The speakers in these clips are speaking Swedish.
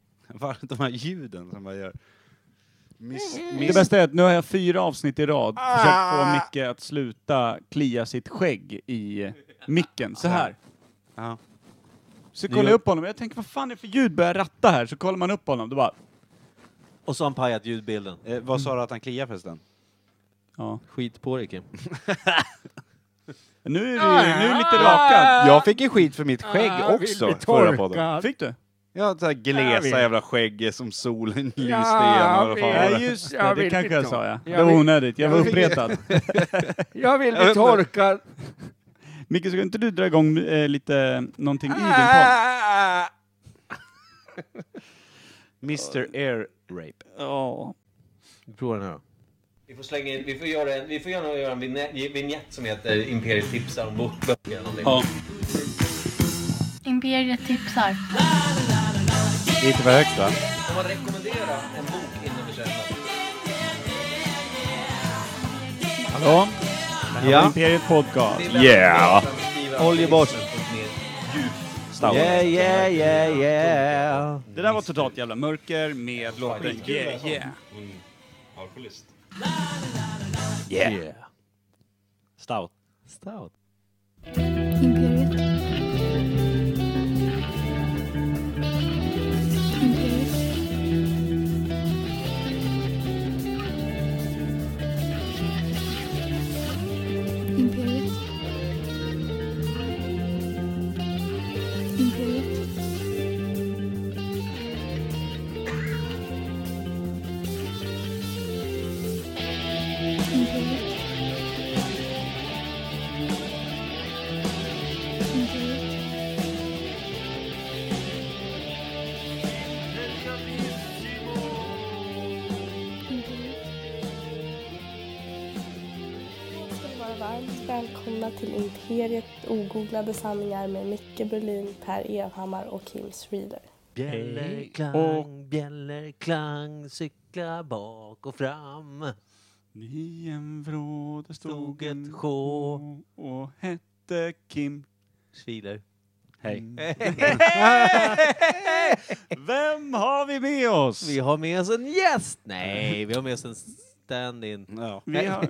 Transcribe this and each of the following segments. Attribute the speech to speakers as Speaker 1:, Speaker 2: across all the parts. Speaker 1: var- de här ljuden som man gör. Miss,
Speaker 2: Mm. Det
Speaker 1: miss,
Speaker 2: bästa är att nu har jag fyra avsnitt i rad försökt få Micke att sluta klia sitt skägg i micken. Så här.
Speaker 1: ja.
Speaker 2: Så
Speaker 3: Det
Speaker 2: kollar
Speaker 3: gör-
Speaker 2: jag upp honom, jag tänker vad fan är det för ljud? Börjar jag ratta här, så kollar man upp honom, då bara...
Speaker 3: Och så har han pajat ljudbilden.
Speaker 1: eh, vad sa du att han kliar förresten?
Speaker 2: Ja.
Speaker 3: Skit på dig Kim.
Speaker 2: Nu är du nu är du lite rakad.
Speaker 1: Jag fick ju skit för mitt skägg också förra podden.
Speaker 2: Fick du?
Speaker 1: Jag har så här
Speaker 4: Jag
Speaker 1: glesa
Speaker 4: vill.
Speaker 1: jävla skägg som solen lyste
Speaker 4: jag
Speaker 1: igenom.
Speaker 4: vill.
Speaker 1: Ja,
Speaker 2: Ja
Speaker 1: fan.
Speaker 2: just det,
Speaker 4: Jag
Speaker 2: det
Speaker 4: vill
Speaker 2: kanske jag
Speaker 4: betona.
Speaker 2: sa ja. Det
Speaker 4: Jag
Speaker 2: var
Speaker 4: vill-
Speaker 2: onetligt, jag var
Speaker 4: jag vill-
Speaker 2: uppretad.
Speaker 4: Jag vill
Speaker 1: Jag vet
Speaker 4: bli
Speaker 1: inte.
Speaker 4: torkad.
Speaker 2: Micke, ska inte du dra igång eh, lite någonting i din podd?
Speaker 4: Ah!
Speaker 1: Mr Air Rape.
Speaker 2: Ja.
Speaker 3: Vi provar den här då.
Speaker 5: Vi får slänga in, vi får göra en, vi får göra, göra en vignett, vignett som heter Imperiet tipsar om bokböcker eller någonting.
Speaker 2: Ja.
Speaker 6: Imperiet tipsar.
Speaker 1: Lite för högt va?
Speaker 5: Om man rekommenderar en bok innan vi köper den.
Speaker 2: Hallå? Det här
Speaker 3: Ja.
Speaker 2: var Imperiet Podcast.
Speaker 5: Det är väldigt
Speaker 1: Yeah.
Speaker 5: bra att beskriva
Speaker 3: Olje
Speaker 5: texten
Speaker 3: bort.
Speaker 5: på ett mer djupt-
Speaker 1: Stout.
Speaker 3: Yeah, yeah, yeah, yeah.
Speaker 2: Det där var totalt jävla mörker med låten Yeah Yeah.
Speaker 3: Yeah. Stout. Stout.
Speaker 6: Imperiet. Imperiet. Imperiet. Imperiet. Imperiet. Imperiet. Imperiet.
Speaker 7: ska ni vara varmt välkomna till Imperiet ogooglade sanningar med Micke Berlin, Per Evhammar och Kim Schreeder.
Speaker 3: Bjällerklang,
Speaker 2: Och-
Speaker 3: bjällerklang, cykla bak och fram.
Speaker 2: I en vrå där stod
Speaker 3: Stod ett
Speaker 2: en
Speaker 3: sjå.
Speaker 2: och hette Kim.
Speaker 3: Svider.
Speaker 1: Hej.
Speaker 2: Vem har vi med oss?
Speaker 3: Vi har med oss en gäst! Nej, vi har med oss en stand-in.
Speaker 1: Ja.
Speaker 2: Vi har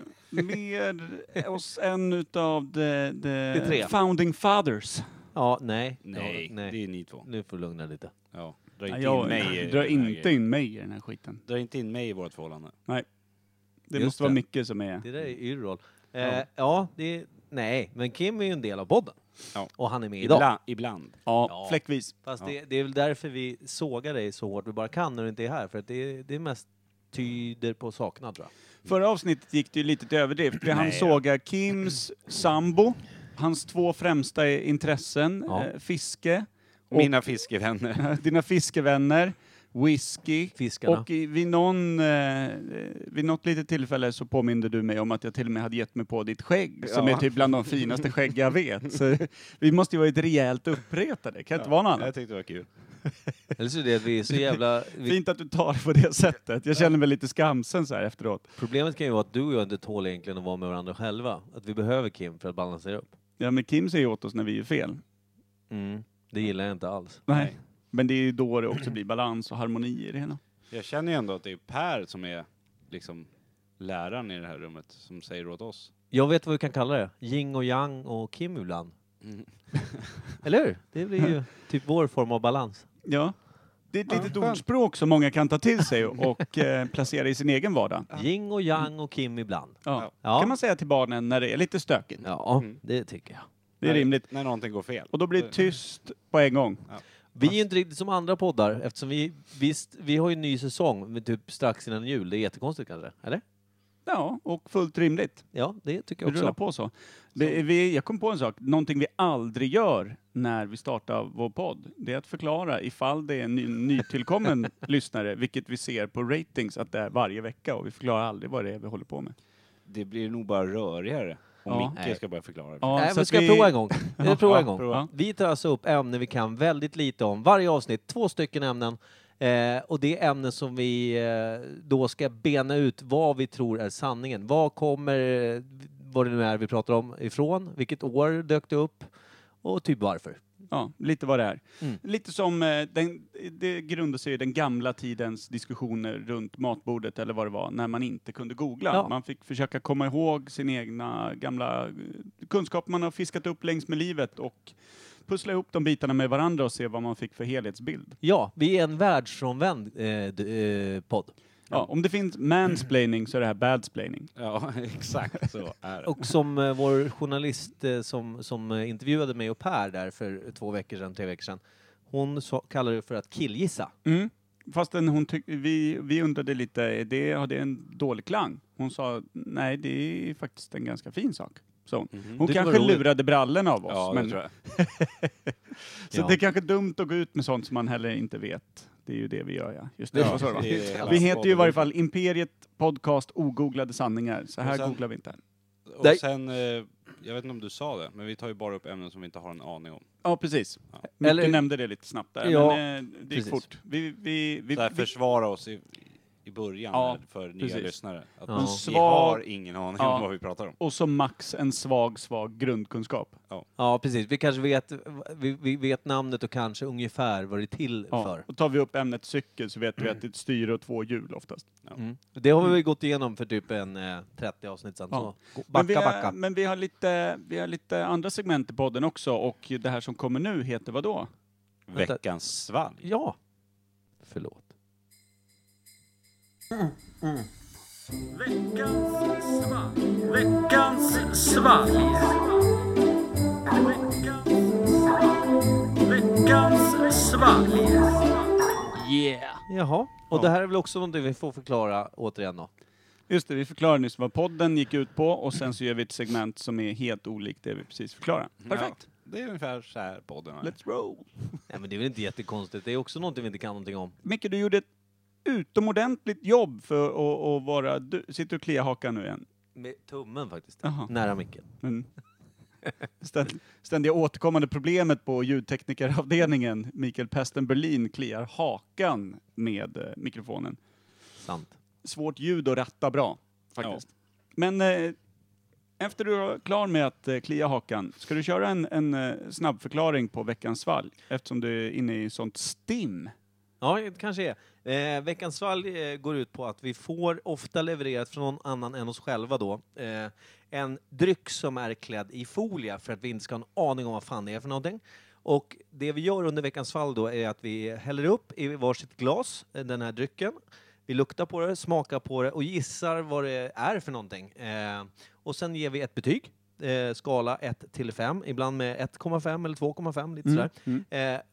Speaker 2: med oss en utav the,
Speaker 3: De tre.
Speaker 2: the founding fathers.
Speaker 3: Ja, nej.
Speaker 1: Nej,
Speaker 3: Ja,
Speaker 1: det är ni två.
Speaker 3: Nu får du lugna dig lite.
Speaker 1: Ja. Dra
Speaker 2: Nej,
Speaker 1: inte
Speaker 2: jag
Speaker 1: in mig i
Speaker 2: drar
Speaker 1: den här
Speaker 2: inte
Speaker 1: grejen.
Speaker 2: in mig i den här skiten.
Speaker 1: Dra inte in mig i vårt förhållande.
Speaker 2: Det
Speaker 3: Just
Speaker 2: måste vara
Speaker 3: det.
Speaker 2: Micke som är...
Speaker 3: Det där är Yrrol. Eh, ja. det är, nej, men Kim är ju en del av podden.
Speaker 1: Ja.
Speaker 3: Och han är med idag.
Speaker 1: Ibland. Ibland.
Speaker 2: Ja,
Speaker 3: Ja.
Speaker 2: fläckvis.
Speaker 3: Fast
Speaker 1: Ja.
Speaker 3: det, det är väl därför vi sågar dig så hårt vi bara kan när du inte är här. För att det, det är mest tyder på saknad tror jag.
Speaker 2: Förra avsnittet gick det ju lite till överdrift. Vi hann såga Kims sambo, hans två främsta intressen,
Speaker 3: Ja.
Speaker 2: eh, fiske, Och-
Speaker 1: Mina fiskevänner.
Speaker 2: dina fiskevänner, whisky.
Speaker 3: Fiskarna.
Speaker 2: Och i, vid, någon, eh, vid något litet tillfälle så påminde du mig om att jag till och med hade gett mig på ditt skägg, som är
Speaker 1: Ja.
Speaker 2: typ bland de finaste skägg jag vet. Så vi måste ju varit rejält uppretade, kan inte vara något
Speaker 1: Jag
Speaker 2: annat.
Speaker 1: tyckte det var kul.
Speaker 3: Eller så är det att vi är så jävla... Vi,
Speaker 2: Fint att du tar det på det sättet. Jag känner mig lite skamsen så här efteråt.
Speaker 3: problemet kan ju vara att du och jag inte tål egentligen att vara med varandra själva. Att vi behöver Kim för att balansera upp.
Speaker 2: Ja, men Kim säger åt oss när vi är fel.
Speaker 3: Det gillar jag inte alls.
Speaker 2: Nej. Men det är ju då det också blir balans och harmoni i det hela.
Speaker 1: Jag känner ju ändå att det är Per som är liksom läraren i det här rummet som säger åt oss.
Speaker 3: Jag vet vad vi kan kalla det. Yin och yang och Kim ibland. Eller hur? Det blir ju typ vår form av balans.
Speaker 2: Ja. Det är ett litet ordspråk som många kan ta till sig och, och eh, placera i sin egen vardag.
Speaker 3: Yin och yang och Kim ibland.
Speaker 2: Ja.
Speaker 3: Ja.
Speaker 2: kan man säga till barnen när det är lite stökigt.
Speaker 3: Ja, Mm. det tycker jag.
Speaker 2: Det är rimligt.
Speaker 1: När någonting går fel.
Speaker 2: Och då blir det tyst på en gång.
Speaker 3: Vi är ju inte riktigt som andra poddar eftersom vi, visst, vi har ju en ny säsong men typ strax innan jul. Det är jättekonstigt kanske, eller?
Speaker 2: Ja, och fullt rimligt.
Speaker 3: Ja, det tycker
Speaker 2: Vi
Speaker 3: jag
Speaker 2: rullar
Speaker 3: också.
Speaker 2: på så. Det, är- vi, jag kom på en sak. Någonting vi aldrig gör när vi startar vår podd, det är att förklara ifall det är en ny, nytillkommen lyssnare, vilket vi ser på ratings att det är varje vecka och vi förklarar aldrig vad det är vi håller på med.
Speaker 1: Det blir nog bara rörigare om
Speaker 2: Ja.
Speaker 1: Micke
Speaker 3: Nej.
Speaker 1: ska börja förklara det.
Speaker 2: Ja,
Speaker 3: Nej,
Speaker 2: så
Speaker 3: men
Speaker 2: att
Speaker 3: ska
Speaker 2: vi-
Speaker 3: jag prova en gång? Jag provar
Speaker 2: Ja,
Speaker 3: en gång.
Speaker 2: prova.
Speaker 3: Vi tar alltså upp ämnen vi kan väldigt lite om. Varje avsnitt, två stycken ämnen. Eh, och det är ämnen som vi eh, då ska bena ut vad vi tror är sanningen. Vad kommer, eh, vad det nu är vi pratar om, ifrån? Vilket år dök det upp? Och typ varför.
Speaker 2: Ja, lite vad det är.
Speaker 3: Mm.
Speaker 2: Lite som, eh, den, det grundar sig i den gamla tidens diskussioner runt matbordet eller vad det var, när man inte kunde googla.
Speaker 3: Ja.
Speaker 2: Man fick försöka komma ihåg sin egna gamla eh, kunskap man har fiskat upp längs med livet och pussla ihop de bitarna med varandra och se vad man fick för helhetsbild.
Speaker 3: Ja, vi är en världsfrånvänd eh, d- eh, podd.
Speaker 2: Ja, om det finns mansplaining så är det här badsplaining.
Speaker 1: Ja, exakt så är det.
Speaker 3: Och som eh, vår journalist eh, som, som eh, intervjuade mig och Per där för två veckor sedan, tre veckor sedan, hon sa, kallar det för att killgissa.
Speaker 2: Mm. Fastän hon tyck- vi, vi undrade lite, är det, har det en dålig klang? Hon sa, nej det är faktiskt en ganska fin sak. Så hon
Speaker 1: Mhm.
Speaker 2: hon
Speaker 3: Det var
Speaker 2: kanske
Speaker 3: roligt.
Speaker 2: lurade brallen av oss.
Speaker 1: Ja, det
Speaker 2: men,
Speaker 1: tror jag.
Speaker 2: så det är kanske dumt att gå ut med sånt som man heller inte vet. Det är ju det vi gör ja. Just det,
Speaker 3: Ja,
Speaker 2: vad sa du, va?
Speaker 1: det är hela
Speaker 2: Vi heter ju i
Speaker 1: podden.
Speaker 2: varje fall Imperiet Podcast Ogooglade Sanningar. Så här
Speaker 1: Och sen-
Speaker 2: googlar vi inte.
Speaker 1: Och
Speaker 3: Nej.
Speaker 1: sen, eh, jag vet inte om du sa det, men vi tar ju bara upp ämnen som vi inte har en aning om.
Speaker 2: Ja precis.
Speaker 1: Ja.
Speaker 2: Micke
Speaker 3: Eller-
Speaker 2: nämnde det lite snabbt där.
Speaker 3: Ja,
Speaker 2: men eh, det gick
Speaker 3: precis.
Speaker 2: fort. Vi, vi, vi,
Speaker 1: Så här,
Speaker 2: vi,
Speaker 1: försvara oss i, i början
Speaker 2: Ja,
Speaker 1: här för nya
Speaker 2: precis.
Speaker 1: lyssnare. Att
Speaker 3: Ja. En
Speaker 1: Vi
Speaker 2: svag-
Speaker 1: har ingen aning
Speaker 2: Ja.
Speaker 1: om vad vi pratar om.
Speaker 2: och så max en svag, svag grundkunskap.
Speaker 3: Ja, precis. Vi kanske vet, vi, vi vet namnet och kanske ungefär vad det är till
Speaker 2: Ja.
Speaker 3: för.
Speaker 2: Och tar vi upp ämnet cykel så vet vi att det är ett styre och två hjul oftast.
Speaker 3: Mm. Det har vi väl gått igenom för typ en eh, 30 avsnitt sedan.
Speaker 2: Ja.
Speaker 3: Så.
Speaker 2: Men vi,
Speaker 3: Backa,
Speaker 2: har,
Speaker 3: backa.
Speaker 2: men vi har, lite, vi har lite andra segment i podden också och det här som kommer nu heter vad då?
Speaker 3: Vänta.
Speaker 1: Veckans svalg.
Speaker 3: Ja. Förlåt. Jaha. Och det här är väl också någonting vi får förklara återigen då?
Speaker 2: Just det, vi förklarade nyss vad podden gick ut på och sen så gör vi ett segment som är helt olikt det vi precis förklarade. Perfekt!
Speaker 1: Ja, det är ungefär så här podden är.
Speaker 2: Let's roll!
Speaker 3: Nej men det är väl inte jättekonstigt, det är också någonting vi inte kan någonting om.
Speaker 2: Micke, du gjorde ett utomordentligt jobb för att, att vara... Du, sitter du och kliar hakan nu igen?
Speaker 3: Med tummen faktiskt.
Speaker 2: Jaha.
Speaker 3: Nära micken.
Speaker 2: Men ständ, ständiga återkommande problemet på ljudteknikeravdelningen, Mikael Pesten Berlin, kliar hakan med eh, mikrofonen.
Speaker 3: Sant.
Speaker 2: svårt ljud att ratta bra, faktiskt. Men eh, efter du är klar med att eh, klia hakan, ska du köra en, en eh, snabb förklaring på veckans svalg? Eftersom du är inne i sånt stim.
Speaker 3: Ja, det kanske är. Eh, veckans svalg eh, går ut på att vi får ofta levererat från någon annan än oss själva då, eh, en dryck som är klädd i folie för att vi inte ska ha en aning om vad fan det är för någonting. Och det vi gör under veckans svalg då är att vi häller upp i varsitt glas eh, den här drycken. Vi luktar på det, smakar på det och gissar vad det är för någonting. Eh, och sen ger vi ett betyg. Eh, skala 1 till 5, ibland med 1,5 eller 2,5,
Speaker 2: Mm.
Speaker 1: Mm,
Speaker 3: lite sådär.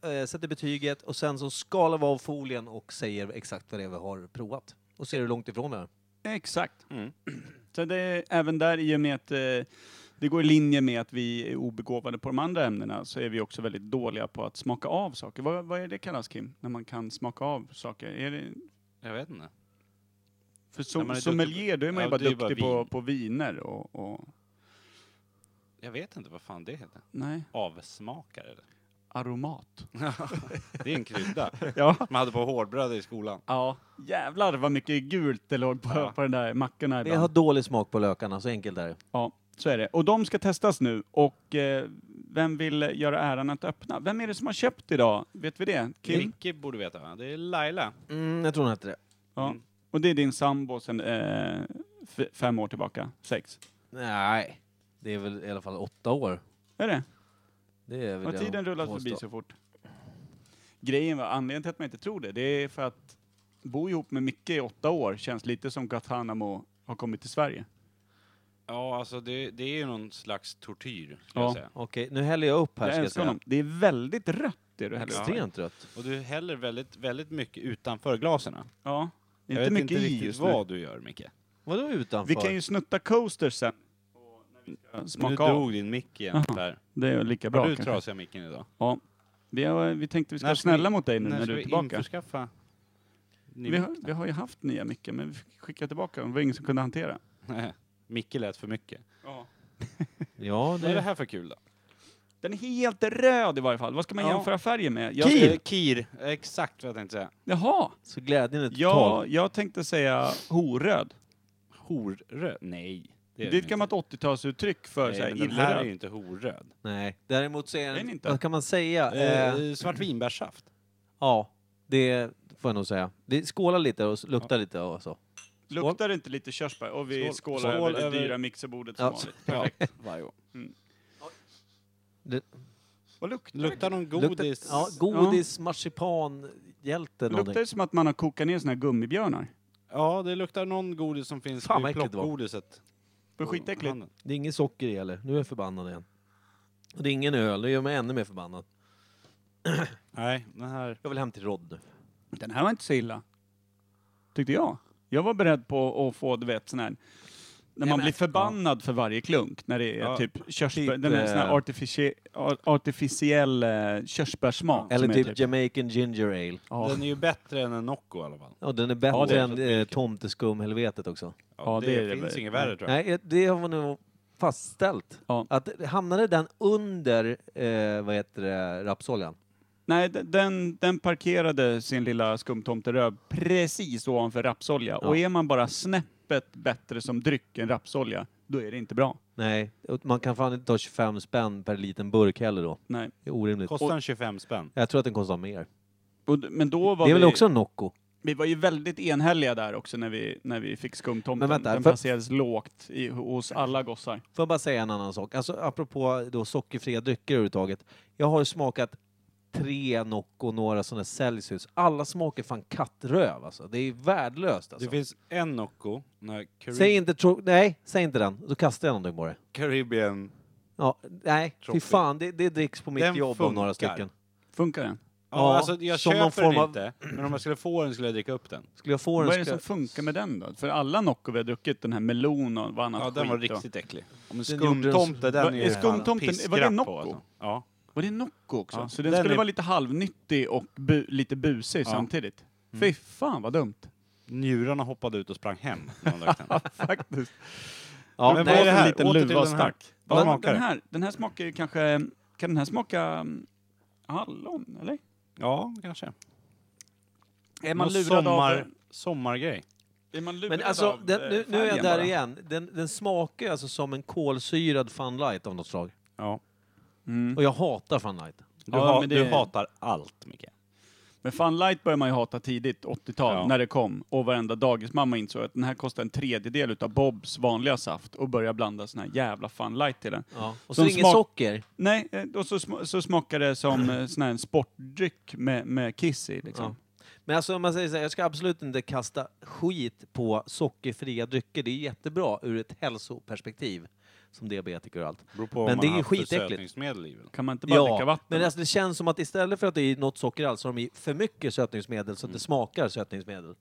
Speaker 3: Eh, eh, sätter betyget och sen så skalar vi av folien och säger exakt vad det är vi har provat. Och ser hur långt ifrån vi är.
Speaker 2: Exakt.
Speaker 1: Mm.
Speaker 2: Så det är även där, i och med att eh, det går i linje med att vi är obegåvade på de andra ämnena, så är vi också väldigt dåliga på att smaka av saker. Vad, vad är det kallas, Kim? När man kan smaka av saker? Är det,
Speaker 1: Jag vet inte.
Speaker 2: för
Speaker 1: När
Speaker 2: som,
Speaker 1: man är
Speaker 2: sommelier, då är man
Speaker 1: ja,
Speaker 2: ju bara
Speaker 1: det är bara
Speaker 2: duktig på,
Speaker 1: vin.
Speaker 2: på viner och... och
Speaker 1: Jag vet inte vad fan det heter.
Speaker 2: nej,
Speaker 1: Avsmakare? eller?
Speaker 2: aromat.
Speaker 1: Det är en krydda
Speaker 2: Ja.
Speaker 1: man hade på hårdbröd i skolan.
Speaker 2: Ja, jävlar vad mycket gult det låg på,
Speaker 1: Ja.
Speaker 2: på den där mackorna
Speaker 3: Vi
Speaker 2: ibland.
Speaker 3: har dålig smak på lökarna, så enkelt är det.
Speaker 2: Ja, så är det. Och de ska testas nu. Och eh, vem vill göra äran att öppna? Vem är det som har köpt idag? Vet vi det? Kim?
Speaker 1: Micke borde veta va? Det är Laila.
Speaker 3: Mm, jag tror hon hette det.
Speaker 2: Ja.
Speaker 1: Mm.
Speaker 2: Och det är din sambo sedan eh, f- fem år tillbaka? Sex?
Speaker 3: Nej, det är väl i alla fall åtta år.
Speaker 2: Är det?
Speaker 3: Det är väl
Speaker 2: Har
Speaker 3: det
Speaker 2: tiden
Speaker 3: de
Speaker 2: rullat
Speaker 3: påstår.
Speaker 2: förbi så fort? Grejen var, anledningen till att man inte tror det, det är för att bo ihop med Micke i åtta år känns lite som Guantanamo har kommit till Sverige.
Speaker 1: Ja, alltså det, det är ju någon slags tortyr, ska jag
Speaker 2: Ja.
Speaker 1: säga.
Speaker 3: Okej, nu häller jag upp här
Speaker 2: Jag
Speaker 3: ska jag
Speaker 2: älskar
Speaker 3: säga.
Speaker 2: honom. Det är väldigt rött det du häller upp.
Speaker 3: Extremt rött.
Speaker 1: Och du häller väldigt, väldigt mycket utanför glasen.
Speaker 2: Ja. Det
Speaker 1: Jag
Speaker 2: är inte
Speaker 1: vet
Speaker 2: mycket
Speaker 1: inte
Speaker 2: i
Speaker 1: riktigt
Speaker 2: just
Speaker 1: vad du gör, Micke.
Speaker 3: Vadå utanför?
Speaker 2: nu. Vi kan ju snutta coasters sen.
Speaker 1: nu
Speaker 2: Smaka av.
Speaker 1: drog din mick igen
Speaker 2: Jaha.
Speaker 1: Per.
Speaker 2: Det är lika bra
Speaker 1: Har du
Speaker 2: kanske.
Speaker 1: trasiga micken idag?
Speaker 2: Ja. Vi, har, vi tänkte vi ska
Speaker 1: När
Speaker 2: vara
Speaker 1: ska vi-
Speaker 2: snälla mot dig nu när,
Speaker 1: ska
Speaker 2: du är
Speaker 1: vi
Speaker 2: tillbaka.
Speaker 1: införskaffa ny
Speaker 2: Vi har,
Speaker 1: mick?
Speaker 2: vi har ju haft nya mickar men vi fick skicka tillbaka dem. Det var ingen som kunde hantera.
Speaker 1: Micke lät för mycket.
Speaker 3: Ja,
Speaker 1: Vad är det
Speaker 3: det...
Speaker 1: här för kul då?
Speaker 2: Den är helt röd i varje fall. Vad ska man
Speaker 1: Ja.
Speaker 2: jämföra färger med? Jag
Speaker 1: Kir!
Speaker 2: Ska,
Speaker 1: Kir! Exakt vad jag tänkte säga.
Speaker 2: jaha!
Speaker 3: Så glädjen är total.
Speaker 2: Ja, jag tänkte säga horöd.
Speaker 1: Horröd? Nej. är
Speaker 2: Det är
Speaker 1: den
Speaker 2: ett gammalt 80-talsuttryck för
Speaker 1: Nej,
Speaker 2: så här
Speaker 1: men den här är ju
Speaker 2: illröd.
Speaker 1: inte horöd.
Speaker 3: Nej. Däremot så är
Speaker 2: Är den
Speaker 3: den,
Speaker 2: inte?
Speaker 3: vad kan man säga? Eh,
Speaker 1: Eh, svart vinbärssaft.
Speaker 3: ja, det får jag nog säga. Vi skålar lite och s- luktar lite och så.
Speaker 2: Luktar det inte lite körsbär? Och vi
Speaker 1: Skål.
Speaker 2: skålar
Speaker 1: Skål
Speaker 2: över det
Speaker 1: över-
Speaker 2: dyra mixerbordet som
Speaker 3: Ja.
Speaker 2: vanligt.
Speaker 1: Ja,
Speaker 2: Perfekt.
Speaker 1: varje gång.
Speaker 3: Det,
Speaker 2: Vad luktar det?
Speaker 1: Luktar någon
Speaker 3: luktar-
Speaker 1: godis?
Speaker 3: Ja, godis, marsipan, hjälte
Speaker 2: Luktar
Speaker 3: någonting.
Speaker 2: det som att man har kokat ner såna här gummibjörnar?
Speaker 1: Ja, det luktar någon godis som finns
Speaker 3: Fan,
Speaker 1: i
Speaker 3: vad äckligt det var.
Speaker 1: plockgodiset.
Speaker 2: Det är skitäckligt.
Speaker 1: Handen.
Speaker 3: Det är inget socker i heller. Nu är jag förbannad igen. Och det är ingen öl, det gör mig ännu mer förbannad.
Speaker 1: Nej, den här...
Speaker 3: Jag vill hem till Rod nu.
Speaker 2: Den här var inte så illa. Tyckte jag. Jag var beredd på att få, du vet, sån här... När man
Speaker 3: men-
Speaker 2: blir förbannad för varje klunk, när det är
Speaker 1: Ja,
Speaker 2: typ körsbär,
Speaker 3: typ,
Speaker 2: den är sån här
Speaker 3: eh,
Speaker 2: artificie, ar- artificiell eh, körsbärsmak.
Speaker 3: Eller
Speaker 2: som är
Speaker 3: typ, Jamaican Ginger Ale.
Speaker 2: Ja.
Speaker 1: Den är ju bättre än en Nocco i alla fall.
Speaker 3: Ja, den är
Speaker 2: Ja,
Speaker 3: bättre
Speaker 2: det är
Speaker 3: än eh, tomteskumhelvetet också.
Speaker 2: Ja, det är det
Speaker 1: finns
Speaker 2: väl.
Speaker 1: inget värre tror jag.
Speaker 3: Nej, eh, det har man nog fastställt.
Speaker 2: Ja.
Speaker 3: Att, hamnade den under, eh, vad heter det, rapsoljan?
Speaker 2: Nej, d- den, den parkerade sin lilla skumtomteröv precis ovanför rapsolja.
Speaker 3: Ja.
Speaker 2: Och är man bara snäppet bättre som dryck än rapsolja, då är det inte bra.
Speaker 3: Nej, och man kan fan inte ta 25 spänn per liten burk heller då.
Speaker 2: Nej.
Speaker 3: Det är orimligt.
Speaker 1: Kostar
Speaker 3: Och,
Speaker 1: den 25 spänn?
Speaker 3: jag tror att den kostar mer.
Speaker 2: Och, d- men då var
Speaker 3: det är väl
Speaker 2: vi,
Speaker 3: också en Nocco?
Speaker 2: vi var ju väldigt enhälliga där också när vi, när vi fick skumtomten.
Speaker 3: Men vänta,
Speaker 2: den
Speaker 3: för-
Speaker 2: placerades lågt i, hos alla gossar.
Speaker 3: Får jag bara säga en annan sak? Alltså apropå då sockerfria drycker överhuvudtaget. Jag har ju smakat tre Nocco och några sådana Celsius. Alla smaker fan kattröv alltså. Det är värdelöst alltså.
Speaker 1: Det finns en Nocco, den här Cari-
Speaker 3: Säg inte tro... Nej, säg inte den. Då kastar jag någonting på det.
Speaker 1: Caribbean.
Speaker 3: Ja, nej, fy
Speaker 1: Tråkigt.
Speaker 3: fan. Det, det dricks på mitt
Speaker 1: Den
Speaker 3: jobb av några
Speaker 1: funkar.
Speaker 3: stycken.
Speaker 2: Funkar den?
Speaker 1: Ja,
Speaker 3: Ja,
Speaker 1: alltså jag
Speaker 3: som
Speaker 1: köper
Speaker 3: någon form
Speaker 1: den
Speaker 3: av-
Speaker 1: inte, men om jag skulle få den skulle jag dricka upp den.
Speaker 3: Skulle jag få den
Speaker 2: Vad är det
Speaker 3: skulle-
Speaker 2: som funkar med den då? För alla Nocco vi har druckit, den här melon och vad annat
Speaker 1: Ja, den var
Speaker 2: skit då.
Speaker 1: riktigt äcklig. Om en
Speaker 3: Den gjorde en-
Speaker 1: skumtomte,
Speaker 2: Vad-
Speaker 1: den är
Speaker 2: är
Speaker 1: ju fan
Speaker 2: skumtomten- var det
Speaker 1: pissskrapp
Speaker 2: Nocco?
Speaker 1: på, alltså. Ja.
Speaker 2: Var det Nocco också?
Speaker 1: Ja,
Speaker 2: Så den,
Speaker 1: den
Speaker 2: skulle
Speaker 1: är-
Speaker 2: vara lite halvnyttig och bu, lite busig
Speaker 1: Ja.
Speaker 2: samtidigt. Fy fan vad dumt.
Speaker 1: Njurarna hoppade ut och sprang hem. när de drack den.
Speaker 2: Faktiskt.
Speaker 3: Ja,
Speaker 1: Men
Speaker 3: nej,
Speaker 1: vad är det här?
Speaker 2: Liten
Speaker 1: Åter till
Speaker 2: luva
Speaker 1: den här.
Speaker 2: stark.
Speaker 1: Vad
Speaker 2: Men
Speaker 1: smakar
Speaker 2: den,
Speaker 1: det?
Speaker 2: här, den här smakar ju kanske... Kan den här smaka mm, hallon, eller?
Speaker 1: Ja, kanske.
Speaker 2: Är man
Speaker 1: Någon
Speaker 2: lurad
Speaker 1: sommar,
Speaker 2: av...
Speaker 1: Sommargrej.
Speaker 2: Är man lurad
Speaker 3: Men alltså,
Speaker 2: av,
Speaker 3: den,
Speaker 2: eh,
Speaker 3: nu, nu är jag
Speaker 2: färgen
Speaker 3: där
Speaker 2: bara?
Speaker 3: igen. Den, den smakar ju alltså som en kolsyrad Fun Light av något slag.
Speaker 1: Ja.
Speaker 2: Mm.
Speaker 3: Och jag hatar Fun Light.
Speaker 1: Du,
Speaker 2: Ja,
Speaker 1: ha,
Speaker 2: men det-
Speaker 1: du hatar allt, Micke.
Speaker 2: Men Fun Light började man ju hata tidigt, 80-tal,
Speaker 1: Ja.
Speaker 2: när det kom. Och varenda dagismamma insåg att den här kostar en tredjedel utav Bobs vanliga saft och började blanda sån här jävla Fun Light till den.
Speaker 3: Ja. Och så
Speaker 2: Som
Speaker 3: är det inget
Speaker 2: smak-
Speaker 3: socker.
Speaker 2: Nej, eh, och så, sm- så smakar det som eh, sån här en sportdryck med, med kiss i liksom.
Speaker 3: Ja. Men alltså om man säger så här, jag ska absolut inte kasta skit på sockerfria drycker. Det är jättebra ur ett hälsoperspektiv. Som diabetiker och allt.
Speaker 1: Beror på om
Speaker 3: Men
Speaker 1: man
Speaker 3: det är
Speaker 1: har
Speaker 3: ju
Speaker 1: haft
Speaker 3: skitäckligt.
Speaker 1: försötningsmedel i den.
Speaker 2: Kan man inte bara dricka vatten?
Speaker 3: men alltså, det känns som att istället för att det är något socker alls så har de i för mycket sötningsmedel så att det smakar sötningsmedel.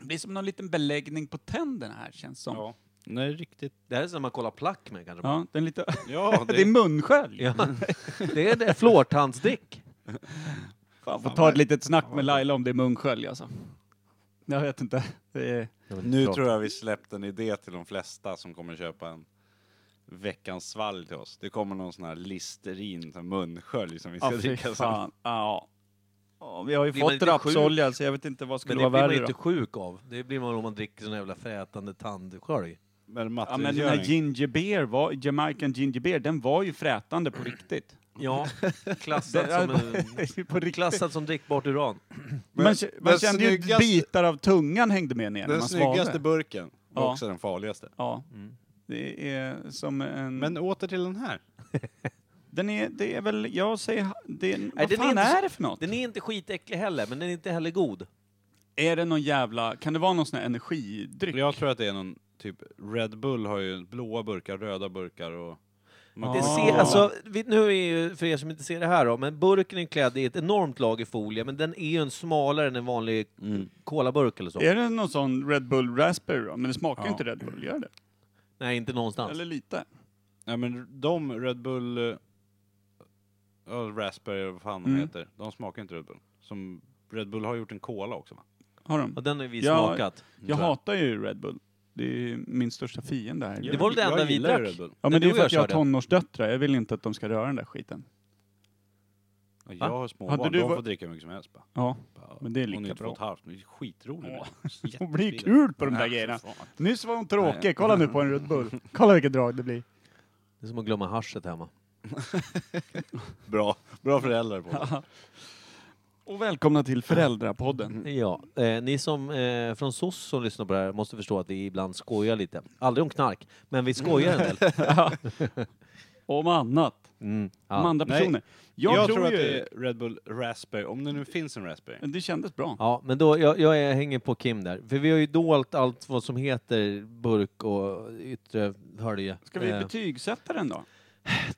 Speaker 2: Det blir som någon liten beläggning på tänderna här känns som. Ja,
Speaker 1: Ja. Nej, riktigt.
Speaker 3: Det här är som man kollar plack med kanske.
Speaker 2: den lite...
Speaker 1: Ja,
Speaker 2: det är munskölj!
Speaker 3: Ja. det är det. Fluortandsdrick.
Speaker 2: Fan, får ta ett litet snack med Laila om det är munskölj alltså. Jag vet inte. Det är...
Speaker 1: Nu tror jag vi släppt en idé till de flesta som kommer köpa en veckans svalg till oss. Det kommer någon sån här listerin, sån munskölj som vi ska
Speaker 2: Ja, fy
Speaker 1: dricka sen.
Speaker 2: fan. Ja. Ja, vi har ju
Speaker 3: Blir man
Speaker 2: fått
Speaker 3: inte
Speaker 2: rapsolja så jag vet inte vad
Speaker 3: Men
Speaker 2: skulle
Speaker 3: det blir
Speaker 2: vara
Speaker 3: man ju
Speaker 2: värre
Speaker 3: inte
Speaker 2: då.
Speaker 3: sjuk av. Det blir man om man dricker sån jävla frätande tandskölj.
Speaker 1: Men
Speaker 2: Ja, men den här
Speaker 1: mattrengöring.
Speaker 2: ginger beer, var, Jamaican ginger beer, den var ju frätande på riktigt.
Speaker 3: Ja, klassat som, en,
Speaker 2: på riktigt.
Speaker 3: klassat som drickbart uran.
Speaker 2: Man, k- man
Speaker 1: den
Speaker 2: kände ju
Speaker 1: snyggaste-
Speaker 2: bitar av tungan hängde med ner när
Speaker 1: Den
Speaker 2: man
Speaker 1: snyggaste
Speaker 2: svalde.
Speaker 1: burken var
Speaker 2: Ja. Mm.
Speaker 1: också den farligaste.
Speaker 2: Ja. Det är som en...
Speaker 1: Men åter till den här.
Speaker 2: Den är, det är väl, jag säger, ha- det, vad
Speaker 3: den är
Speaker 2: fan är,
Speaker 3: inte så-
Speaker 2: det för något?
Speaker 3: Den är inte skitäcklig heller, men den är inte heller god.
Speaker 2: Är det någon jävla, kan det vara någon sån här energidryck?
Speaker 1: Jag tror att det är någon typ, Red Bull har ju blåa burkar, röda burkar och... Man
Speaker 3: Det
Speaker 2: Ah.
Speaker 3: ser, alltså, vi, nu är ju, för er som inte ser det här då, men burken är klädd i ett enormt lager folie, men den är ju en smalare än en vanlig
Speaker 1: Mm.
Speaker 3: kolaburk eller så.
Speaker 2: Är det någon sån Red Bull Raspberry då? Men det smakar ju
Speaker 1: Ja.
Speaker 2: inte Red Bull, gör det?
Speaker 3: Nej, inte någonstans.
Speaker 2: Eller lite?
Speaker 1: Ja men de, Red Bull... eh, Ja, Raspberry vad fan de
Speaker 2: Mm.
Speaker 1: heter. De smakar inte Red Bull. Som Red Bull har gjort en cola också va?
Speaker 2: Har de?
Speaker 3: Och den har vi
Speaker 2: Ja,
Speaker 3: smakat.
Speaker 2: Jag
Speaker 1: Så här.
Speaker 2: hatar ju Red Bull. Det är ju min största fiende här.
Speaker 3: Det var väl det
Speaker 1: jag
Speaker 3: enda vi
Speaker 1: gillar ju
Speaker 3: drack?
Speaker 1: Red Bull.
Speaker 2: ja
Speaker 3: när
Speaker 2: men det är
Speaker 3: du
Speaker 2: för
Speaker 3: och
Speaker 2: att
Speaker 3: jag
Speaker 2: jag har
Speaker 3: körde.
Speaker 2: tonårsdöttrar, jag vill inte att de ska röra den där skiten.
Speaker 1: Och Jag har
Speaker 2: Hade
Speaker 1: småbarn,
Speaker 2: du
Speaker 1: de
Speaker 2: va-
Speaker 1: får dricka hur mycket som helst. Bara.
Speaker 2: Ja.
Speaker 1: Bara,
Speaker 2: Men det är
Speaker 1: hon
Speaker 2: lika
Speaker 1: två
Speaker 2: bra.
Speaker 1: och ett halvt, men det är skitrolig.
Speaker 2: Ja.
Speaker 1: Ja.
Speaker 2: Hon blir kul på de där grejerna. Nyss var hon tråkig, kolla nu på en Red Bull. Kolla vilket drag det blir.
Speaker 3: Det är som att glömma haschet hemma.
Speaker 1: Bra, bra föräldrar på det.
Speaker 2: Och välkomna till Föräldrapodden.
Speaker 3: Ja, eh, ni som eh, från SOS som lyssnar på det här måste förstå att vi ibland skojar lite. Aldrig om knark, men vi skojar en del.
Speaker 2: Om annat.
Speaker 3: Mm.
Speaker 2: Om
Speaker 3: Ja.
Speaker 2: andra
Speaker 1: Nej.
Speaker 2: personer.
Speaker 1: Jag,
Speaker 2: Jag, tror,
Speaker 1: att
Speaker 2: ju...
Speaker 1: det är Red Bull Raspberry, om det nu finns en Raspberry.
Speaker 2: Det kändes bra.
Speaker 3: ja, men då, jag, jag är- hänger på Kim där. För vi har ju dolt allt vad som heter burk och yttre hölje.
Speaker 2: Ska vi
Speaker 3: Eh,
Speaker 2: betygsätta den då?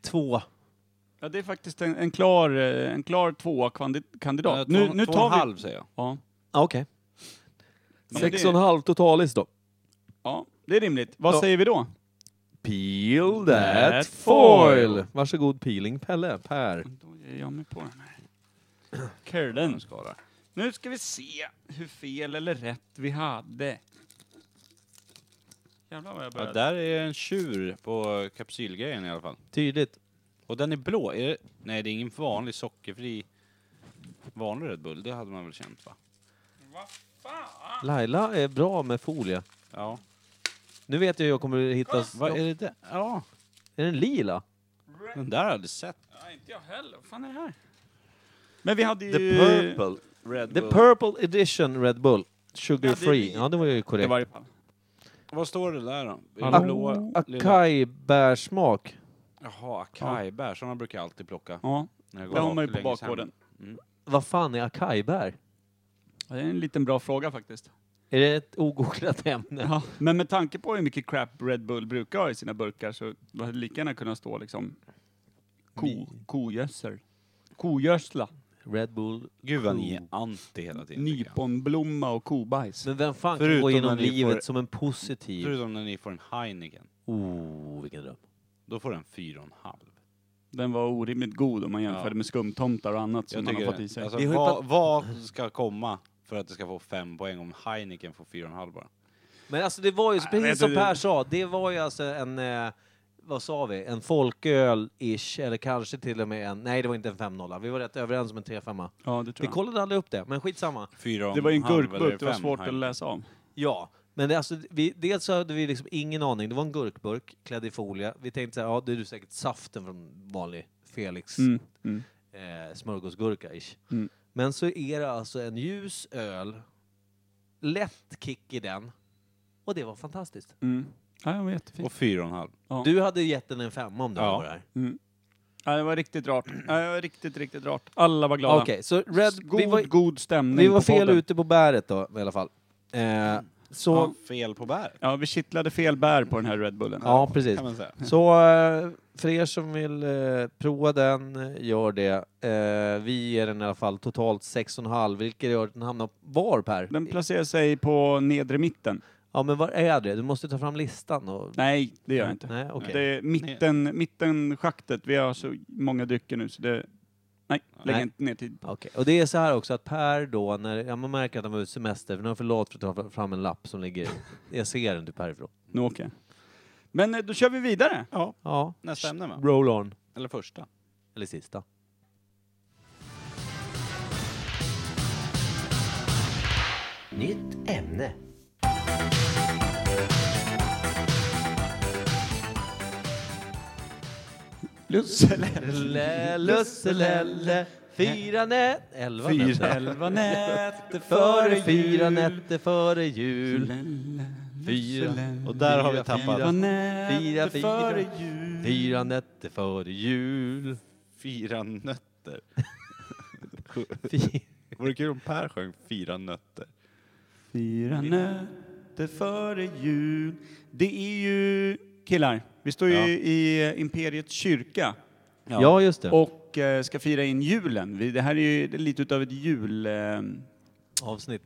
Speaker 3: två.
Speaker 2: Ja, det är faktiskt en, en klar, eh, en klar tvåa kvandi- kandidat.
Speaker 1: Ja, Eh, två-
Speaker 2: nu, nu
Speaker 1: två
Speaker 2: tar
Speaker 1: och
Speaker 2: vi...
Speaker 1: en halv säger jag.
Speaker 2: Ja.
Speaker 3: Ah, Okej.
Speaker 2: men
Speaker 3: Sex
Speaker 2: det-
Speaker 3: och en halv totalis då.
Speaker 2: ja, det är rimligt. Vad
Speaker 3: Ja.
Speaker 2: säger vi då?
Speaker 3: Peel
Speaker 2: that foil.
Speaker 3: Varsågod peeling Pelle, Per.
Speaker 2: Då ger jag mig på den här. Curlen. Nu ska vi se hur fel eller rätt vi hade. Jävlar vad jag
Speaker 1: Ja,
Speaker 2: började.
Speaker 1: där är en tjur på kapsylgrejen i alla fall.
Speaker 3: Tydligt.
Speaker 1: Och den är blå. Är det... Nej, det är ingen vanlig sockerfri vanlig Red Bull. Det hade man väl känt va?
Speaker 3: Laila är bra med folie.
Speaker 1: Ja.
Speaker 3: Nu vet jag hur jag kommer hitta...
Speaker 1: Vad är det där? Ja,
Speaker 3: Är den lila?
Speaker 1: den där hade sett.
Speaker 2: Ja, inte jag heller. Vad fan är det här? Men vi hade ju... Eh,
Speaker 1: Red
Speaker 3: The
Speaker 1: Bull.
Speaker 3: purple edition Red Bull. Sugar
Speaker 2: Ja, det är
Speaker 3: free.
Speaker 2: vi.
Speaker 3: Ja, det var ju
Speaker 2: I
Speaker 3: korrekt.
Speaker 2: varje fall.
Speaker 1: Vad står det där då? I
Speaker 2: Hallå?
Speaker 1: det blåa, lilla-
Speaker 3: Acai-bärsmak.
Speaker 1: Jaha, acai-bär. Sådana brukar jag alltid plocka.
Speaker 2: Ja,
Speaker 1: När jag
Speaker 2: det har man ju
Speaker 1: rakt
Speaker 2: på
Speaker 1: längs hem.
Speaker 2: bakgården.
Speaker 3: Vad fan är acai-bär?
Speaker 2: Ja, det är en liten bra fråga faktiskt.
Speaker 3: Är det ett ogooglat ämne?
Speaker 2: Ja. Men med tanke på hur mycket crap Red Bull brukar ha i sina burkar så hade det lika gärna kunnat stå liksom ko, kogödsel. Kogödsla.
Speaker 3: Red Bull.
Speaker 1: Gud vad
Speaker 2: Oh.
Speaker 1: ni är anti hela tiden. tycker jag.
Speaker 2: Nyponblomma och kobajs.
Speaker 3: Men vem fan kan
Speaker 1: Förutom
Speaker 3: gå
Speaker 1: när
Speaker 3: igenom
Speaker 1: ni
Speaker 3: livet
Speaker 1: får-
Speaker 3: som en positiv...
Speaker 1: Förutom när ni får en Heineken.
Speaker 3: Oh, vilken dröm.
Speaker 1: Då får den fyra och en halv.
Speaker 2: Den var orimligt god om man jämförde
Speaker 1: Ja.
Speaker 2: med skumtomtar och annat som
Speaker 1: Jag
Speaker 2: man har
Speaker 1: tycker
Speaker 2: fått i sig.
Speaker 1: Alltså,
Speaker 3: Vi har ju
Speaker 1: vad, vad ska komma för att det ska få fem poäng om Heineken får fyra och en halv bara?
Speaker 3: Men alltså det var ju,
Speaker 2: vet
Speaker 3: precis som
Speaker 2: du-
Speaker 3: Per sa, det var ju alltså en, eh, vad sa vi, en folköl-ish, eller kanske till och med en, nej det var inte en 5-0, vi var rätt överens om en 3-5.
Speaker 2: ja, det
Speaker 3: Vi
Speaker 2: tror jag.
Speaker 3: kollade aldrig upp det, men skitsamma.
Speaker 1: Fyra och
Speaker 2: Det var ju en
Speaker 1: halv eller
Speaker 2: gurkburk, det var
Speaker 1: fem
Speaker 2: svårt att
Speaker 1: Heineken.
Speaker 2: läsa av.
Speaker 3: Ja, men det, alltså, vi, dels så hade vi liksom ingen aning, det var en gurkburk klädd i folie, vi tänkte så här, ja det är ju säkert saften från vanlig Felix
Speaker 2: Mm. Mm.
Speaker 3: eh, smörgåsgurka-ish.
Speaker 2: Mm.
Speaker 3: Men så är det alltså en ljus öl, lätt kick i den, och det var fantastiskt.
Speaker 2: Mm. Ja, den var jättefin.
Speaker 1: Och fyra och en halv.
Speaker 2: Ja.
Speaker 3: Du hade gett den en femma om du
Speaker 1: Ja.
Speaker 3: hade varit här.
Speaker 2: Ja, det var riktigt rart. Ja, det var riktigt, riktigt rart. Alla var glada.
Speaker 3: Okej, så Red,
Speaker 2: God,
Speaker 3: vi var,
Speaker 2: god stämning
Speaker 3: vi var
Speaker 2: på
Speaker 3: fel
Speaker 2: podden.
Speaker 3: ute på bäret då i alla fall. Eh, så, ja,
Speaker 1: Ja, fel på bär.
Speaker 2: Ja, vi kittlade fel bär på den här Red Bullen.
Speaker 3: precis.
Speaker 1: Kan man säga.
Speaker 3: Så eh, för er som vill eh, prova den, eh, gör det. Eh, vi ger den i alla fall totalt 6,5, vilket gör att den hamnar var Per?
Speaker 2: Den placerar sig på nedre mitten.
Speaker 3: Ja men var är det? Du måste ta fram listan. Och...
Speaker 2: Nej, det gör jag inte.
Speaker 3: Nej, okej.
Speaker 2: Det är mitten, mittenschaktet. Vi har så många drycker nu så det... Nej, lägg
Speaker 3: Nej.
Speaker 2: inte ner tid.
Speaker 3: Okej, och det är så här också att Per då, när ja, man märker att han var ute i semester, för nu är han för lat för att ta fram en lapp som ligger, jag ser den typ härifrån.
Speaker 2: Nu åker jag. Men eh, då kör vi vidare.
Speaker 1: Ja,
Speaker 3: Ja,
Speaker 1: nästa ämne va?
Speaker 3: roll on.
Speaker 1: Eller första.
Speaker 3: Eller sista.
Speaker 5: Nytt ämne.
Speaker 2: Lussele.
Speaker 3: Lussele, Lusselelle, fyra nätter... Elva nätter.
Speaker 2: Elva nätter
Speaker 3: Före fyra nätter före jul. Fyra.
Speaker 1: Och där har vi
Speaker 2: Elva
Speaker 1: tappat
Speaker 2: nätter
Speaker 3: Fyra,
Speaker 2: före
Speaker 3: fyra.
Speaker 2: jul.
Speaker 3: Fyra nätter före jul.
Speaker 1: fyra nötter.
Speaker 3: Fy-
Speaker 1: Vore kul om Per sjöng fyra nötter.
Speaker 2: Fyra nätter före jul. Det är ju, killar, vi står ju
Speaker 1: Ja.
Speaker 2: i eh, Imperiets kyrka
Speaker 3: Ja, just det.
Speaker 2: och eh, ska fira in julen. Vi, det här är ju lite utav ett julavsnitt.
Speaker 3: Avsnitt,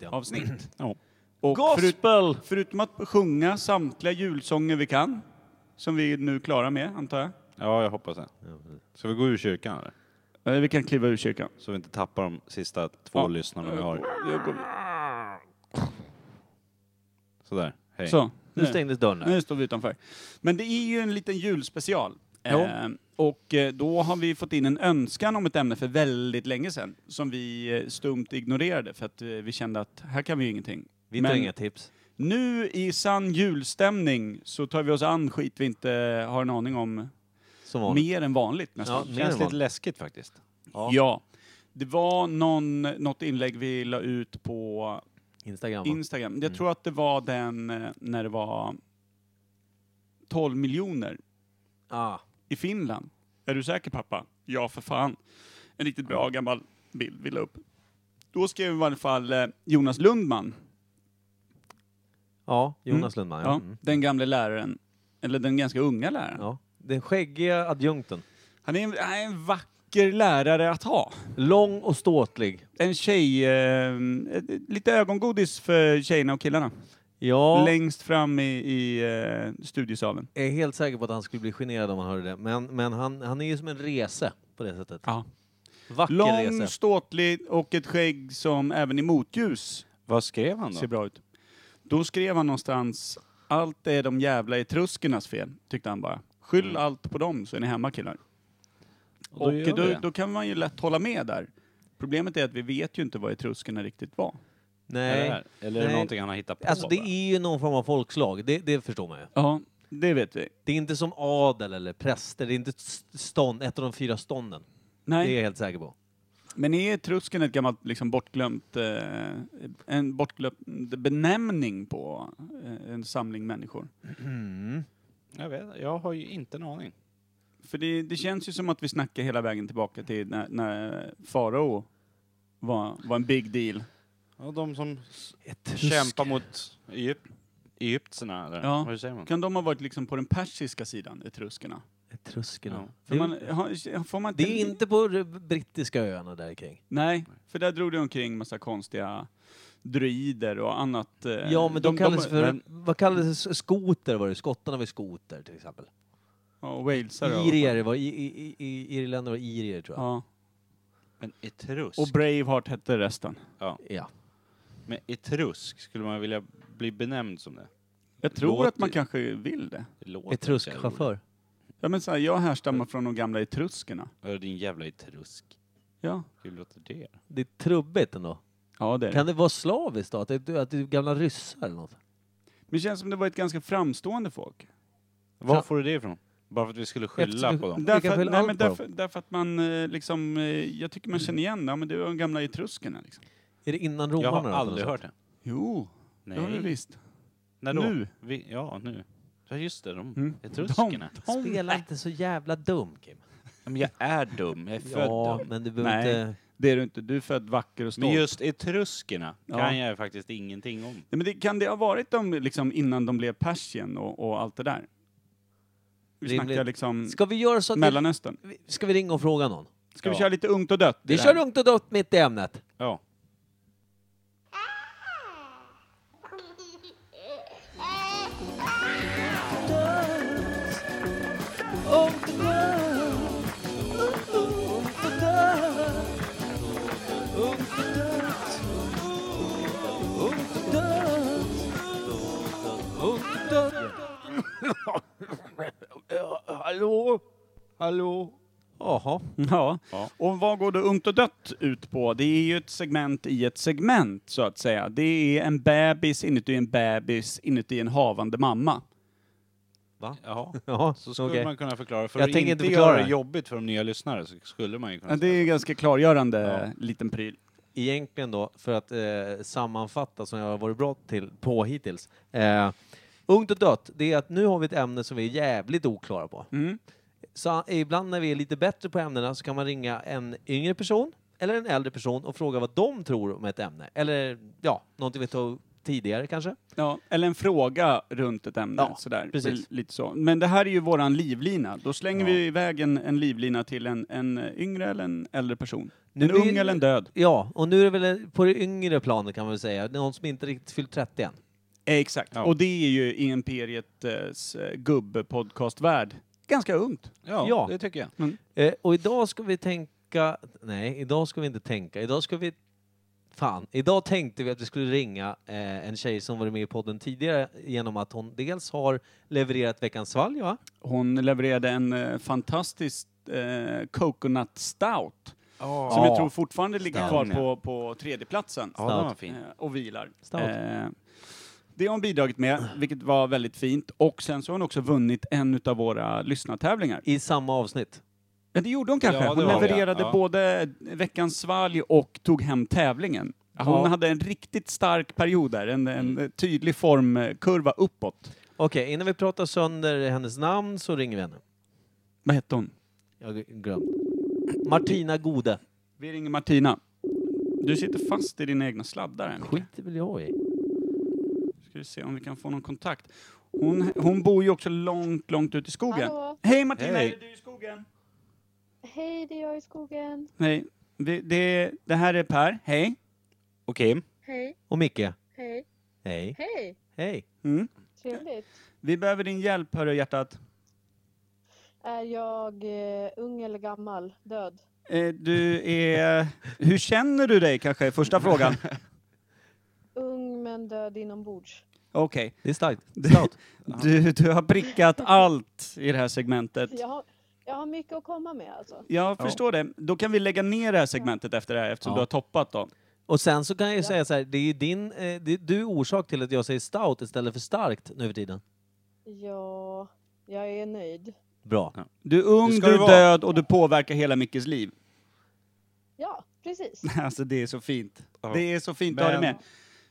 Speaker 3: ja.
Speaker 1: Ja.
Speaker 2: Och förut,
Speaker 3: Gospel!
Speaker 2: förutom att sjunga samtliga julsånger vi kan, som vi nu klarar med, antar jag.
Speaker 1: Ja, jag hoppas det. Ska vi gå ur kyrkan eller?
Speaker 2: Eh, Vi kan kliva ur kyrkan.
Speaker 1: Så vi inte tappar de sista två
Speaker 2: Ja.
Speaker 1: lyssnarna vi har.
Speaker 2: Jag går-
Speaker 1: Sådär, hej.
Speaker 2: Så.
Speaker 3: Ah. Nu stängdes dörren. här.
Speaker 2: Nu står vi utanför. Men det är ju en liten julspecial. Eh,
Speaker 3: Ja.
Speaker 2: och eh, då har vi fått in en önskan om ett ämne för väldigt länge sedan som vi eh, stumt ignorerade för att eh, vi kände att här kan vi ju ingenting.
Speaker 3: Vi tar
Speaker 2: Men
Speaker 3: inga tips.
Speaker 2: nu i sann julstämning så tar vi oss an skit vi inte har en aning om
Speaker 3: Som vanligt.
Speaker 2: mer än vanligt nästan.
Speaker 3: Ja, mer än
Speaker 1: Känns lite
Speaker 3: vanligt.
Speaker 1: läskigt faktiskt.
Speaker 2: Ja.
Speaker 3: Ja.
Speaker 2: Det var någon, något inlägg vi la ut på
Speaker 3: Instagram. va?
Speaker 2: Instagram. Jag
Speaker 3: Mm.
Speaker 2: tror att det var den eh, när det var 12 miljoner
Speaker 3: ah.
Speaker 2: i Finland. Är du säker pappa? Ja för fan. En riktigt bra gammal bild vi la upp. Då skrev i varje fall eh, Jonas Lundman,
Speaker 3: Ja, Jonas Lundman.
Speaker 2: ja,
Speaker 3: Ja. Mm.
Speaker 2: den gamle läraren, eller den ganska unga läraren.
Speaker 3: ja. Den skäggiga adjunkten.
Speaker 2: Han, är en, han är en vacker lärare att ha.
Speaker 3: Lång och ståtlig.
Speaker 2: En tjej, eh, ett- lite ögongodis för tjejerna och killarna.
Speaker 3: Ja,
Speaker 2: Längst fram i, i eh, studiesalen.
Speaker 3: jag är helt säker på att han skulle bli generad om han hörde det. Men, men han, han är ju som en rese på det sättet.
Speaker 2: Ja.
Speaker 3: Vacker
Speaker 2: Lång,
Speaker 3: rese.
Speaker 2: ståtlig och ett skägg som även i motljus
Speaker 1: Vad skrev han
Speaker 2: ser
Speaker 1: då?
Speaker 2: bra ut. Då skrev han någonstans, allt är de jävla etruskernas fel, tyckte han bara. Skyll allt på dem så är ni hemma killar.
Speaker 1: Mm. då
Speaker 2: Och
Speaker 1: gör vi
Speaker 2: då,
Speaker 1: det.
Speaker 2: då kan man ju lätt hålla med där. Problemet är att vi vet ju inte vad etruskerna riktigt var.
Speaker 3: Nej.
Speaker 1: Eller, eller är det
Speaker 3: Nej.
Speaker 1: någonting han har hittat på?
Speaker 3: Alltså det
Speaker 1: bara?
Speaker 3: är ju någon form av folkslag, det, det förstår man ju.
Speaker 2: Ja, det vet vi.
Speaker 3: Det är inte som adel eller präster, det är inte ett stånd, ett av de fyra stånden.
Speaker 2: Nej.
Speaker 3: Det är jag helt säker på.
Speaker 2: Men är etrusken ett gammalt liksom, bortglömt, eh, en bortglömd benämning på eh, en samling människor?
Speaker 1: Jag, vet, jag har ju inte en aning.
Speaker 2: För det, det känns ju som att vi snackar hela vägen tillbaka till när, när farao var, var en big deal.
Speaker 1: Ja, de som
Speaker 3: Etrusk.
Speaker 1: kämpar mot Egypt, egyptierna, eller
Speaker 2: Ja.
Speaker 1: hur säger man?
Speaker 2: Kan de ha varit liksom på den persiska sidan, etruskerna?
Speaker 3: Etruskerna.
Speaker 1: Ja.
Speaker 2: För man, har, får man
Speaker 3: Det är inte på de brittiska öarna där kring.
Speaker 2: Nej, för där drog det omkring massa konstiga druider och annat. eh,
Speaker 3: Ja, men de, kallades för...
Speaker 1: men-
Speaker 3: Vad kallades det? Skoter var det. Skottarna var ju skoter till exempel.
Speaker 2: Ja, och walesare. och-
Speaker 3: Irier var... I, i, i, Irländare var irier tror jag.
Speaker 2: Ja.
Speaker 1: Men etrusk?
Speaker 2: Och Braveheart hette resten.
Speaker 3: Ja.
Speaker 1: Men etrusk, skulle man vilja bli benämnd som det?
Speaker 2: Jag tror
Speaker 1: Låter-
Speaker 2: att man kanske vill det.
Speaker 1: det låter så jävla
Speaker 3: Etruskchaufför.
Speaker 2: Ja, men så här, jag härstammar från de gamla etruskerna.
Speaker 1: roligt. Ja, Din jävla etrusk.
Speaker 2: Ja,
Speaker 1: Hur låter det?
Speaker 3: Det är trubbigt ändå.
Speaker 2: ja det är det.
Speaker 3: Kan det vara slaviskt då? Att det, att det är gamla ryssar eller något?
Speaker 2: Men det känns som det var ett ganska framstående folk.
Speaker 1: Var får du det ifrån? Bara för att vi skulle skylla
Speaker 3: Eftersom-
Speaker 1: på dem?
Speaker 3: Vi kan
Speaker 2: Därför,
Speaker 3: skylla
Speaker 2: nej,
Speaker 3: allt
Speaker 2: men
Speaker 3: på dem.
Speaker 2: därför, därför att man eh, liksom, eh, jag tycker man känner igen det. Ja, men det var de gamla etruskerna liksom.
Speaker 3: Är det innan
Speaker 1: Jag
Speaker 3: romarna?
Speaker 1: har aldrig hört det.
Speaker 2: Jo, det har du
Speaker 1: Nej.
Speaker 2: visst.
Speaker 1: När då?
Speaker 2: Nu.
Speaker 1: Vi, ja, nu. Ja, just det. De
Speaker 2: Mm.
Speaker 1: etruskerna.
Speaker 2: De, de,
Speaker 3: Spela inte så jävla dum, Kim.
Speaker 1: Men jag är dum. Jag är född
Speaker 3: Ja,
Speaker 1: dum.
Speaker 3: men du behöver
Speaker 2: Nej.
Speaker 3: inte...
Speaker 2: det är du inte. Du är född vacker och stolt.
Speaker 1: Men just etruskerna
Speaker 2: Ja.
Speaker 1: kan jag ju faktiskt ingenting om.
Speaker 2: Nej, men det, kan det ha varit de liksom, innan de blev Persien och, och allt det där? Vi
Speaker 3: Rimligt.
Speaker 2: snackar
Speaker 1: Mm.
Speaker 2: liksom
Speaker 3: Ska vi göra så att...
Speaker 2: Mellanöstern.
Speaker 3: Vi, ska vi ringa och fråga någon?
Speaker 2: Ska vi
Speaker 1: Ja.
Speaker 2: köra lite ungt och dött? i
Speaker 3: Vi
Speaker 2: det
Speaker 3: kör
Speaker 2: här?
Speaker 3: ungt och dött mitt i ämnet.
Speaker 1: Ja.
Speaker 3: Hallå? Hallå? Jaha.
Speaker 2: Ja.
Speaker 1: Ja.
Speaker 2: Och vad går då Ungt och dött ut på? Det är ju ett segment i ett segment, så att säga. Det är en bebis inuti en bebis inuti en havande mamma.
Speaker 1: Jaha.
Speaker 3: Jaha,
Speaker 1: Så skulle
Speaker 3: okej.
Speaker 1: man kunna förklara. För
Speaker 3: Jag
Speaker 1: att
Speaker 3: tänker
Speaker 1: inte,
Speaker 3: inte förklara
Speaker 1: göra det
Speaker 3: det.
Speaker 1: jobbigt för de nya lyssnare så skulle man ju kunna
Speaker 2: Ja, det är ju ganska klargörande liten pryl.
Speaker 3: Egentligen då, för att eh, sammanfatta som jag har varit bra till, på hittills. Eh, ungt och dött, det är att nu har vi ett ämne som vi är jävligt oklara på.
Speaker 2: Mm.
Speaker 3: Så eh, ibland när vi är lite bättre på ämnena så kan man ringa en yngre person eller en äldre person och fråga vad de tror om ett ämne. Eller ja, någonting vi tog tidigare kanske.
Speaker 2: Ja, eller en fråga runt ett ämne.
Speaker 3: Ja,
Speaker 2: sådär.
Speaker 3: precis.
Speaker 2: L- Lite så. Men det här är ju våran livlina. Då slänger vi iväg en, en livlina till en, en yngre eller en äldre person.
Speaker 3: Nu
Speaker 2: en
Speaker 3: blir-
Speaker 2: ung eller en död.
Speaker 3: Ja, och nu är det väl på det yngre planet kan man väl säga, någon som inte riktigt fyllt 30 än.
Speaker 2: Eh, Exakt.
Speaker 1: Ja.
Speaker 2: Och det är ju i Imperiets eh, gubbpodcastvärld ganska ungt.
Speaker 1: Ja,
Speaker 3: Ja.
Speaker 1: det tycker jag.
Speaker 3: Eh, och idag ska vi tänka, nej idag ska vi inte tänka, idag ska vi Fan, idag tänkte vi att vi skulle ringa eh, en tjej som varit med i podden tidigare genom att hon dels har levererat Veckans svalg, va?
Speaker 2: Hon levererade en eh, fantastisk eh, coconut stout.
Speaker 1: Oh.
Speaker 2: Som jag tror fortfarande ligger
Speaker 1: Stout.
Speaker 2: kvar på, på tredjeplatsen.
Speaker 1: Ja, den var
Speaker 3: Stout.
Speaker 1: fin.
Speaker 2: Eh, och vilar.
Speaker 3: Stout.
Speaker 2: Eh, det har hon bidragit med, vilket var väldigt fint. Och sen så har hon också vunnit en av våra lyssnartävlingar.
Speaker 3: I samma avsnitt.
Speaker 2: Men det gjorde hon kanske.
Speaker 1: Ja, det
Speaker 2: hon
Speaker 1: var det.
Speaker 2: levererade
Speaker 1: Ja.
Speaker 2: både veckans svalg och tog hem tävlingen. Hon
Speaker 3: Ja.
Speaker 2: hade en riktigt stark period där, en, en tydlig formkurva uppåt.
Speaker 3: Okej, innan vi pratar sönder hennes namn så ringer vi henne.
Speaker 2: Vad hette hon?
Speaker 3: Jag har glömt. Martina Gode.
Speaker 2: Vi ringer Martina. Du sitter fast i dina egna sladdar. Henrik.
Speaker 3: Skiter väl jag i.
Speaker 2: Ska vi se om vi kan få någon kontakt. Hon, hon bor ju också långt, långt ut i skogen.
Speaker 4: Hallå.
Speaker 2: Hej Martina,
Speaker 1: Hej.
Speaker 2: är det du i skogen?
Speaker 4: Hej, det är jag i skogen.
Speaker 2: Nej, det, det, det här är Per. Hej.
Speaker 1: Och Kim?
Speaker 4: Hej,
Speaker 3: Och Micke.
Speaker 4: hej,
Speaker 3: Hej.
Speaker 4: hej.
Speaker 3: Hej.
Speaker 2: Mm.
Speaker 4: Trevligt.
Speaker 2: Vi behöver din hjälp, hörru hjärtat.
Speaker 4: Är jag eh, ung eller gammal? Död?
Speaker 2: Eh, du är... Hur känner du dig kanske, är första frågan?
Speaker 4: Ung men död inombords.
Speaker 2: Okej.
Speaker 3: Det är starkt.
Speaker 2: Du-
Speaker 3: Stout.
Speaker 2: Du, du har prickat allt i det här segmentet.
Speaker 4: Jag har, jag har mycket att komma med alltså.
Speaker 2: Jag förstår det. Då kan vi lägga ner det här segmentet efter det här eftersom
Speaker 3: Ja.
Speaker 2: du har toppat då.
Speaker 3: Och sen så kan jag ju säga så här, det är ju din, eh, det, du är orsak till att jag säger stout istället för starkt nu för tiden.
Speaker 4: Ja, jag är nöjd.
Speaker 3: Bra.
Speaker 2: Du är ung,
Speaker 1: Det
Speaker 2: du,
Speaker 1: ska du
Speaker 2: är
Speaker 1: vara.
Speaker 2: död och du påverkar hela Mickes liv.
Speaker 4: Ja, precis.
Speaker 2: Alltså det är så fint.
Speaker 1: Ja.
Speaker 2: Det är så fint att ha dig
Speaker 1: Men-
Speaker 2: med.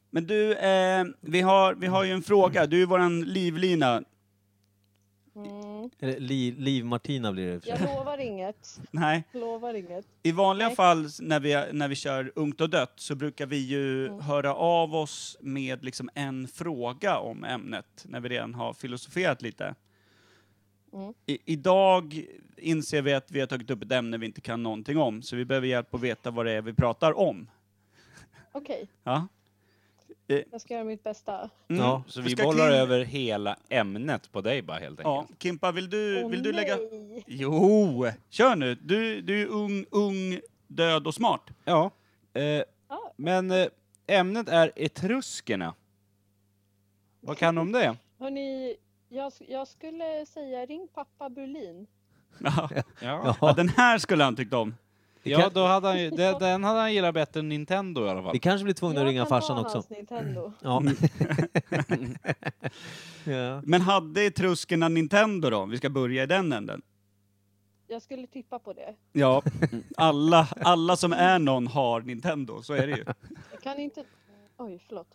Speaker 2: Men du, eh, vi, har, vi har ju en fråga. Du är våran livlina.
Speaker 4: Mm.
Speaker 3: Eller Liv, Liv Martina blir det i och för
Speaker 4: Jag
Speaker 3: sig.
Speaker 4: lovar inget.
Speaker 2: Nej,
Speaker 4: Lovar inget.
Speaker 2: i vanliga
Speaker 4: Nej.
Speaker 2: fall när vi, när vi kör Ungt och dött så brukar vi ju
Speaker 4: Mm.
Speaker 2: höra av oss med liksom en fråga om ämnet när vi redan har filosoferat lite.
Speaker 4: Mm.
Speaker 2: I, idag inser vi att vi har tagit upp ett ämne vi inte kan någonting om så vi behöver hjälp att veta vad det är vi pratar om.
Speaker 4: Okej,
Speaker 2: Ja.
Speaker 4: jag ska göra mitt bästa.
Speaker 2: Mm.
Speaker 3: Ja,
Speaker 1: Så
Speaker 2: Ska
Speaker 1: vi bollar
Speaker 2: Kim-
Speaker 1: över hela ämnet på dig bara helt
Speaker 2: Ja,
Speaker 1: enkelt.
Speaker 2: Kimpa, vill du,
Speaker 4: Åh,
Speaker 2: vill du lägga...
Speaker 4: nej.
Speaker 2: Jo! Kör nu! Du, du är ung, ung, död och smart.
Speaker 1: Ja. Eh,
Speaker 4: Ja.
Speaker 1: men eh, ämnet är etruskerna. Vad kan du om det?
Speaker 4: Hörni, jag, jag skulle säga ring pappa Berlin.
Speaker 2: Ja.
Speaker 1: Ja,
Speaker 2: Ja, den här skulle han tyckt om.
Speaker 1: ja då hade han, ju- den, den hade han gillat bättre än Nintendo i alla fall.
Speaker 3: Vi kanske blir tvungna att
Speaker 4: Jag
Speaker 3: ringa
Speaker 4: kan ta
Speaker 3: farsan också.
Speaker 4: Hans Nintendo.
Speaker 3: Ja.
Speaker 2: Mm.
Speaker 3: ja.
Speaker 2: Men hade etruskerna Nintendo då? Vi ska börja i den änden.
Speaker 4: Jag skulle tippa på det.
Speaker 2: Ja, alla, alla som är någon har Nintendo, så är det ju.
Speaker 4: Jag kan inte... Oj, förlåt.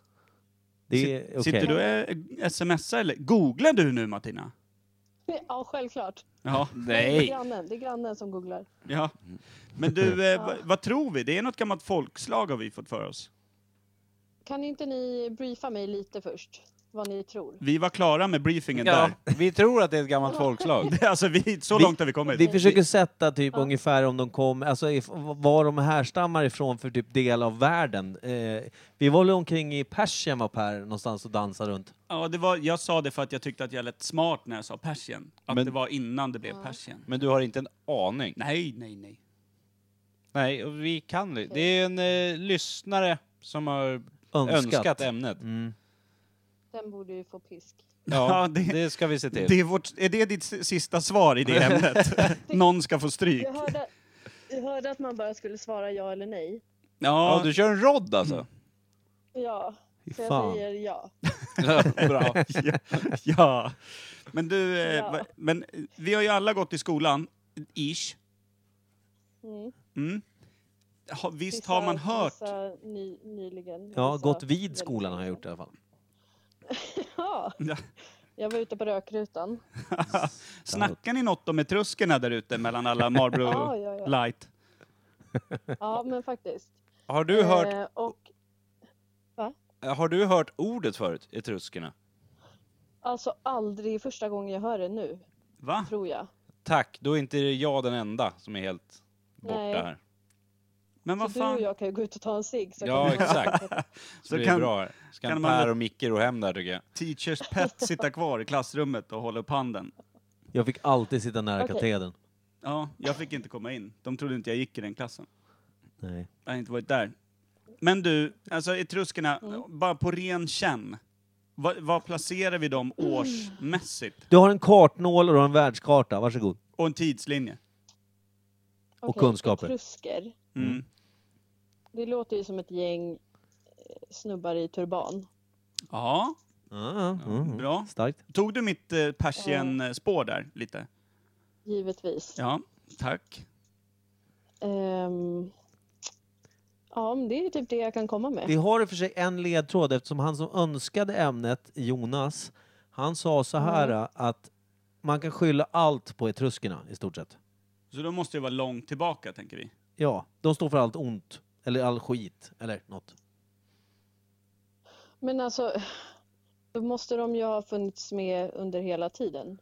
Speaker 3: Det är okej.
Speaker 2: Sitter du och eh, smsar eller? Googlar du nu Martina?
Speaker 4: Ja, självklart.
Speaker 2: Ja.
Speaker 4: Det är
Speaker 1: Nej!
Speaker 4: grannen, det är grannen som googlar.
Speaker 2: ja. Men du, eh, vad- vad tror vi? Det är något gammalt folkslag har vi fått för oss.
Speaker 4: Kan inte ni briefa mig lite först? Vad ni tror?
Speaker 2: Vi var klara med briefingen
Speaker 1: Ja,
Speaker 2: där.
Speaker 1: vi tror att det är ett gammalt folkslag.
Speaker 2: Det- Alltså, vi, så
Speaker 3: Vi-
Speaker 2: långt har vi kommit.
Speaker 3: Vi försöker sätta typ ungefär om de kom, alltså if, var de härstammar ifrån för typ del av världen. Eh, vi var väl omkring i Persien var Per någonstans och dansade runt.
Speaker 2: Ja, det var, jag sa det för att jag tyckte att jag lät smart när jag sa Persien. Att
Speaker 1: Men-
Speaker 2: det var innan det blev Persien.
Speaker 1: Men du har inte en aning.
Speaker 2: Nej, nej, nej.
Speaker 1: Nej, och vi kan det. Det är en eh, lyssnare som har
Speaker 3: Önskat.
Speaker 1: önskat ämnet.
Speaker 3: Mm.
Speaker 4: Den borde ju få pisk.
Speaker 1: Ja,
Speaker 2: Ja, det-
Speaker 1: det ska vi se till.
Speaker 2: Det är, vårt, är det ditt s- sista svar i det ämnet? Någon ska få stryk.
Speaker 4: Jag hörde, jag hörde att man bara skulle svara ja eller nej.
Speaker 1: Ja,
Speaker 2: Ja,
Speaker 1: du kör en rodd alltså?
Speaker 4: Ja,
Speaker 3: Fy
Speaker 4: så
Speaker 3: fan.
Speaker 4: jag säger ja.
Speaker 1: Bra.
Speaker 2: ja, ja. Men du, eh,
Speaker 4: Ja.
Speaker 2: va- men eh, vi har ju alla gått i skolan, ish.
Speaker 4: Mm.
Speaker 2: Mm. Ha, visst har man
Speaker 4: Vissa-
Speaker 2: hört?
Speaker 4: vissa Ny, nyligen.
Speaker 3: Ja,
Speaker 4: Vissa
Speaker 3: gått vid
Speaker 4: väldigt
Speaker 3: skolan har jag
Speaker 4: nyligen.
Speaker 3: gjort i alla fall.
Speaker 4: Ja,
Speaker 2: Ja.
Speaker 4: jag var ute på rökrutan.
Speaker 2: Snackar ni något om etruskerna där ute mellan alla Marlboro
Speaker 4: Ja, ja, ja.
Speaker 2: Light?
Speaker 4: Ja, men faktiskt.
Speaker 1: Har du hört,
Speaker 4: Eh, och
Speaker 1: Eh, har du hört ordet förut, etruskerna?
Speaker 4: alltså aldrig första gången jag hör det nu,
Speaker 2: Va?
Speaker 4: tror jag.
Speaker 1: Tack, då är inte jag den enda som är helt borta
Speaker 4: Nej.
Speaker 1: här.
Speaker 2: Men vad
Speaker 4: Så du och
Speaker 2: fan?
Speaker 4: jag kan ju gå ut och ta en cigg. så
Speaker 1: Ja,
Speaker 4: kan vi-
Speaker 1: exakt. Så,
Speaker 2: Så
Speaker 1: det
Speaker 2: kan-
Speaker 1: är bra här. Så kan,
Speaker 2: kan man-
Speaker 1: Per och Micke ro hem där tycker jag.
Speaker 2: Teachers pet sitta kvar i klassrummet och hålla upp handen.
Speaker 3: Jag fick alltid sitta nära
Speaker 4: Okej.
Speaker 3: katedern.
Speaker 2: Ja, jag fick inte komma in. De trodde inte jag gick i den klassen.
Speaker 3: Nej.
Speaker 2: Jag har inte varit där. Men du, alltså etruskerna,
Speaker 4: Mm.
Speaker 2: bara på ren känn. Vad, vad placerar vi dem
Speaker 4: Mm.
Speaker 2: årsmässigt?
Speaker 3: Du har en kartnål och du har en världskarta, varsågod.
Speaker 2: Och en tidslinje.
Speaker 4: Okej,
Speaker 3: Och kunskaper.
Speaker 4: Etrusker.
Speaker 2: Mm.
Speaker 4: Det låter ju som ett gäng eh, snubbar i turban.
Speaker 2: Ja,
Speaker 3: Ah, mm.
Speaker 2: bra.
Speaker 3: Starkt.
Speaker 2: Tog du mitt eh, persien-spår där lite?
Speaker 4: Givetvis.
Speaker 2: Ja, tack.
Speaker 4: Ehm, ja, men det är typ det jag kan komma
Speaker 3: Vi
Speaker 4: med.
Speaker 3: har i och för sig en ledtråd eftersom han som önskade ämnet, Jonas, han sa så här att man kan skylla allt på etruskerna i stort sett.
Speaker 2: Så de måste ju vara långt tillbaka, tänker vi.
Speaker 3: Ja, de står för allt ont. Eller all skit. Eller något.
Speaker 4: Men alltså, då måste de ju ha funnits med under hela tiden.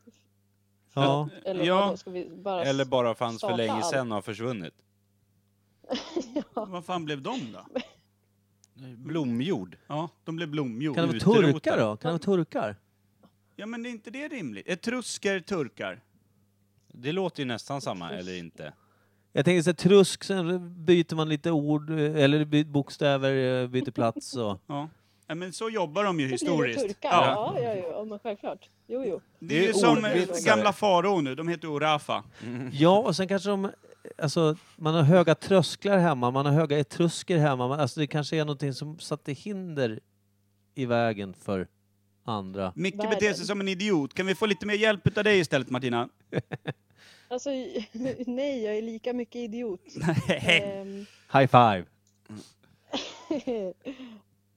Speaker 3: Ja.
Speaker 4: Eller
Speaker 2: Ja.
Speaker 4: vadå, ska vi bara...
Speaker 1: Eller bara fanns för
Speaker 4: Starta
Speaker 1: länge
Speaker 4: allt.
Speaker 1: sedan och har försvunnit.
Speaker 2: Vad fan blev de då?
Speaker 1: Blomjord.
Speaker 2: Ja, de blev blomjord.
Speaker 3: Kan det vara
Speaker 2: Utrotade.
Speaker 3: turkar då? Kan det vara turkar?
Speaker 2: Ja, men är inte det rimligt? Etrusker, turkar.
Speaker 1: Det låter ju nästan samma, eller inte.
Speaker 3: Jag tänker så här, trusk, sen byter man lite ord, eh, eller by- bokstäver, eh, byter plats och...
Speaker 2: Ja. ja, men så jobbar de ju
Speaker 4: Det blir väl
Speaker 2: historiskt.
Speaker 4: turkar? Ja, ja, ja, ja men självklart. Jo, jo.
Speaker 2: Det är ju
Speaker 1: Det är
Speaker 2: som eh,
Speaker 1: ordvitsare.
Speaker 2: gamla farao nu, de heter Orafa.
Speaker 3: Ja, och sen kanske de... Alltså, man har höga trösklar hemma, man har höga etrusker hemma. Man, alltså det kanske är någonting som satte hinder i vägen för andra.
Speaker 2: Micke
Speaker 4: Världen.
Speaker 2: beter sig som en idiot. Kan vi få lite mer hjälp av dig istället Martina?
Speaker 4: Alltså, nej, jag är lika mycket idiot. Ehm,
Speaker 3: High five!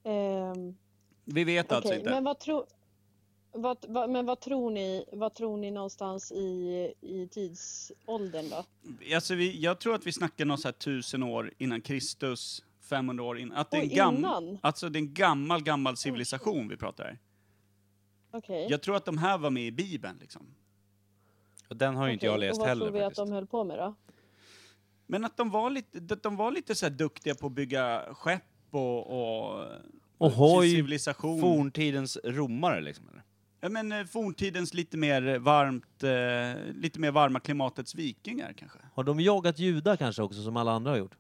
Speaker 4: ehm,
Speaker 2: vi vet alltså
Speaker 4: Okej,
Speaker 2: inte.
Speaker 4: men vad tror... Vad, vad, men vad tror ni, vad tror ni någonstans i, i tidsåldern då?
Speaker 2: Alltså, vi, jag tror att vi snackar någon så här tusen år innan Kristus, 500 år innan. Att det är
Speaker 4: Oj,
Speaker 2: en, gam,
Speaker 4: innan?
Speaker 2: alltså, det är en gammal, gammal civilisation vi pratar här.
Speaker 4: Okej.
Speaker 2: Jag tror att de här var med i Bibeln liksom.
Speaker 1: Och den har ju inte
Speaker 4: Okej,
Speaker 1: jag läst
Speaker 4: Och vad
Speaker 1: heller
Speaker 4: tror vi
Speaker 1: faktiskt.
Speaker 4: att de höll på med då?
Speaker 2: Men att de var lite, att de var lite så här duktiga på att bygga skepp och... och
Speaker 3: Och hoj,
Speaker 2: civilisation.
Speaker 1: Forntidens romare liksom, eller?
Speaker 2: Ja, men eh, forntidens lite mer varmt, eh, lite mer varma klimatets vikingar kanske.
Speaker 3: har de jagat judar kanske också, som alla andra har gjort?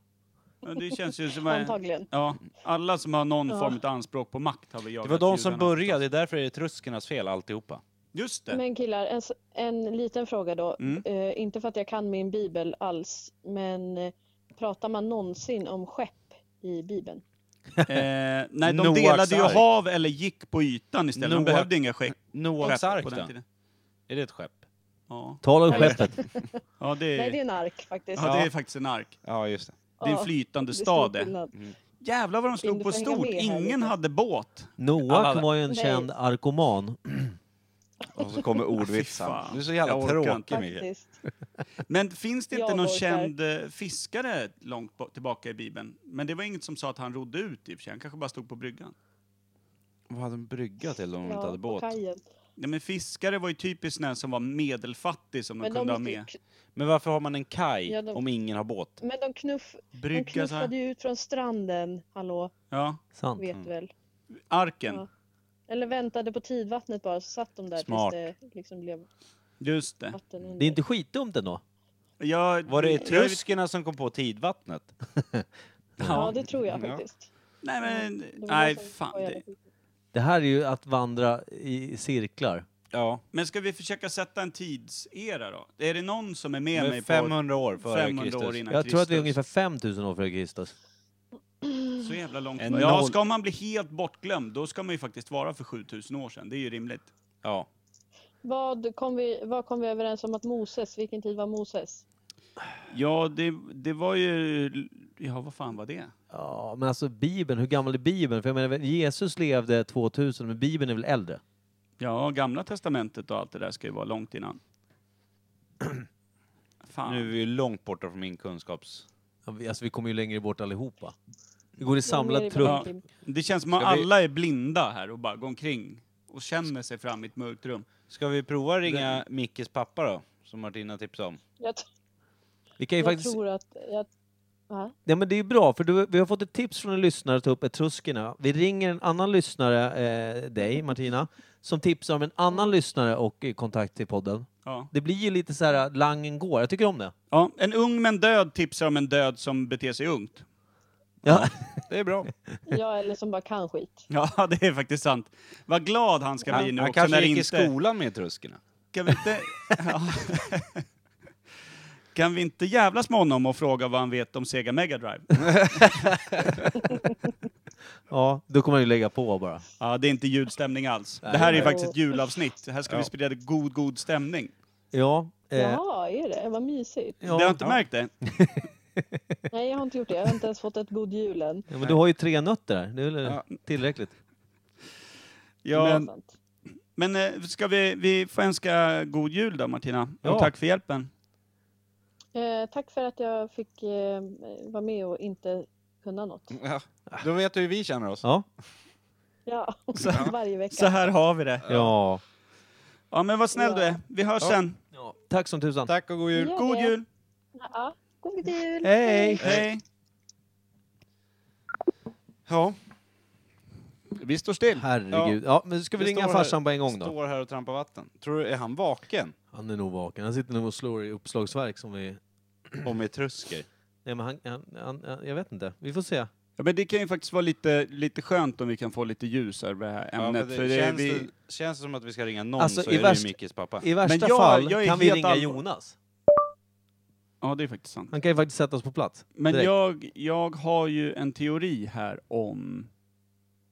Speaker 2: Ja, det känns ju som...
Speaker 4: Antagligen.
Speaker 2: Ja, alla som har någon
Speaker 4: Ja.
Speaker 2: form av anspråk på makt har vi jagat
Speaker 1: Mm. Det var de som
Speaker 2: judarna.
Speaker 1: började, det är därför det är truskernas fel alltihopa.
Speaker 2: Just det.
Speaker 4: Men killar, en, s- en liten fråga då.
Speaker 2: Mm.
Speaker 4: Eh, inte för att jag kan min bibel alls, men eh, pratar man någonsin om skepp i bibeln?
Speaker 2: Eh, nej, de
Speaker 1: Noaks
Speaker 2: delade ju
Speaker 1: ark.
Speaker 2: hav eller gick på ytan istället. De
Speaker 1: Noak-
Speaker 2: behövde inga skepp.
Speaker 1: Noaks ark
Speaker 2: på den
Speaker 1: då?
Speaker 2: tiden.
Speaker 1: Är det ett skepp?
Speaker 2: Ja,
Speaker 3: Tala om skeppet.
Speaker 2: ja, det,
Speaker 4: Nej,
Speaker 2: är,
Speaker 4: det är en ark faktiskt.
Speaker 2: ja, det är
Speaker 1: Ja.
Speaker 2: faktiskt en ark.
Speaker 1: Ja, just det.
Speaker 2: Det är en
Speaker 4: Ja,
Speaker 2: flytande
Speaker 4: det är
Speaker 2: stad eh.
Speaker 4: stor
Speaker 2: det.
Speaker 4: skillnad.
Speaker 2: Jävlar vad de slog
Speaker 4: Vill
Speaker 2: på
Speaker 4: du hänga
Speaker 2: stort.
Speaker 4: med här
Speaker 2: Ingen
Speaker 4: lite?
Speaker 2: hade båt.
Speaker 3: Noak
Speaker 1: Alla-
Speaker 3: var ju en
Speaker 4: Nej.
Speaker 3: känd arkoman.
Speaker 1: Och så kommer
Speaker 2: fan.
Speaker 1: ordvitsen. Du är så jävla
Speaker 2: Jag orkar inte.
Speaker 1: tråkig, Mikael.
Speaker 4: Faktiskt.
Speaker 2: Men finns det inte
Speaker 4: Jag
Speaker 2: någon
Speaker 4: orkar.
Speaker 2: känd eh, fiskare långt bo- tillbaka i Bibeln? Men det var inget som sa att han rodde ut i och för sig. Han kanske bara stod på bryggan.
Speaker 1: Vad hade de brygga till om de inte
Speaker 4: Ja,
Speaker 1: hade
Speaker 4: på
Speaker 1: båt?
Speaker 4: kajen.
Speaker 2: Nej, men fiskare var ju typiskt den som var medelfattig som de
Speaker 4: Men de,
Speaker 2: kunde ha
Speaker 4: måste ju
Speaker 2: med.
Speaker 4: kn-
Speaker 1: Men varför har man en kaj
Speaker 4: Ja, de-
Speaker 1: om ingen har båt?
Speaker 4: men de, knuff, de
Speaker 2: Brygga så
Speaker 4: knuffade
Speaker 2: här.
Speaker 4: ju ut från stranden, hallå,
Speaker 2: Ja,
Speaker 3: Sant.
Speaker 4: vet du väl?
Speaker 2: arken.
Speaker 4: Ja. Eller väntade på tidvattnet bara, så satt de där
Speaker 1: Smart.
Speaker 4: tills det liksom blev
Speaker 2: Just Äh, det.
Speaker 4: vatten under.
Speaker 3: Det är inte skitdumt ändå.
Speaker 2: Jag,
Speaker 1: Var det
Speaker 4: Mm.
Speaker 2: jag-
Speaker 1: truskerna som kom på tidvattnet?
Speaker 4: Ja, det tror jag
Speaker 1: Ja.
Speaker 4: faktiskt.
Speaker 2: Nej men,
Speaker 4: Det var
Speaker 2: nej
Speaker 4: det som
Speaker 2: fan.
Speaker 4: var jävla
Speaker 2: Det.
Speaker 4: sjukt.
Speaker 3: Det här är ju att vandra i cirklar.
Speaker 1: Ja,
Speaker 2: Men ska vi försöka sätta en tidsera då? Är det någon som är med mig
Speaker 1: med 500 år
Speaker 2: på
Speaker 1: före
Speaker 2: 500
Speaker 1: Kristus.
Speaker 2: år innan
Speaker 3: Jag
Speaker 2: Kristus?
Speaker 3: tror att vi är ungefär 5000 år före Kristus.
Speaker 2: Så jävla långt.
Speaker 1: En
Speaker 2: Ja,
Speaker 1: noll-
Speaker 2: ska man bli helt bortglömd, då ska man ju faktiskt vara för 7000 år sedan. Det är ju rimligt.
Speaker 1: Ja.
Speaker 4: Vad kom, vi, vad kom vi överens om att Moses, vilken tid var Moses?
Speaker 2: Ja, det, det var ju... Ja, vad fan var det?
Speaker 3: Ja, men alltså Bibeln, hur gammal är Bibeln? För jag menar, Jesus levde 2000, men Bibeln är väl äldre?
Speaker 2: Ja, Gamla Testamentet och allt det där ska ju vara långt innan. Fan.
Speaker 1: Nu är vi ju långt borta från min kunskaps...
Speaker 3: Ja, vi- Alltså vi kommer ju längre bort allihopa. Vi går i
Speaker 4: Mer i
Speaker 3: samlad
Speaker 2: Ja.
Speaker 3: trupp.
Speaker 4: Baltikum.
Speaker 2: Det känns som att
Speaker 1: Ska vi-
Speaker 2: alla är blinda här och bara går omkring och känner sig fram i ett mörkt rum.
Speaker 1: Ska vi prova ringa Mickes pappa då? Som Martina tipsade om.
Speaker 4: Jag, t-
Speaker 3: Vi kan ju
Speaker 4: jag
Speaker 3: faktiskt...
Speaker 4: tror att... Jag, va?
Speaker 3: Ja, men det är ju bra, för du, vi har fått ett tips från en lyssnare att ta upp etruskerna. Vi ringer en annan lyssnare, eh, dig Martina, som tipsar om en annan lyssnare och eh, kontakt till podden.
Speaker 2: Ja.
Speaker 3: Det blir ju lite så här, äh, langen går. Jag tycker om det.
Speaker 2: Ja, en ung men död tipsar om en död som beter sig ungt.
Speaker 3: Ja.
Speaker 2: Det är bra.
Speaker 8: Ja, eller
Speaker 4: liksom
Speaker 8: som bara kan skit.
Speaker 2: Ja, det är faktiskt sant. Vad glad han ska bli
Speaker 1: Han,
Speaker 2: nu
Speaker 1: han
Speaker 2: också
Speaker 1: kanske
Speaker 2: när
Speaker 1: gick
Speaker 2: inte...
Speaker 1: i skolan med etruskerna.
Speaker 2: Kan vi inte... Ja. Kan vi inte jävlas med honom och fråga vad han vet om Sega Mega Drive?
Speaker 3: ja, då kommer han ju lägga på bara.
Speaker 2: Ja, det är inte ljudstämning alls. Det här är ju
Speaker 8: nej.
Speaker 2: faktiskt ett julavsnitt. Här ska vi
Speaker 1: Ja.
Speaker 2: sprida god, god stämning.
Speaker 3: Ja. Eh,
Speaker 8: Jaha, är det? Vad mysigt.
Speaker 3: ja.
Speaker 2: det har inte märkt det?
Speaker 8: Nej, jag har inte gjort det. Jag har inte ens fått ett god jul än.
Speaker 3: Ja, men du har ju tre nötter där. Det är väl tillräckligt.
Speaker 2: Ja, men,
Speaker 8: Sant.
Speaker 2: eh, ska vi, vi får önska god jul då Martina.
Speaker 3: Ja.
Speaker 2: Och tack för hjälpen.
Speaker 8: Eh, tack för att jag fick eh, vara med och inte kunna något.
Speaker 1: Ja. Ah. Då vet du hur vi känner oss.
Speaker 3: Ja.
Speaker 8: Ja,
Speaker 2: Så-
Speaker 8: varje vecka.
Speaker 2: Så här har vi det.
Speaker 3: Ja.
Speaker 2: Ja, men vad snäll
Speaker 8: Ja.
Speaker 2: du är. Vi hörs
Speaker 1: Ja.
Speaker 2: sen.
Speaker 3: ja. Tack som tusan.
Speaker 1: Tack och god jul.
Speaker 8: Ja,
Speaker 2: God
Speaker 8: det.
Speaker 2: jul!
Speaker 8: Ja, god jul!
Speaker 3: Hej!
Speaker 2: Hej!
Speaker 1: Ja. Vi står still.
Speaker 3: Herregud. Ja, men ska vi,
Speaker 1: Vi
Speaker 3: ringa
Speaker 1: står
Speaker 3: farsan
Speaker 1: här-
Speaker 3: på en gång då?
Speaker 1: Står här och trampar vatten. Tror du, är han vaken?
Speaker 3: Han är nog vaken. Han sitter nog och slår i uppslagsverk som vi...
Speaker 1: Om etrusker.
Speaker 3: Nej men han, han, han, han jag vet inte. Vi får se.
Speaker 2: Ja, men det kan ju faktiskt vara lite, lite skönt om vi kan få lite ljus över det här
Speaker 1: Ja,
Speaker 2: ämnet.
Speaker 1: men det,
Speaker 2: för det, är
Speaker 1: känns,
Speaker 2: vi...
Speaker 1: det, känns det som att vi ska ringa någon
Speaker 3: Alltså,
Speaker 1: så
Speaker 3: i
Speaker 1: är
Speaker 3: värst-
Speaker 1: det ju Mickes pappa.
Speaker 3: I värsta
Speaker 2: Men jag-
Speaker 3: fall
Speaker 2: jag är
Speaker 3: kan vi
Speaker 2: helt
Speaker 3: ringa
Speaker 2: allvar-
Speaker 3: Jonas.
Speaker 2: Ja, det är faktiskt sant.
Speaker 3: Han kan ju faktiskt sätta oss på plats.
Speaker 2: Men
Speaker 3: direkt.
Speaker 2: jag, jag har ju en teori här om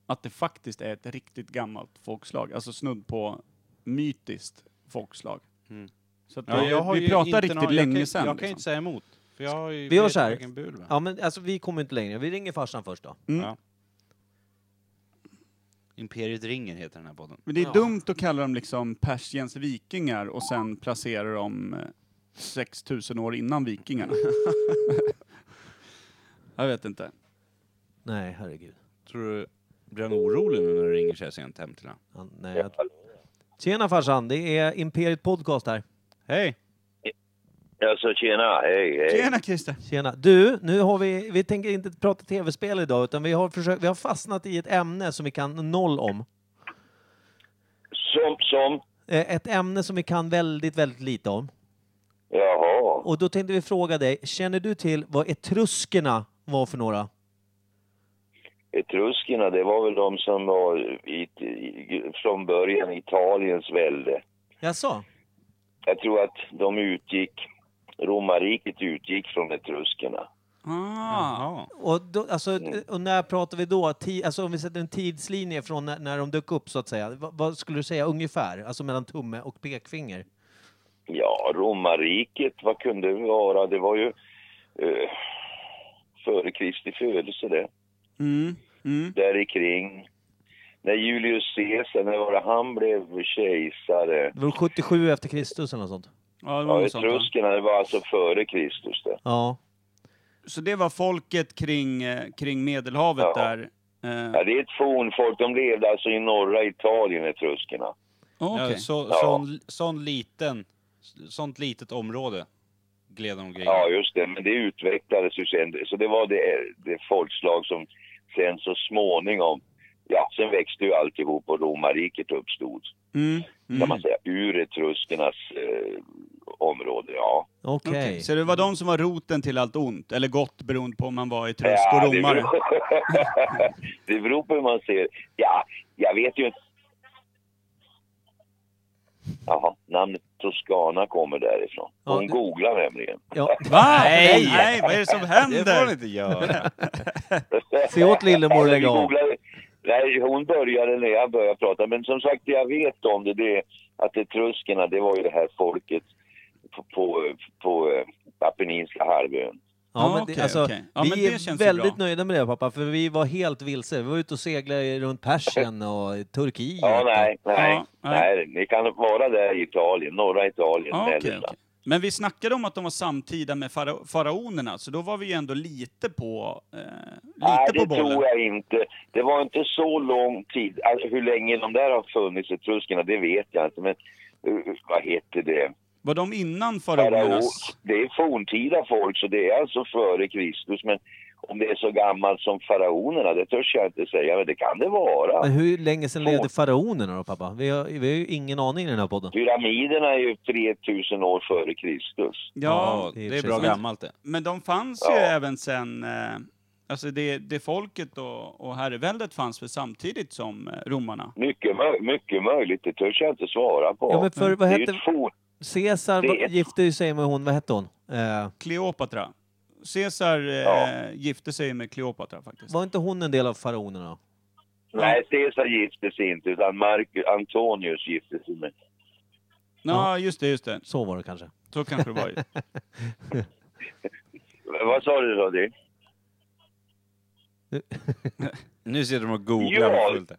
Speaker 2: att det faktiskt är ett riktigt gammalt folkslag, alltså snudd på mytiskt folkslag.
Speaker 1: Mm.
Speaker 2: Så att
Speaker 1: Ja,
Speaker 2: vi-
Speaker 1: jag har ju
Speaker 2: vi pratar
Speaker 1: inte
Speaker 2: riktigt
Speaker 1: någon- jag kan,
Speaker 2: länge
Speaker 1: ju-
Speaker 2: sedan.
Speaker 1: Jag kan ju
Speaker 2: liksom.
Speaker 1: inte säga emot. För jag har ju
Speaker 3: Vi gör
Speaker 1: Fredrik
Speaker 3: så här.
Speaker 1: Röken Buhl, va?
Speaker 3: Ja men alltså vi kommer inte längre. Vi ringer farsan först då.
Speaker 2: Mm.
Speaker 1: Ja. Imperiet ringer heter den här podden.
Speaker 2: Men det är
Speaker 3: Ja.
Speaker 2: dumt att kalla dem liksom Persiens vikingar och sen placera dem eh, 6000 år innan vikingarna. jag vet inte.
Speaker 3: Nej herregud.
Speaker 1: Tror du, blir han orolig nu när du ringer så här sent hem till honom?
Speaker 3: Han, nej, jag... Tjena farsan, det är Imperiet Podcast här.
Speaker 1: Hej!
Speaker 4: Alltså tjena, hej, hej.
Speaker 2: Tjena Christer!
Speaker 3: Tjena. Du, nu har vi, vi tänker inte prata tv-spel idag utan vi har, försökt, vi har fastnat i ett ämne som vi kan noll om.
Speaker 4: Som, som,
Speaker 3: Eh, Ett ämne som vi kan väldigt, väldigt lite om.
Speaker 4: jaha.
Speaker 3: Och då tänkte vi fråga dig, känner du till vad etruskerna var för några?
Speaker 4: Etruskerna, det var väl de som var i, i, från början Italiens välde.
Speaker 3: Jaså?
Speaker 4: Jag tror att de utgick, romarriket utgick från etruskerna.
Speaker 2: Ah.
Speaker 1: Ja.
Speaker 3: Och, då, alltså,
Speaker 4: Mm.
Speaker 3: och när pratar vi då? Ti, alltså om vi sätter en tidslinje från när, när de dök upp så att säga. Vad, vad skulle du säga ungefär? Alltså mellan tumme och pekfinger?
Speaker 4: Ja, romarriket, vad kunde det vara? Det var ju eh, före Kristi födelse det.
Speaker 2: Mm. Mm.
Speaker 4: Där i kring. När Julius Caesar, när var det han blev kejsare?
Speaker 3: Det var 77 efter Kristus eller något sånt?
Speaker 2: Ja, det var
Speaker 4: Ja,
Speaker 2: något sånt, va?
Speaker 4: etruskerna, det var alltså före Kristus det.
Speaker 3: Ja.
Speaker 2: Så det var folket kring, eh, kring Medelhavet
Speaker 4: Ja.
Speaker 2: där? Eh,
Speaker 4: Ja, det är ett fornfolk. De levde alltså i norra Italien, etruskerna.
Speaker 2: Okej.
Speaker 1: Ja, så,
Speaker 4: Ja.
Speaker 1: Sån, sån liten, sånt litet område gled de omkring.
Speaker 4: Ja, just det. Men det utvecklades ju sen. Så det var det, det folkslag som sen så småningom... Ja, sen växte ju alltihop och romarriket uppstod,
Speaker 2: Mm.
Speaker 4: kan man säga, ur etruskernas eh, område. Ja,
Speaker 3: Okej.
Speaker 2: Okej, Så det var de som var roten till allt ont, eller gott beroende på om man var etrusk
Speaker 4: Ja,
Speaker 2: och
Speaker 4: det
Speaker 2: romare?
Speaker 4: beror- det beror på hur man ser Ja, jag vet ju inte... Jaha, namnet Toscana kommer därifrån.
Speaker 3: Ja,
Speaker 4: Hon
Speaker 3: det-
Speaker 4: googlar nämligen.
Speaker 3: Ja.
Speaker 2: Va? Nej. Nej, vad är det som
Speaker 1: Det får man
Speaker 2: händer?
Speaker 1: inte göra.
Speaker 3: Se åt Lillemor
Speaker 4: Vi
Speaker 3: lägga av.
Speaker 4: googlade- Nej, hon började när jag började prata. Men som sagt, det jag vet om det, det är att etruskerna, det var ju det här folket på, på, på eh, Apenninska halvön.
Speaker 3: Ja,
Speaker 2: Ja,
Speaker 3: men det,
Speaker 2: okej,
Speaker 3: alltså,
Speaker 2: okej. Ja,
Speaker 3: vi
Speaker 2: men det
Speaker 3: är
Speaker 2: känns ju
Speaker 3: väldigt
Speaker 2: bra.
Speaker 3: nöjda med det pappa, för vi var helt vilse. Vi var ute och seglade runt Persien och Turkiet.
Speaker 4: Ja,
Speaker 3: och-
Speaker 4: nej, nej,
Speaker 2: Ja, nej.
Speaker 4: nej. Ni kan vara där i Italien, norra Italien.
Speaker 2: Ja, okej,
Speaker 4: Mellersta.
Speaker 2: okej. Men vi snackade om att de var samtida med fara faraonerna, så då var vi ju ändå lite på, eh, lite
Speaker 4: Nej,
Speaker 2: på
Speaker 4: det
Speaker 2: bollen.
Speaker 4: tror jag inte. Det var inte så lång tid. Alltså, hur länge de där har funnits, etruskerna, det vet jag inte. Men eh, vad heter det?
Speaker 2: Var de innan
Speaker 4: Farao,
Speaker 2: faraonernas?
Speaker 4: det är forntida folk, så det är alltså före Kristus. Men om det är så gammalt som faraonerna, det törs jag inte säga, men det kan det
Speaker 3: Men
Speaker 4: vara.
Speaker 3: hur länge sedan
Speaker 4: Två.
Speaker 3: levde faraonerna då pappa? Vi har, vi har ju ingen aning i den här podden.
Speaker 4: Pyramiderna är ju 3000 år före Kristus.
Speaker 2: Ja,
Speaker 1: det
Speaker 3: det är
Speaker 1: är bra
Speaker 3: precis.
Speaker 1: gammalt det.
Speaker 2: men de fanns ju
Speaker 4: Ja.
Speaker 2: även sen eh, Alltså det, det folket och, och herreväldet fanns väl samtidigt som eh, romarna?
Speaker 9: Mycket, möj- mycket möjligt, det törs jag inte svara på.
Speaker 3: Ja, men för, vad
Speaker 9: det är ju
Speaker 3: hette...
Speaker 9: ett for...
Speaker 3: Caesar
Speaker 9: Det
Speaker 3: var-
Speaker 9: är ett-
Speaker 3: gifte ju sig med hon, vad hette hon? Eh,
Speaker 2: Kleopatra. Caesar eh,
Speaker 9: Ja.
Speaker 2: gifte sig med Kleopatra faktiskt.
Speaker 3: var inte hon en del av faraonerna?
Speaker 9: Nej, Caesar gifte sig inte, utan Marcus Antonius gifte sig med...
Speaker 2: Ja, just det, just det.
Speaker 3: Så var det kanske.
Speaker 2: Så kanske det var. ju.
Speaker 9: Vad sa du då? Det?
Speaker 1: Nu sitter de och googlar.
Speaker 9: Ja.
Speaker 1: och fullt.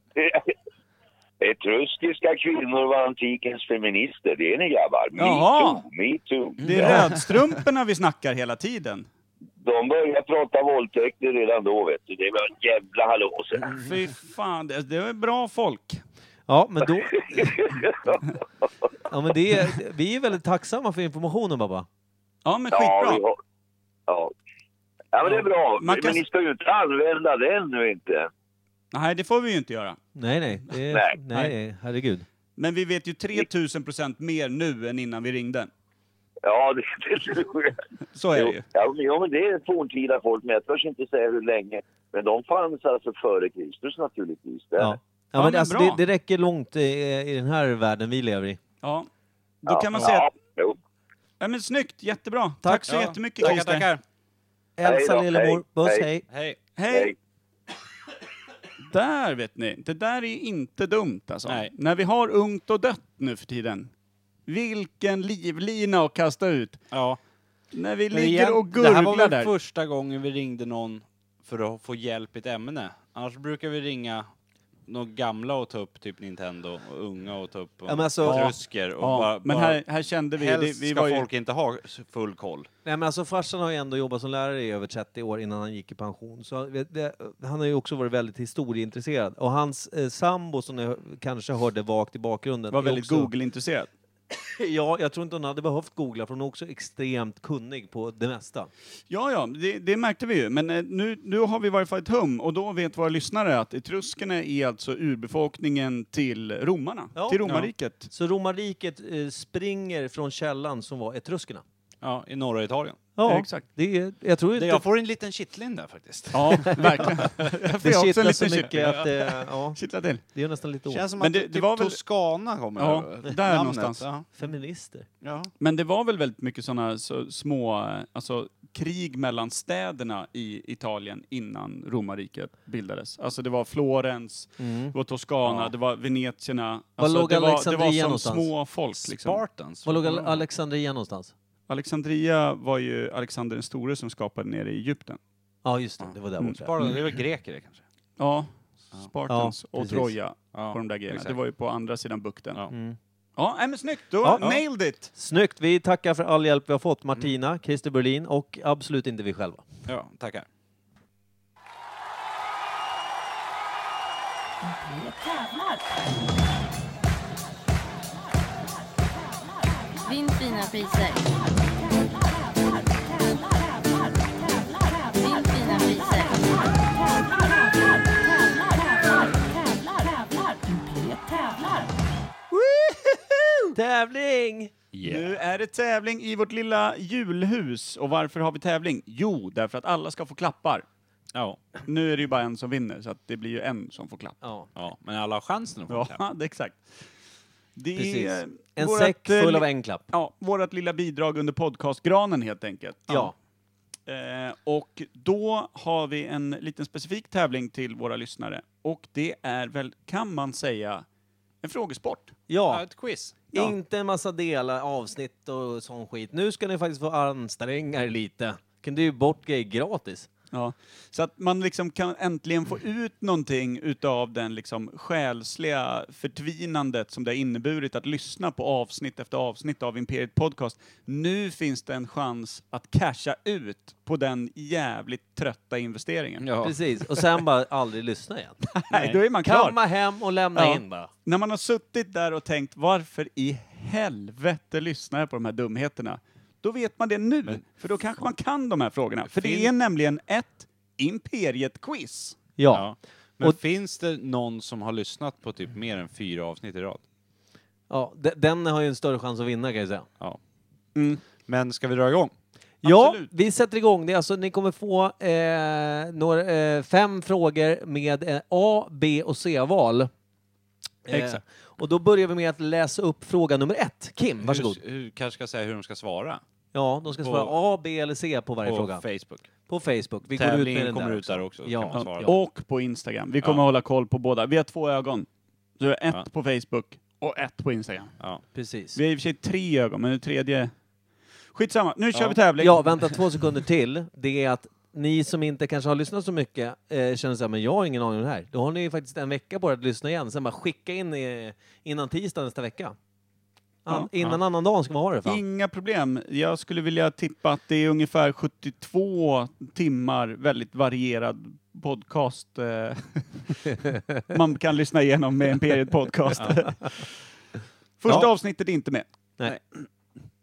Speaker 9: Etruskiska kvinnor var antikens feminister, det är ni grabbar.
Speaker 2: Jaha.
Speaker 9: Metoo, metoo.
Speaker 2: Det är
Speaker 9: Ja.
Speaker 2: rödstrumporna vi snackar hela tiden.
Speaker 9: De började prata våldtäkter redan då, vet du. Det var en jävla hallå sen.
Speaker 2: Fy fan, det, det är bra folk.
Speaker 3: Ja, men då... ja, men det är... Vi är väldigt tacksamma för informationen, Baba.
Speaker 2: Ja, men
Speaker 9: Ja, vi
Speaker 2: skitbra.
Speaker 9: har... ja. ja, men det är bra.
Speaker 2: Man kan-
Speaker 9: Men ni ska ju inte använda den nu inte.
Speaker 2: Nej, det får vi ju inte göra.
Speaker 3: Nej, nej. Det är...
Speaker 9: Nej.
Speaker 3: nej, herregud.
Speaker 2: Men vi vet ju 3000 procent mer nu än innan vi ringde.
Speaker 9: Ja, det, det tror jag.
Speaker 2: Så är det ju.
Speaker 9: Ja, men- ja, men det är forntida folk, men jag törs inte säga hur länge. Men de fanns alltså före Kristus naturligtvis. Det-
Speaker 3: Ja. Ja,
Speaker 2: Ja,
Speaker 3: men
Speaker 2: men
Speaker 3: alltså,
Speaker 2: bra.
Speaker 3: det, det räcker långt eh, i den här världen vi lever i.
Speaker 2: Ja. Då
Speaker 9: Ja.
Speaker 2: kan man säga
Speaker 9: Ja,
Speaker 2: att,
Speaker 9: jo.
Speaker 2: ja, men snyggt, jättebra. Tack, så
Speaker 1: Ja.
Speaker 2: jättemycket
Speaker 1: Tackar,
Speaker 2: Christer.
Speaker 1: tackar.
Speaker 9: Hej
Speaker 3: Elsa
Speaker 9: då,
Speaker 3: Lillemor,
Speaker 9: hej,
Speaker 3: buss
Speaker 9: hej.
Speaker 3: hej.
Speaker 1: Hej.
Speaker 2: Hej!
Speaker 9: Hej.
Speaker 2: Där vet ni, det där är inte dumt alltså.
Speaker 1: Nej.
Speaker 2: När vi har ungt och dött nu för tiden. Vilken livlina att kasta ut.
Speaker 1: Ja.
Speaker 2: När vi
Speaker 1: Men
Speaker 2: ligger
Speaker 1: igen,
Speaker 2: och
Speaker 1: det här var
Speaker 2: gurglar
Speaker 1: väl
Speaker 2: där.
Speaker 1: första gången vi ringde någon för att få hjälp i ett ämne. Annars brukar vi ringa någon gamla och ta upp typ Nintendo och unga och ta upp
Speaker 3: men alltså-
Speaker 1: och trusker och
Speaker 2: ja,
Speaker 1: bara,
Speaker 2: men
Speaker 1: bara
Speaker 2: här, här kände vi, det,
Speaker 1: helst
Speaker 2: vi
Speaker 1: ska
Speaker 2: var ju,
Speaker 1: folk inte ha full koll.
Speaker 3: Nej, men alltså, farsan har ju ändå jobbat som lärare i över 30 år innan han gick i pension. Så vet- det, han har ju också varit väldigt historieintresserad. Och hans eh, sambo, som ni kanske hörde vagt i bakgrunden...
Speaker 2: var
Speaker 3: är
Speaker 2: väldigt
Speaker 3: också,
Speaker 2: Google-intresserad.
Speaker 3: Ja, jag tror inte hon hade behövt googla, för hon är också extremt kunnig på det mesta.
Speaker 2: Ja, ja, det, det märkte vi ju. Men eh, nu, nu har vi i varje fall ett hum och då vet våra lyssnare att etruskerna är alltså urbefolkningen till romarna,
Speaker 3: Ja.
Speaker 2: till romarriket.
Speaker 3: Så romarriket eh, springer från källan som var etruskerna.
Speaker 1: Ja, i norra Italien.
Speaker 3: Ja,
Speaker 2: exakt.
Speaker 3: Det är, jag tror inte...
Speaker 1: Det, jag får en liten kittling där faktiskt.
Speaker 2: Ja, verkligen. Jag
Speaker 3: det
Speaker 2: får jag också en
Speaker 3: kittlar så
Speaker 2: liten
Speaker 3: mycket
Speaker 2: kittling.
Speaker 3: att det, ja,
Speaker 2: Kittla till.
Speaker 3: det är nästan lite ont.
Speaker 1: Känns som
Speaker 2: Men
Speaker 1: att
Speaker 2: det-
Speaker 1: det,
Speaker 2: det
Speaker 1: typ
Speaker 2: var väl-
Speaker 1: Toscana kommer
Speaker 2: Ja,
Speaker 1: här.
Speaker 2: där
Speaker 1: Namnet,
Speaker 2: någonstans.
Speaker 1: Ja.
Speaker 3: Feminister.
Speaker 1: Ja.
Speaker 2: Men det var väl väldigt mycket sådana så, små eh, alltså, krig mellan städerna i Italien innan romarriket bildades. Alltså det var Florens, det var Toscana,
Speaker 1: Ja.
Speaker 2: det var Venetierna.
Speaker 3: Var
Speaker 2: Alltså,
Speaker 3: låg
Speaker 2: det, var, det var
Speaker 3: Alexandria
Speaker 2: som
Speaker 3: någonstans?
Speaker 2: små folk. Liksom.
Speaker 1: Spartans.
Speaker 3: Var låg Al- Alexandria någonstans?
Speaker 2: Alexandria var ju Alexander den store som skapade nere i Egypten.
Speaker 3: Ja, just det. Det var där
Speaker 2: Mm.
Speaker 3: borta.
Speaker 1: Spartans, det är väl greker det kanske?
Speaker 2: Ja, Spartans
Speaker 3: Ja,
Speaker 2: och
Speaker 3: precis.
Speaker 2: Troja
Speaker 1: Ja,
Speaker 2: på de där grejerna.
Speaker 1: exakt.
Speaker 2: Det var ju på andra sidan bukten. Ja,
Speaker 1: Ja.
Speaker 3: Mm.
Speaker 2: nej, men snyggt! Då
Speaker 3: Ja.
Speaker 2: nailed it!
Speaker 3: Snyggt! Vi tackar för all hjälp vi har fått, Martina, Christer Berlin och absolut inte vi själva.
Speaker 1: Ja, tackar.
Speaker 6: Vinn fina priser. Vinn fina priser.
Speaker 3: Tävling!
Speaker 2: Nu är det tävling i vårt lilla julhus. Och varför har vi tävling? Jo, därför att alla ska få klappar.
Speaker 1: Ja.
Speaker 2: Nu är det ju bara en som vinner, så att det blir ju en som får klapp.
Speaker 3: Ja.
Speaker 1: ja, men alla har chansen att få klapp.
Speaker 2: Ja, det är exakt. Det
Speaker 3: Precis.
Speaker 2: är
Speaker 3: En
Speaker 2: vårat,
Speaker 3: säck
Speaker 2: eh,
Speaker 3: full
Speaker 2: li-
Speaker 3: av en klapp.
Speaker 2: Ja, vårt lilla bidrag under podcastgranen helt enkelt.
Speaker 3: Ja.
Speaker 2: Eh, och då har vi en liten specifik tävling till våra lyssnare. Och det är väl, kan man säga, en frågesport.
Speaker 1: Ja,
Speaker 3: Ja.
Speaker 1: ett quiz.
Speaker 3: Inte en massa delar, avsnitt och sån skit. Nu ska ni faktiskt få anstränga er lite. Kunde ju bort grejer gratis.
Speaker 2: Ja, så att man liksom kan äntligen få ut någonting utav den liksom själsliga förtvinandet som det har inneburit att lyssna på avsnitt efter avsnitt av Imperiet Podcast. Nu finns det en chans att casha ut på den jävligt trötta investeringen.
Speaker 1: Ja.
Speaker 3: Precis. Och sen bara aldrig lyssna igen.
Speaker 2: Nej, då är man klar.
Speaker 3: Kamma hem och lämna
Speaker 2: Ja.
Speaker 3: in bara.
Speaker 2: När man har suttit där och tänkt varför i helvete lyssnar jag på de här dumheterna? Då vet man det nu, för då kanske man kan de här frågorna. För det
Speaker 1: Fin-
Speaker 2: är nämligen ett Imperiet-quiz.
Speaker 3: Ja.
Speaker 1: Ja. Men
Speaker 3: Och-
Speaker 1: finns det någon som har lyssnat på typ mer än fyra avsnitt i rad?
Speaker 3: ja. de- Den har ju en större chans att vinna kan jag säga.
Speaker 1: Ja. Men ska vi dra igång?
Speaker 3: Ja,
Speaker 2: Absolut.
Speaker 3: vi sätter igång. Det är alltså, ni kommer få eh, några, eh, fem frågor med eh, A, B och C-val. Eh,
Speaker 2: Exakt.
Speaker 3: Och då börjar vi med att läsa upp fråga nummer ett. Kim, varsågod.
Speaker 1: Hur, hur, kanske ska säga hur de ska svara
Speaker 3: Ja, de ska
Speaker 1: På-
Speaker 3: svara A, B eller C på varje
Speaker 1: på
Speaker 3: fråga.
Speaker 1: Facebook.
Speaker 3: På Facebook. Vi går ut med
Speaker 1: Tävlingen
Speaker 3: den
Speaker 1: kommer
Speaker 3: där.
Speaker 1: ut där också.
Speaker 3: Ja.
Speaker 1: Ja. Kan man svara.
Speaker 3: Ja.
Speaker 2: Och på Instagram. Vi kommer
Speaker 1: Ja.
Speaker 2: hålla koll på båda. Vi har två ögon. Så vi har ett
Speaker 1: Ja.
Speaker 2: på Facebook och ett på Instagram.
Speaker 1: Ja.
Speaker 3: Precis.
Speaker 2: Vi har i och för sig tre ögon, men det tredje... Skitsamma, nu kör vi tävling!
Speaker 3: Ja, vänta två sekunder till. Det är att ni som inte kanske har lyssnat så mycket eh, känner så här, men jag har ingen aning om det här. Då har ni ju faktiskt en vecka på er att lyssna igen. Sen bara skicka in eh, innan tisdag nästa vecka. An, innan annan dagen ska man ha det. Fan.
Speaker 2: Inga problem. Jag skulle vilja tippa att det är ungefär 72 timmar väldigt varierad podcast eh, man kan lyssna igenom med Imperiet Podcast. Första
Speaker 3: Ja.
Speaker 2: avsnittet är inte med.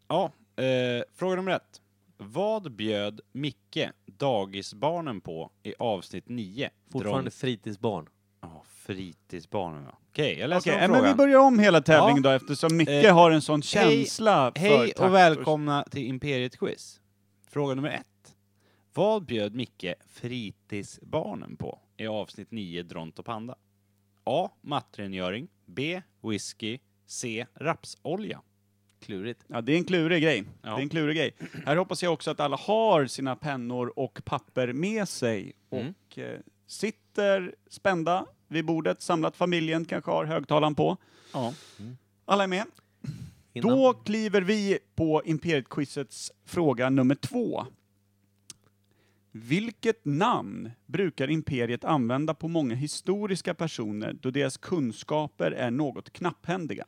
Speaker 1: Ja, eh, fråga nummer ett. Vad bjöd Micke dagisbarnen på i avsnitt 9?
Speaker 3: Fortfarande fritidsbarn.
Speaker 1: Ja, fritidsbarnen ja. Okej, jag läser
Speaker 2: Okej,
Speaker 1: om
Speaker 2: eh, men vi
Speaker 1: frågan.
Speaker 2: börjar om hela tävlingen
Speaker 1: Ja.
Speaker 2: då eftersom Micke
Speaker 1: Eh,
Speaker 2: har en sån känsla för
Speaker 1: Hej
Speaker 2: takt-
Speaker 1: och välkomna till Imperiet Quiz. Fråga nummer ett. Vad bjöd Micke fritidsbarnen på i avsnitt 9 Dront och Panda? A. Mattrengöring. B. Whisky. C. Rapsolja.
Speaker 3: Klurigt.
Speaker 2: Ja, det är en klurig grej.
Speaker 1: Ja.
Speaker 2: Det är en klurig grej. Här hoppas jag också att alla har sina pennor och papper med sig och
Speaker 1: Mm.
Speaker 2: eh, sitter spända vid bordet, samlat familjen, kanske har högtalaren på.
Speaker 1: Ja.
Speaker 2: Alla är med.
Speaker 3: Innan.
Speaker 2: Då kliver vi på Imperiet-quizets fråga nummer två. Vilket namn brukar Imperiet använda på många historiska personer då deras kunskaper är något knapphändiga?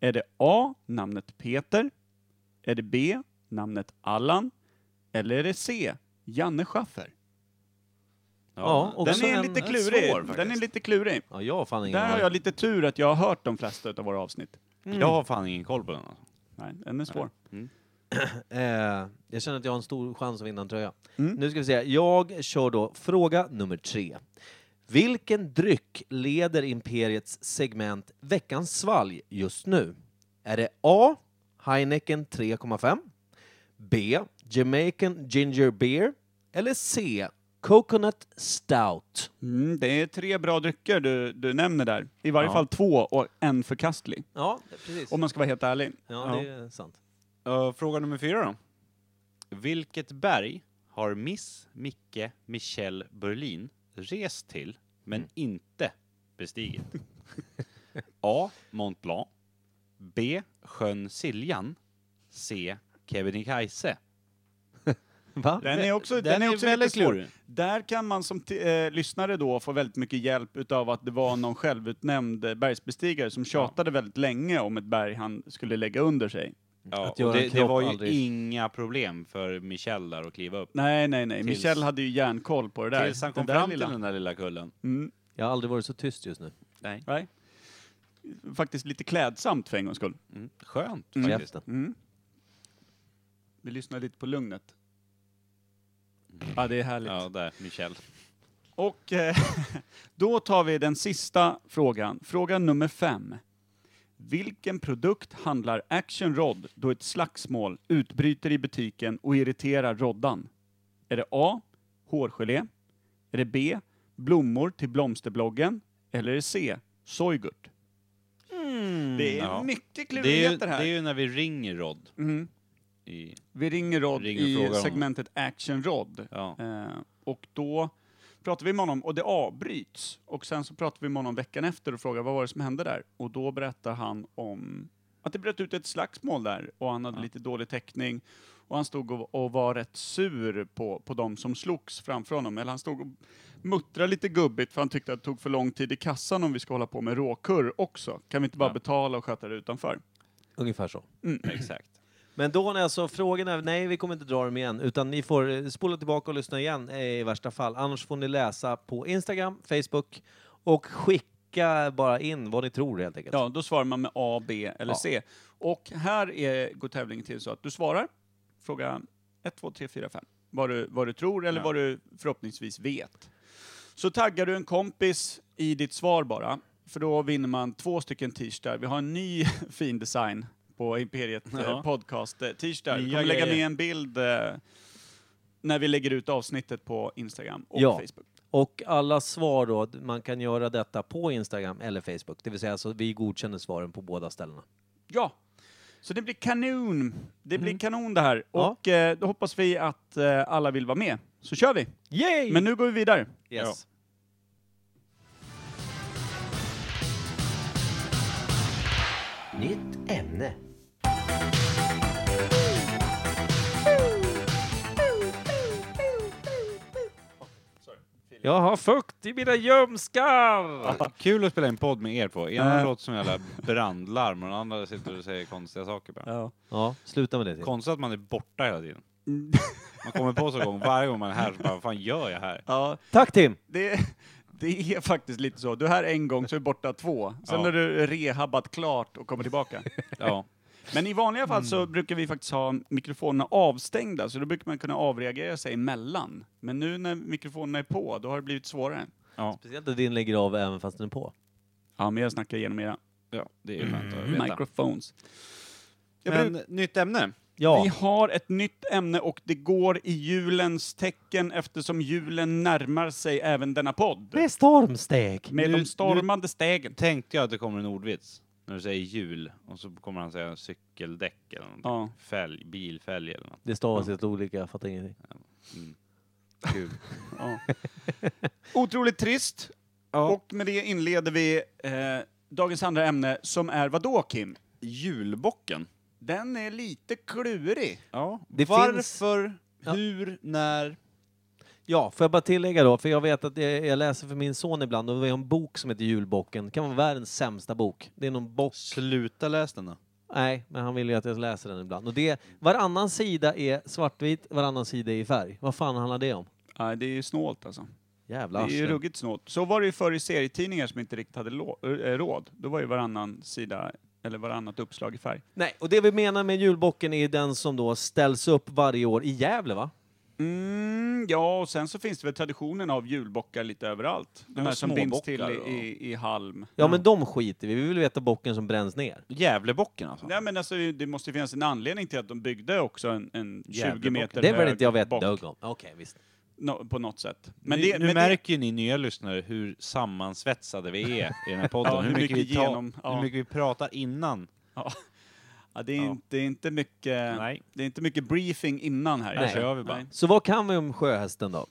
Speaker 2: Är det A. Namnet Peter? Är det B. Namnet Allan? Eller är det C. Janne Schaffer?
Speaker 3: Ja, och-
Speaker 2: Den
Speaker 3: Också
Speaker 2: är
Speaker 3: en-
Speaker 2: lite
Speaker 3: en
Speaker 2: klurig.
Speaker 1: svår
Speaker 2: Den är
Speaker 1: faktiskt.
Speaker 2: lite klurig.
Speaker 3: Ja, jag har fan ingen
Speaker 2: Där har
Speaker 3: aning.
Speaker 2: jag lite tur att jag har hört de flesta av våra avsnitt.
Speaker 1: Jag har fan ingen koll på den. alltså.
Speaker 2: Nej, den är svår.
Speaker 3: Eh, jag känner att jag har en stor chans att vinna en tröja.
Speaker 2: Mm.
Speaker 3: Nu ska vi se. Jag kör då fråga nummer tre. Vilken dryck leder Imperiets segment Veckans svalg just nu? Är det A. Heineken 3,5 B. Jamaican Ginger Beer eller C. Coconut Stout?
Speaker 2: Mm, det är tre bra drycker du, du nämner där. I varje fall två och en förkastlig.
Speaker 3: Ja, precis.
Speaker 2: Om man ska vara helt ärlig.
Speaker 3: Ja, det är sant.
Speaker 1: Eh, fråga nummer fyra då. Vilket berg har Miss Micke Michelle Berlin rest till, men inte bestigit? A. Mont Blanc. B. Sjön Siljan. C. Kebnekaise.
Speaker 3: Va?
Speaker 2: Den är också, den är också väldigt svår. Där kan man som t- eh, lyssnare då få väldigt mycket hjälp utav att det var någon självutnämnd eh, bergsbestigare som tjatade väldigt länge om ett berg han skulle lägga under sig.
Speaker 1: Ja,
Speaker 3: Att
Speaker 1: och
Speaker 3: göra en
Speaker 1: det, det
Speaker 3: kropp
Speaker 1: var ju
Speaker 3: aldrig-
Speaker 1: inga problem för Michelle där att kliva upp.
Speaker 2: Nej, nej, nej.
Speaker 1: Tills-
Speaker 2: Michel hade ju järnkoll på det där.
Speaker 1: Tills han kom
Speaker 2: Den där
Speaker 1: fram
Speaker 2: lilla-
Speaker 1: till den där lilla kullen.
Speaker 2: Mm,
Speaker 3: Jag har aldrig varit så tyst just nu.
Speaker 1: Nej.
Speaker 2: nej. Faktiskt lite klädsamt för en gångs skull.
Speaker 1: Mm. Skönt
Speaker 2: Mm.
Speaker 1: faktiskt.
Speaker 3: Käften.
Speaker 2: Mm. Vi lyssnar lite på lugnet. Ja, det är härligt.
Speaker 1: Mm. Ja, där. Michelle.
Speaker 2: Och eh, då tar vi den sista frågan, fråga nummer fem. Vilken produkt handlar Action Rod då ett slagsmål utbryter i butiken och irriterar Roddan? Är det A. Hårgelé? Är det B. Blommor till blomsterbloggen? Eller är det C. Soygurt? det är
Speaker 1: ja.
Speaker 2: mycket
Speaker 1: Det är, ju,
Speaker 2: klurigheter
Speaker 1: det
Speaker 2: här.
Speaker 1: är ju när vi ringer Rod.
Speaker 2: Mm.
Speaker 1: I,
Speaker 2: Vi ringer Rod
Speaker 1: Ringer och
Speaker 2: i
Speaker 1: frågar honom.
Speaker 2: segmentet Action Rod.
Speaker 1: ja.
Speaker 2: Eh, och då pratar vi med honom och det avbryts. Och sen så pratar vi med honom veckan efter och frågar vad var det som hände där? Och då berättar han om att det bröt ut ett slagsmål där och han hade lite dålig täckning. Och han stod och, och var rätt sur på, på de som slogs framför honom. Eller han stod och muttrade lite gubbigt för han tyckte att det tog för lång tid i kassan om vi ska hålla på med råkurr också. Kan vi inte bara
Speaker 1: Ja.
Speaker 2: betala och sköta det utanför?
Speaker 3: Ungefär så.
Speaker 2: Mm.
Speaker 1: Exakt.
Speaker 3: Men då när alltså frågorna, nej vi kommer inte dra dem igen, utan ni får eh, spola tillbaka och lyssna igen eh, i värsta fall. Annars får ni läsa på Instagram, Facebook och skicka bara in vad ni tror helt enkelt.
Speaker 2: Ja, då svarar man med A, B eller
Speaker 3: Ja.
Speaker 2: C. Och här är, går tävlingen till så att du svarar, fråga 1, 2, 3, 4, 5. Vad du, vad du tror eller
Speaker 1: Ja.
Speaker 2: vad du förhoppningsvis vet. Så taggar du en kompis i ditt svar bara, för då vinner man två stycken t-shirtar. Vi har en ny fin design på Imperiet
Speaker 1: Ja.
Speaker 2: eh, podcast eh, t-shirtar. Vi
Speaker 1: Nya
Speaker 2: kommer lägga
Speaker 1: grejer.
Speaker 2: med en bild eh, när vi lägger ut avsnittet på Instagram och
Speaker 3: Ja.
Speaker 2: Facebook.
Speaker 3: Och alla svar då, man kan göra detta på Instagram eller Facebook. Det vill säga, så vi godkänner svaren på båda ställena.
Speaker 2: Ja. Så det blir kanon. Det blir
Speaker 3: Mm.
Speaker 2: kanon det här.
Speaker 3: Ja.
Speaker 2: Och eh, då hoppas vi att eh, alla vill vara med. Så kör vi!
Speaker 3: Yay!
Speaker 2: Men nu går vi vidare.
Speaker 3: yes.
Speaker 5: Nytt ämne.
Speaker 3: Jag har fukt i mina gömskar!
Speaker 1: Kul att spela in podd med er två. Ena
Speaker 2: Äh.
Speaker 1: låter som jävla brandlarm och den andra sitter och säger konstiga saker bara.
Speaker 2: Ja.
Speaker 3: Ja, sluta med det. Tim.
Speaker 1: Konstigt att man är borta hela tiden.
Speaker 2: Mm.
Speaker 1: Man kommer på sig en gång, varje gång man är här så bara, vad fan gör jag här?
Speaker 3: Tack Tim!
Speaker 2: det, det är faktiskt lite så. Du är här en gång så är du borta två. Sen
Speaker 1: Ja.
Speaker 2: har du rehabbat klart och kommer tillbaka. Mm.
Speaker 1: Ja.
Speaker 2: Men i vanliga fall så brukar vi faktiskt ha mikrofonerna avstängda, så då brukar man kunna avreagera sig emellan. Men nu när mikrofonerna är på, då har det blivit svårare.
Speaker 3: Speciellt att din lägger av även fast den är på.
Speaker 2: Ja, men jag snackar genom era
Speaker 1: ja, det är skönt
Speaker 2: Mm.
Speaker 1: att veta.
Speaker 2: microphones. Jag
Speaker 1: Men nytt ämne.
Speaker 3: Ja,
Speaker 2: Vi har ett nytt ämne och det går i julens tecken eftersom julen närmar sig även denna podd.
Speaker 3: det är stormsteg.
Speaker 2: Med
Speaker 1: Nu-
Speaker 2: de stormande stegen.
Speaker 1: Tänkte jag att det kommer en ordvits. När du säger jul och så kommer han säga cykeldäck eller någonting.
Speaker 2: Ja.
Speaker 1: Fälg, bilfälg eller något.
Speaker 3: Det stavas helt olika, jag fattar ingenting.
Speaker 1: Kul.
Speaker 2: Ja. Otroligt trist. Och med det inleder vi eh, dagens andra ämne som är vad då Kim?
Speaker 1: Julbocken.
Speaker 2: Den är lite klurig.
Speaker 1: Ja.
Speaker 3: Det
Speaker 1: Varför,
Speaker 3: Ja.
Speaker 1: hur, när?
Speaker 3: Ja, får jag bara tillägga då, för jag vet att jag, jag läser för min son ibland och vi har en bok som heter Julbocken. Det kan vara världens sämsta bok. Det är någon bock.
Speaker 1: Sluta läs den då.
Speaker 3: Nej, men han vill ju att jag läser den ibland. Och det, varannan sida är svartvit, varannan sida är i färg. Vad fan handlar det om?
Speaker 2: Ja, det är ju snålt alltså.
Speaker 3: Jävla
Speaker 2: Det är ju
Speaker 3: arsle.
Speaker 2: ruggigt snålt. Så var det ju förr i serietidningar som inte riktigt hade lå- eh, råd. Då var ju varannan sida eller varannat uppslag i färg.
Speaker 3: Nej, och det vi menar med julbocken är ju den som då ställs upp varje år i Gävle, va?
Speaker 2: Mm, ja, och sen så finns det väl traditionen av julbockar lite överallt. De här
Speaker 1: och
Speaker 2: som binds till
Speaker 1: småbockar
Speaker 2: i,
Speaker 1: och-
Speaker 2: i, i halm.
Speaker 3: Ja, men de skiter vi i. Vi vill veta bocken som bränns ner.
Speaker 1: Gävlebocken alltså.
Speaker 2: Nej, men alltså, det måste ju finnas en anledning till att de byggde också en, en 20
Speaker 1: Jävla
Speaker 2: meter
Speaker 1: bock.
Speaker 3: Det var det
Speaker 2: hög
Speaker 3: inte jag vet
Speaker 2: bock.
Speaker 3: dugg om. Okej, visst.
Speaker 2: No, på något sätt. Men
Speaker 1: nu
Speaker 2: det,
Speaker 1: nu
Speaker 2: men det,
Speaker 1: märker ju ni nya lyssnare hur sammansvetsade vi är i den här podden.
Speaker 2: Ja, hur mycket
Speaker 1: vi tar-
Speaker 2: genom- ja.
Speaker 1: hur mycket vi pratar innan.
Speaker 2: ja, det, är
Speaker 1: Ja.
Speaker 2: inte, det, är inte mycket,
Speaker 1: Nej.
Speaker 2: det är inte mycket briefing innan här.
Speaker 1: Här kör vi bara.
Speaker 2: Nej.
Speaker 3: Så vad kan vi om sjöhästen då?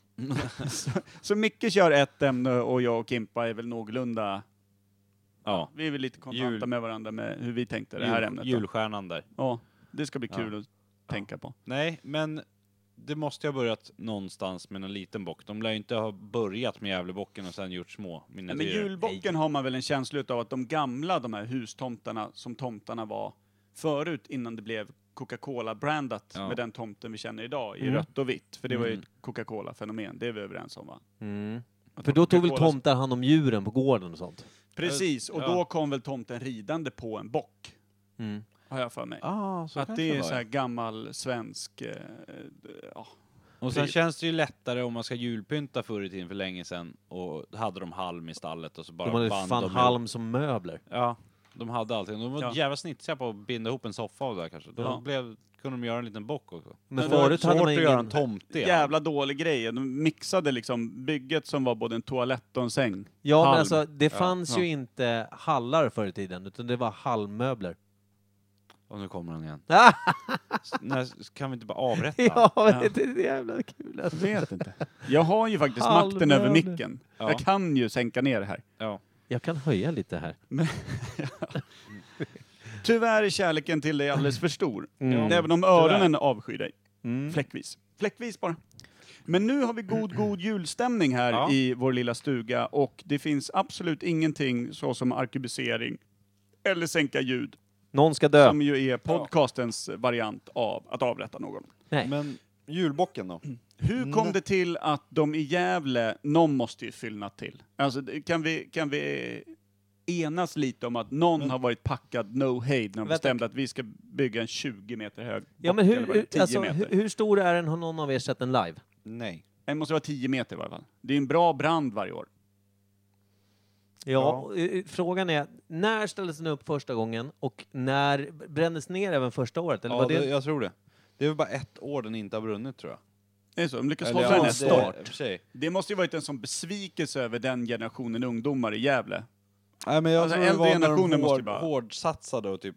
Speaker 2: Så Micke kör ett ämne och jag och Kimpa är väl någorlunda...
Speaker 1: Ja.
Speaker 2: Vi är väl lite kontanta
Speaker 1: Jul.
Speaker 2: med varandra med hur vi tänkte det här
Speaker 1: Jul,
Speaker 2: ämnet. då.
Speaker 1: julstjärnan där.
Speaker 2: Ja, det ska bli kul att tänka på.
Speaker 1: Nej, men det måste ju ha börjat någonstans med en liten bock. De lär ju inte ha börjat med Gävlebocken och sen gjort små
Speaker 2: Nej, men
Speaker 1: miniatyrer.
Speaker 2: julbocken har man väl en känsla av att de gamla, de här hustomtarna som tomtarna var förut innan det blev Coca-Cola-brandat
Speaker 1: Ja.
Speaker 2: med den tomten vi känner idag i
Speaker 3: Mm.
Speaker 2: rött och vitt. För det var ju
Speaker 1: Mm.
Speaker 2: ett Coca-Cola-fenomen, det är vi överens om va? Att
Speaker 3: För då tog väl
Speaker 2: Coca-Cola-
Speaker 3: tomtar hand om djuren på gården och sånt?
Speaker 2: Precis, och
Speaker 1: Ja.
Speaker 2: då kom väl tomten ridande på en bock, har jag för mig.
Speaker 1: Ah, så
Speaker 2: att
Speaker 1: kanske
Speaker 2: det är
Speaker 1: var,
Speaker 2: så
Speaker 1: ja.
Speaker 2: här gammal svensk... Eh, ja.
Speaker 1: Och sen känns det ju lättare om man ska julpynta förr i tiden för länge sedan och hade de halm i stallet och så bara
Speaker 3: De hade
Speaker 1: band
Speaker 3: fan
Speaker 1: dem ihop.
Speaker 3: halm som möbler.
Speaker 1: Ja, de hade allting. De var
Speaker 2: Ja.
Speaker 1: jävla snitsiga på att binda ihop en soffa och det där kanske. Då
Speaker 2: Ja.
Speaker 1: blev, kunde de göra en liten bock också.
Speaker 3: Men
Speaker 1: det var
Speaker 3: förut hade
Speaker 1: svårt
Speaker 3: man
Speaker 1: att göra
Speaker 3: ingen-
Speaker 1: en tomte.
Speaker 2: Jävla dålig grej. De mixade liksom bygget som var både en toalett och en säng.
Speaker 3: Ja,
Speaker 2: Halm.
Speaker 3: men alltså det fanns
Speaker 2: ja.
Speaker 3: ju inte hallar förr i tiden, utan det var halmmöbler.
Speaker 1: Och nu kommer han igen.
Speaker 3: Ah,
Speaker 1: S- När, kan vi inte bara avrätta?
Speaker 3: ja, men det är så jävla kul alltså.
Speaker 2: vet inte. Jag har ju faktiskt
Speaker 3: Halv
Speaker 2: makten över
Speaker 3: månad.
Speaker 2: micken.
Speaker 1: Ja.
Speaker 2: Jag kan ju sänka ner det här.
Speaker 1: Ja.
Speaker 3: Jag kan höja lite här.
Speaker 2: Tyvärr är kärleken till dig alldeles för stor.
Speaker 3: Mm.
Speaker 2: Även om
Speaker 1: Tyvärr.
Speaker 2: öronen avskyr dig.
Speaker 3: Mm.
Speaker 2: Fläckvis. Fläckvis bara. Men nu har vi god, god julstämning här
Speaker 1: Ja.
Speaker 2: i vår lilla stuga och det finns absolut ingenting såsom arkebusering eller sänka ljud,
Speaker 3: Någon ska dö.
Speaker 2: som ju är podcastens variant av att avrätta någon.
Speaker 3: Nej.
Speaker 1: Men julbocken då?
Speaker 2: Hur
Speaker 3: Mm.
Speaker 2: kom det till att de i Gävle, någon måste ju fyllna till. Alltså, det- kan vi, kan vi enas lite om att någon har varit packad no hejd när de
Speaker 3: Mm. Vänta.
Speaker 2: bestämde att vi ska bygga en 20 meter hög
Speaker 3: Ja, men
Speaker 2: bock, eller vad det är,
Speaker 3: hur,
Speaker 2: 10
Speaker 3: alltså,
Speaker 2: meter.
Speaker 3: hur, hur stor är den? Har någon av er sett den live?
Speaker 1: Nej.
Speaker 2: Den måste vara 10 meter i varje fall. Det är en bra brand varje år.
Speaker 3: Ja, eh, Frågan är, när ställdes den upp första gången och när brändes ner även första året? Eller
Speaker 1: Ja,
Speaker 3: var det...
Speaker 1: det, jag tror det. Det är väl bara ett år den inte har brunnit tror jag.
Speaker 2: Det är så, de lyckas
Speaker 1: Eller
Speaker 2: hålla den
Speaker 1: ja,
Speaker 2: här
Speaker 1: det-
Speaker 2: start.
Speaker 1: i och för sig.
Speaker 2: Det måste ju varit en sån besvikelse över den generationen ungdomar i Gävle.
Speaker 1: Nej, men jag
Speaker 2: Alltså,
Speaker 1: tror det
Speaker 2: äldre
Speaker 1: var när
Speaker 2: generationen
Speaker 1: de
Speaker 2: måste ju
Speaker 1: hård,
Speaker 2: bara-
Speaker 1: hårdsatsade och typ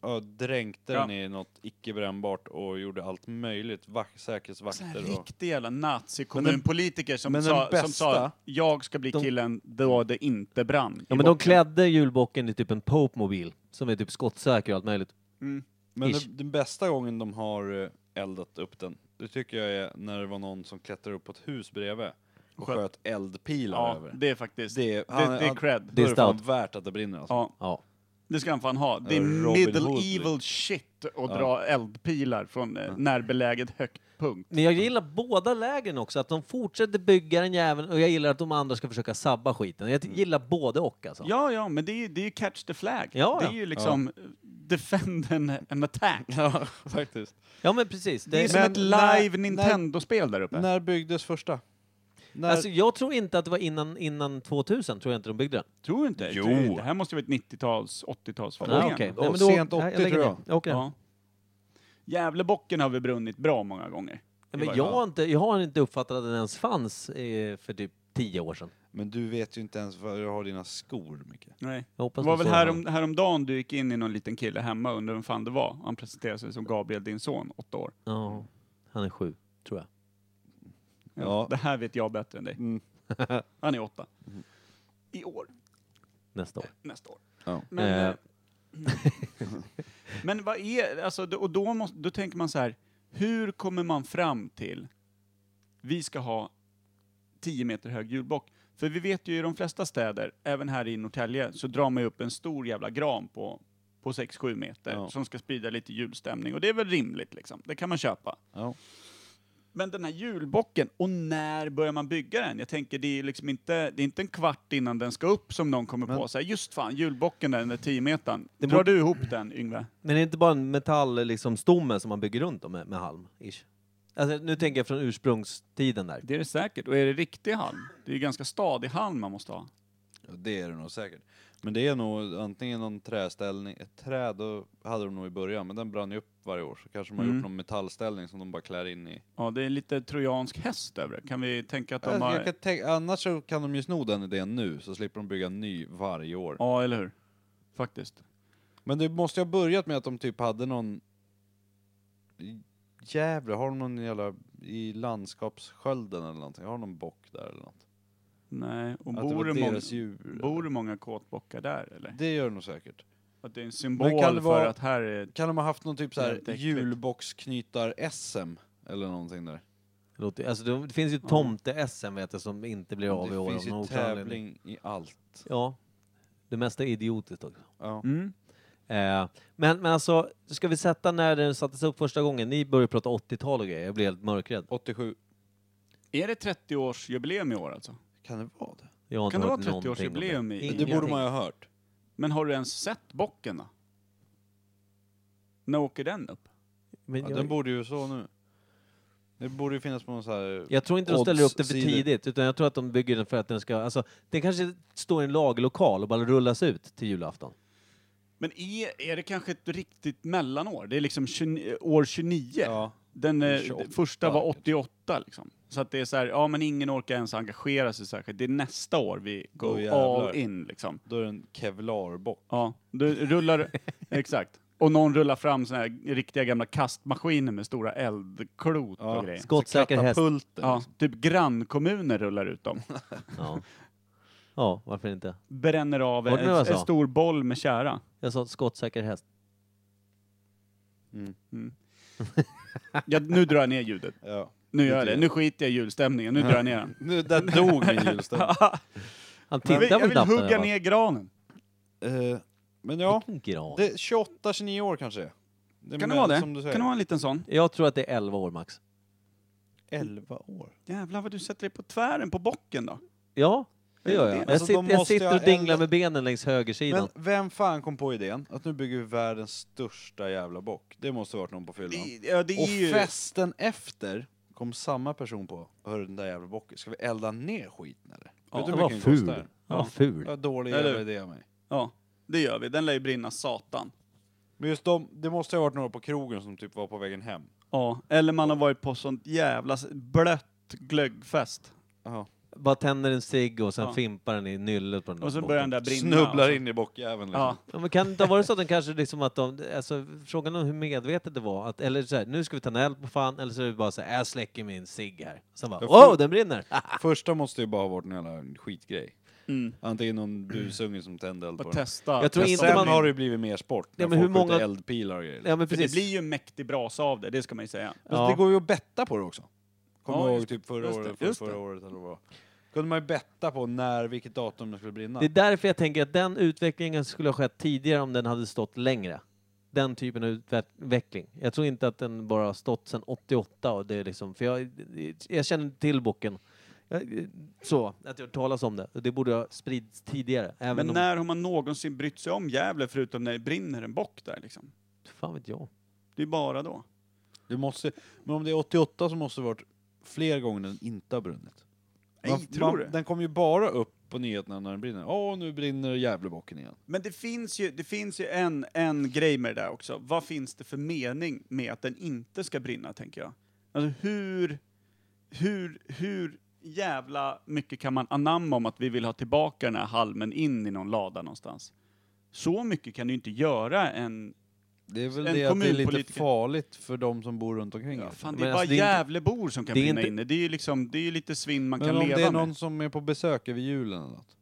Speaker 1: ja, dränkte
Speaker 2: Ja.
Speaker 1: den i något icke brännbart och gjorde allt möjligt. Vak-
Speaker 2: Så här
Speaker 1: säkerhetsvakter och...
Speaker 2: riktig jävla
Speaker 1: Men den-
Speaker 2: nazikommunpolitiker som,
Speaker 1: men
Speaker 2: sa-
Speaker 1: den bästa-
Speaker 2: som sa jag ska bli
Speaker 3: De-
Speaker 2: killen då det inte brann. i
Speaker 3: Ja, men de
Speaker 2: botten."
Speaker 3: klädde julbocken i typ en Pope-mobil som är typ skottsäker och allt möjligt.
Speaker 1: Men
Speaker 3: Ish.
Speaker 1: den, den bästa gången de har eh, eldat upp den, det tycker jag är när det var någon som klättrade upp på ett hus bredvid och
Speaker 2: Sköt.
Speaker 1: sköt, eldpilar
Speaker 2: Ja,
Speaker 1: över.
Speaker 2: det är faktiskt... Det,
Speaker 1: Det, är-
Speaker 2: det, är cred.
Speaker 1: Då är det fan
Speaker 3: stout.
Speaker 1: värt att det brinner alltså.
Speaker 2: Ja,
Speaker 3: Ja.
Speaker 2: det ska han fan ha. Det är
Speaker 1: Robin
Speaker 2: middle
Speaker 1: Hood,
Speaker 2: evil
Speaker 1: liksom.
Speaker 2: shit att dra eldpilar från eh, närbeläget högt punkt.
Speaker 3: Men jag gillar båda lägren också, att de fortsätter bygga den jäveln och jag gillar att de andra ska försöka sabba skiten. Jag gillar både och alltså.
Speaker 2: Ja, ja, men det är, det är ju catch the flag.
Speaker 3: Ja,
Speaker 2: det
Speaker 3: ja.
Speaker 2: är ju liksom defend an, an attack.
Speaker 1: Ja, faktiskt.
Speaker 3: Ja, men precis.
Speaker 2: Det är
Speaker 3: Det,
Speaker 2: som
Speaker 1: Men
Speaker 2: ett live
Speaker 1: när-
Speaker 2: Nintendo-spel där uppe.
Speaker 1: När byggdes första? När...
Speaker 3: alltså, jag tror inte att det var innan, innan 2000, tror jag inte de byggde den.
Speaker 2: Tror du inte?
Speaker 1: Jo.
Speaker 2: Tror du inte? Det här måste ju vara ett 90-tals, 80-tals
Speaker 1: Ja,
Speaker 2: fenomen.
Speaker 1: okej. Och sent 80
Speaker 3: lägger
Speaker 1: tror
Speaker 3: ner.
Speaker 1: jag.
Speaker 3: åker ner.
Speaker 2: Ja. Gävlebocken har vi brunnit bra många gånger.
Speaker 3: Nej, Men jag har, inte, jag har inte uppfattat att den ens fanns eh, för typ tio år sedan.
Speaker 1: Men du vet ju inte ens var du har dina skor, Micke.
Speaker 2: Nej.
Speaker 3: Jag
Speaker 2: Det
Speaker 3: hoppas
Speaker 2: var
Speaker 3: man
Speaker 2: väl
Speaker 3: såg
Speaker 2: härom, häromdagen du gick in i någon liten kille hemma och undrade vem fan det var. Han presenterade sig som Gabriel, din son, åtta år.
Speaker 3: Ja, han är sju, tror jag.
Speaker 1: Ja.
Speaker 2: Det här vet jag bättre än dig.
Speaker 1: Mm.
Speaker 2: Han är åtta. I år.
Speaker 3: Nästa år.
Speaker 2: Nästa år.
Speaker 1: Ja.
Speaker 2: Men,
Speaker 3: Eh.
Speaker 2: eh. mm. men vad är, alltså, då- och då, måste, då tänker man så här, hur kommer man fram till vi ska ha 10 meter hög julbock? För vi vet ju i de flesta städer, även här i Norrtälje, så drar man ju upp en stor jävla gran på, på 6-7 meter
Speaker 1: Ja.
Speaker 2: som ska sprida lite julstämning. Och det är väl rimligt liksom, det kan man köpa.
Speaker 1: Ja.
Speaker 2: Men den här julbocken, och när börjar man bygga den? Jag tänker, det är ju liksom inte, det är inte en kvart innan den ska upp som någon kommer på. Så här, just fan, julbocken där, den där 10 metern.
Speaker 3: Det
Speaker 2: Drar
Speaker 3: borde-
Speaker 2: du ihop den, Yngve?
Speaker 3: Men det är inte bara en metall, liksom, stomme som man bygger runt om med, med halm? Ish. Alltså, nu tänker jag från ursprungstiden där.
Speaker 2: Det är det säkert. Och är det riktig halm? Det är ju ganska stadig halm man måste ha.
Speaker 1: Ja, Det är det nog säkert. Men det är nog antingen någon träställning, ett träd då hade de nog i början, men den brann ju upp varje år. Så kanske de har
Speaker 2: Mm.
Speaker 1: gjort någon metallställning som de bara klär in i.
Speaker 2: Ja, det är lite trojansk häst över det. Kan vi tänka att de
Speaker 1: Jag- jag
Speaker 2: har...
Speaker 1: kan tänka, annars så kan de ju sno den idén nu, så slipper de bygga en ny varje år.
Speaker 2: Ja, eller hur? Faktiskt.
Speaker 1: Men det måste ju ha börjat med att de typ hade någon... Gävle, har de någon jävla... I landskapsskölden eller någonting? Har de någon bock där eller något?
Speaker 2: Nej, och
Speaker 1: att det
Speaker 2: bor
Speaker 1: var
Speaker 2: det, många,
Speaker 1: deras djur?
Speaker 2: bor det många kåtbockar där, eller?
Speaker 1: Det gör det nog säkert.
Speaker 2: Att det är en symbol
Speaker 1: kan det
Speaker 2: för
Speaker 1: vara-
Speaker 2: att här är...
Speaker 1: Kan de ha haft någon typ så här
Speaker 2: Jävligt äckligt.
Speaker 1: julboxknytar-SM? Eller någonting där.
Speaker 3: Det låter- Alltså, det det finns ju tomte-SM vet jag som inte blir av i år.
Speaker 1: det
Speaker 3: av
Speaker 1: finns ju
Speaker 3: någon oklar anledning.
Speaker 1: tävling i allt.
Speaker 3: Ja. Det mesta är idiotiskt också.
Speaker 1: Ja.
Speaker 2: Mm.
Speaker 3: Eh, men, men alltså, ska vi sätta när den sattes upp första gången? Ni började prata 80-tal och grejer, jag blev helt mörkrädd.
Speaker 1: 87.
Speaker 2: Är det 30-årsjubileum i år alltså?
Speaker 1: Kan det vara det?
Speaker 3: Jag har inte
Speaker 2: Kan det vara
Speaker 3: hört någonting om det.
Speaker 2: 30-årsjubileum i...
Speaker 1: Det
Speaker 3: Ingenting.
Speaker 1: borde man ju ha hört.
Speaker 2: Men har du ens sett bocken då? När åker den upp?
Speaker 3: Men
Speaker 1: Ja,
Speaker 3: jag,
Speaker 1: den borde ju så nu. Det borde ju finnas på någon så här...
Speaker 3: jag tror inte de ställer upp det för
Speaker 1: odds-sidor.
Speaker 3: tidigt, utan jag tror att de bygger den för att den ska... Alltså, den kanske står i en lagerlokal och bara rullas ut till julafton.
Speaker 2: Men är, är det kanske ett riktigt mellanår? Det är liksom 20, år 29.
Speaker 1: Ja.
Speaker 2: Den eh,
Speaker 1: 28
Speaker 2: första var 88 liksom. Så att det är så här, ja men ingen orkar ens engagera sig särskilt. Det är nästa år vi
Speaker 1: Då
Speaker 2: går
Speaker 1: jävlar.
Speaker 2: all in liksom.
Speaker 1: Då är det en kevlarbock.
Speaker 2: Ja, du rullar, exakt. Och någon rullar fram såna här riktiga gamla kastmaskiner med stora eldklot
Speaker 1: Ja.
Speaker 2: och grejer.
Speaker 3: Skottsäker häst.
Speaker 1: Katapulten.
Speaker 2: Ja, typ grannkommuner rullar ut dem.
Speaker 3: Ja. ja, varför inte?
Speaker 2: Bränner av
Speaker 3: Var
Speaker 2: en,
Speaker 3: det det jag
Speaker 1: alltså?
Speaker 2: en
Speaker 3: sa?
Speaker 2: stor boll med kära.
Speaker 3: Jag sa skottsäker häst.
Speaker 2: Ja, nu drar jag ner ljudet.
Speaker 1: Ja.
Speaker 2: Nu gör jag
Speaker 1: Det är
Speaker 2: det. Nu skiter jag i julstämningen. Nu drar jag ner den.
Speaker 1: Nu, där dog min julstämning.
Speaker 3: Han
Speaker 2: Jag vill, jag
Speaker 3: tittar väl
Speaker 2: vill
Speaker 3: knappt
Speaker 2: hugga ner granen.
Speaker 1: Eh, men ja,
Speaker 3: ner.
Speaker 1: det 28, 29 år kanske. är
Speaker 2: Kan det
Speaker 1: men-
Speaker 2: vara det?
Speaker 1: Som du säger.
Speaker 2: Kan det vara en liten sån?
Speaker 3: Jag tror att det är 11 år max.
Speaker 1: 11 år?
Speaker 2: Jävlar vad du sätter dig på tvären på bocken då.
Speaker 3: Ja, det gör jag.
Speaker 2: Alltså,
Speaker 1: de
Speaker 3: Jag, sitter, jag
Speaker 1: måste
Speaker 3: sitter
Speaker 1: ha
Speaker 3: och dinglar
Speaker 1: en-
Speaker 3: med benen längs högersidan.
Speaker 1: Men vem fan kom på idén att nu bygger vi världens största jävla bock? Det måste ha varit någon på fyllan.
Speaker 2: Det, ja, det
Speaker 1: Och
Speaker 2: är ju...
Speaker 1: festen efter kom samma person på, hörru den där jävla bocken, ska vi elda ner skiten eller? Vet du
Speaker 10: Ja,
Speaker 1: hur
Speaker 10: vad
Speaker 1: mycket den
Speaker 10: ful.
Speaker 1: kostar?
Speaker 10: Vad ful.
Speaker 1: Vad dålig
Speaker 2: Eller-
Speaker 1: jävla idé av mig.
Speaker 2: Ja, det gör vi. Den lär ju brinna satan.
Speaker 1: Men just de, det måste ha varit några på krogen som typ var på vägen hem.
Speaker 2: Ja, eller man har varit på sånt jävla s- blött glöggfest.
Speaker 3: Bara tänder en cigg och sen
Speaker 2: Ja.
Speaker 3: fimpar den i nyllet på den
Speaker 2: Och så
Speaker 3: båten.
Speaker 2: börjar den där brinna. alltså. och
Speaker 1: Snubblar
Speaker 2: så-
Speaker 1: in i bockjäveln liksom.
Speaker 2: Ja,
Speaker 3: Ja, men kan det inte ha varit så att den kanske liksom att de, alltså frågan om hur medvetet det var, att, eller så här, nu ska vi ta en eld på fan, eller så är det bara så här, jag släcker min cigg här. Sen bara,
Speaker 1: Jag får-
Speaker 3: wow, den brinner!
Speaker 2: Ah,
Speaker 1: Första måste ju bara ha varit en jävla skitgrej.
Speaker 2: mm.
Speaker 1: Antingen någon busunge som tände eld på
Speaker 2: Och
Speaker 1: den.
Speaker 2: testa.
Speaker 3: Jag tror
Speaker 2: testa
Speaker 3: inte
Speaker 1: Sen
Speaker 2: den.
Speaker 3: man-
Speaker 1: har det ju blivit mer sport. När
Speaker 3: Ja, men
Speaker 1: folk
Speaker 3: hur
Speaker 1: har ute
Speaker 3: många-
Speaker 1: eldpilar och grejer.
Speaker 3: Ja men
Speaker 2: För det
Speaker 3: precis.
Speaker 2: blir ju en mäktig brasa av det, det ska man ju säga.
Speaker 1: Men
Speaker 3: Ja.
Speaker 1: det går ju att betta på det också. Kommer
Speaker 2: Ja,
Speaker 1: du ihåg
Speaker 2: just-
Speaker 1: typ förra,
Speaker 2: just det,
Speaker 1: året, förra,
Speaker 2: just det.
Speaker 1: förra året eller vad det var. Kunde man ju betta på när, vilket datum det skulle brinna.
Speaker 3: Det är därför jag tänker att den utvecklingen skulle ha skett tidigare om den hade stått längre. Den typen av utveckling. Jag tror inte att den bara har stått sedan 88 och det är liksom, för jag, jag känner till boken. Jag- Så, att jag har hört talas om det. Det borde ha spridits tidigare. Även
Speaker 2: Men
Speaker 3: om,
Speaker 2: när har man någonsin brytt sig om Gävle förutom när det brinner en bock där liksom?
Speaker 3: fan vet jag.
Speaker 2: Det är bara då.
Speaker 1: Du måste, men om det är 88 så måste det varit fler gånger den inte har brunnit.
Speaker 2: Nej,
Speaker 1: Man-
Speaker 2: tror
Speaker 1: man-
Speaker 2: du?
Speaker 1: Den kommer ju bara upp på nyheterna när den brinner. Åh, nu brinner Gävlebocken igen.
Speaker 2: Men det finns ju, det finns ju en, en grej med det där också. Vad finns det för mening med att den inte ska brinna, tänker jag? Alltså hur, hur, hur jävla mycket kan man anamma om att vi vill ha tillbaka den här halmen in i någon lada någonstans? Så mycket kan du inte göra en...
Speaker 1: Det är väl
Speaker 2: En
Speaker 1: det att det är lite
Speaker 2: kommunpolitiker-
Speaker 1: farligt för de som bor runt omkring.
Speaker 2: Ja,
Speaker 1: er.
Speaker 2: fan, det
Speaker 3: Men
Speaker 2: är
Speaker 3: alltså,
Speaker 2: bara
Speaker 3: det är inte-
Speaker 2: Gävlebor som kan
Speaker 3: det är
Speaker 2: brinna
Speaker 3: inte-
Speaker 2: inne. Det är ju liksom, det är ju lite svinn man
Speaker 1: men
Speaker 2: kan
Speaker 1: om
Speaker 2: leva
Speaker 1: det är någon
Speaker 2: med.
Speaker 1: som är på besök över julen eller något.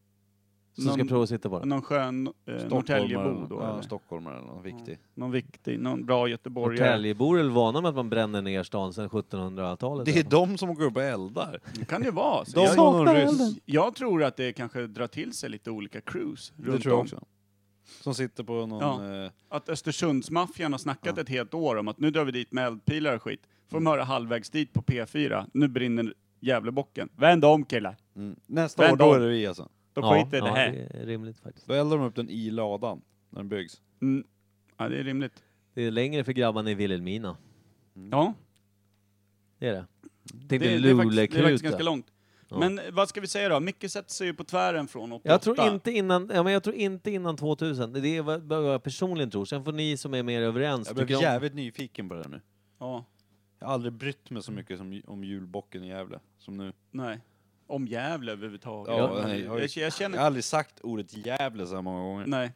Speaker 3: Så ska
Speaker 2: Någon-
Speaker 3: jag prova att sitta på den.
Speaker 2: Någon skön eh, Norrtäljebo då,
Speaker 1: eller något. Ja,
Speaker 2: eller?
Speaker 1: stockholmare eller något viktigt.
Speaker 2: Någon viktig, någon bra göteborgare.
Speaker 3: Norrtäljebor är väl vana med att man bränner ner stan sedan 1700-talet.
Speaker 1: Det är de som går upp och eldar.
Speaker 2: Det kan det vara. Så
Speaker 1: De
Speaker 2: jag,
Speaker 1: och någon ryss.
Speaker 2: jag tror att det kanske drar till sig lite olika crews
Speaker 1: Det
Speaker 2: runt
Speaker 1: tror jag
Speaker 2: om.
Speaker 1: också. Som sitter på någon...
Speaker 2: Ja.
Speaker 1: eh,
Speaker 2: Att Östersundsmaffian har snackat ett helt år om att nu drar vi dit med eldpilar och skit. Får
Speaker 1: Mm.
Speaker 2: de höra halvvägs dit på P4, nu brinner Gävlebocken. Vänd om killar!
Speaker 1: mm. Nästa år,
Speaker 2: Vänd
Speaker 1: då
Speaker 2: om.
Speaker 1: är det vi alltså.
Speaker 2: Då
Speaker 3: ja,
Speaker 2: skiter
Speaker 3: ja,
Speaker 2: det här.
Speaker 3: det är rimligt faktiskt.
Speaker 1: Då eldar de upp den i ladan när den byggs.
Speaker 2: Mm. Ja, det är rimligt.
Speaker 3: Det är längre för grabbarna i Vilhelmina.
Speaker 1: Mm.
Speaker 2: Ja,
Speaker 3: Det är det. Tänk
Speaker 2: det,
Speaker 3: dig
Speaker 2: det, är, faktiskt, det är faktiskt
Speaker 3: Luleå-krut
Speaker 2: ganska
Speaker 3: där.
Speaker 2: långt.
Speaker 3: Ja.
Speaker 2: Men vad ska vi säga då? Micke sätter sig ju på tvären från 88.
Speaker 3: Jag tror, inte innan, ja, men jag tror inte innan 2000. Det är vad vad jag personligen tror. Sen får ni som är mer överens
Speaker 1: Jag blev
Speaker 3: tycka om.
Speaker 1: jävligt nyfiken på det här nu.
Speaker 2: Ja,
Speaker 1: Jag har aldrig brytt mig så mycket som, om julbocken i Gävle som nu.
Speaker 2: nej. Om Gävle överhuvudtaget.
Speaker 1: Ja, nej, jag-
Speaker 2: jag, jag, jag
Speaker 1: Jag
Speaker 2: känner
Speaker 1: har aldrig sagt ordet Gävle så här många gånger.
Speaker 2: Nej.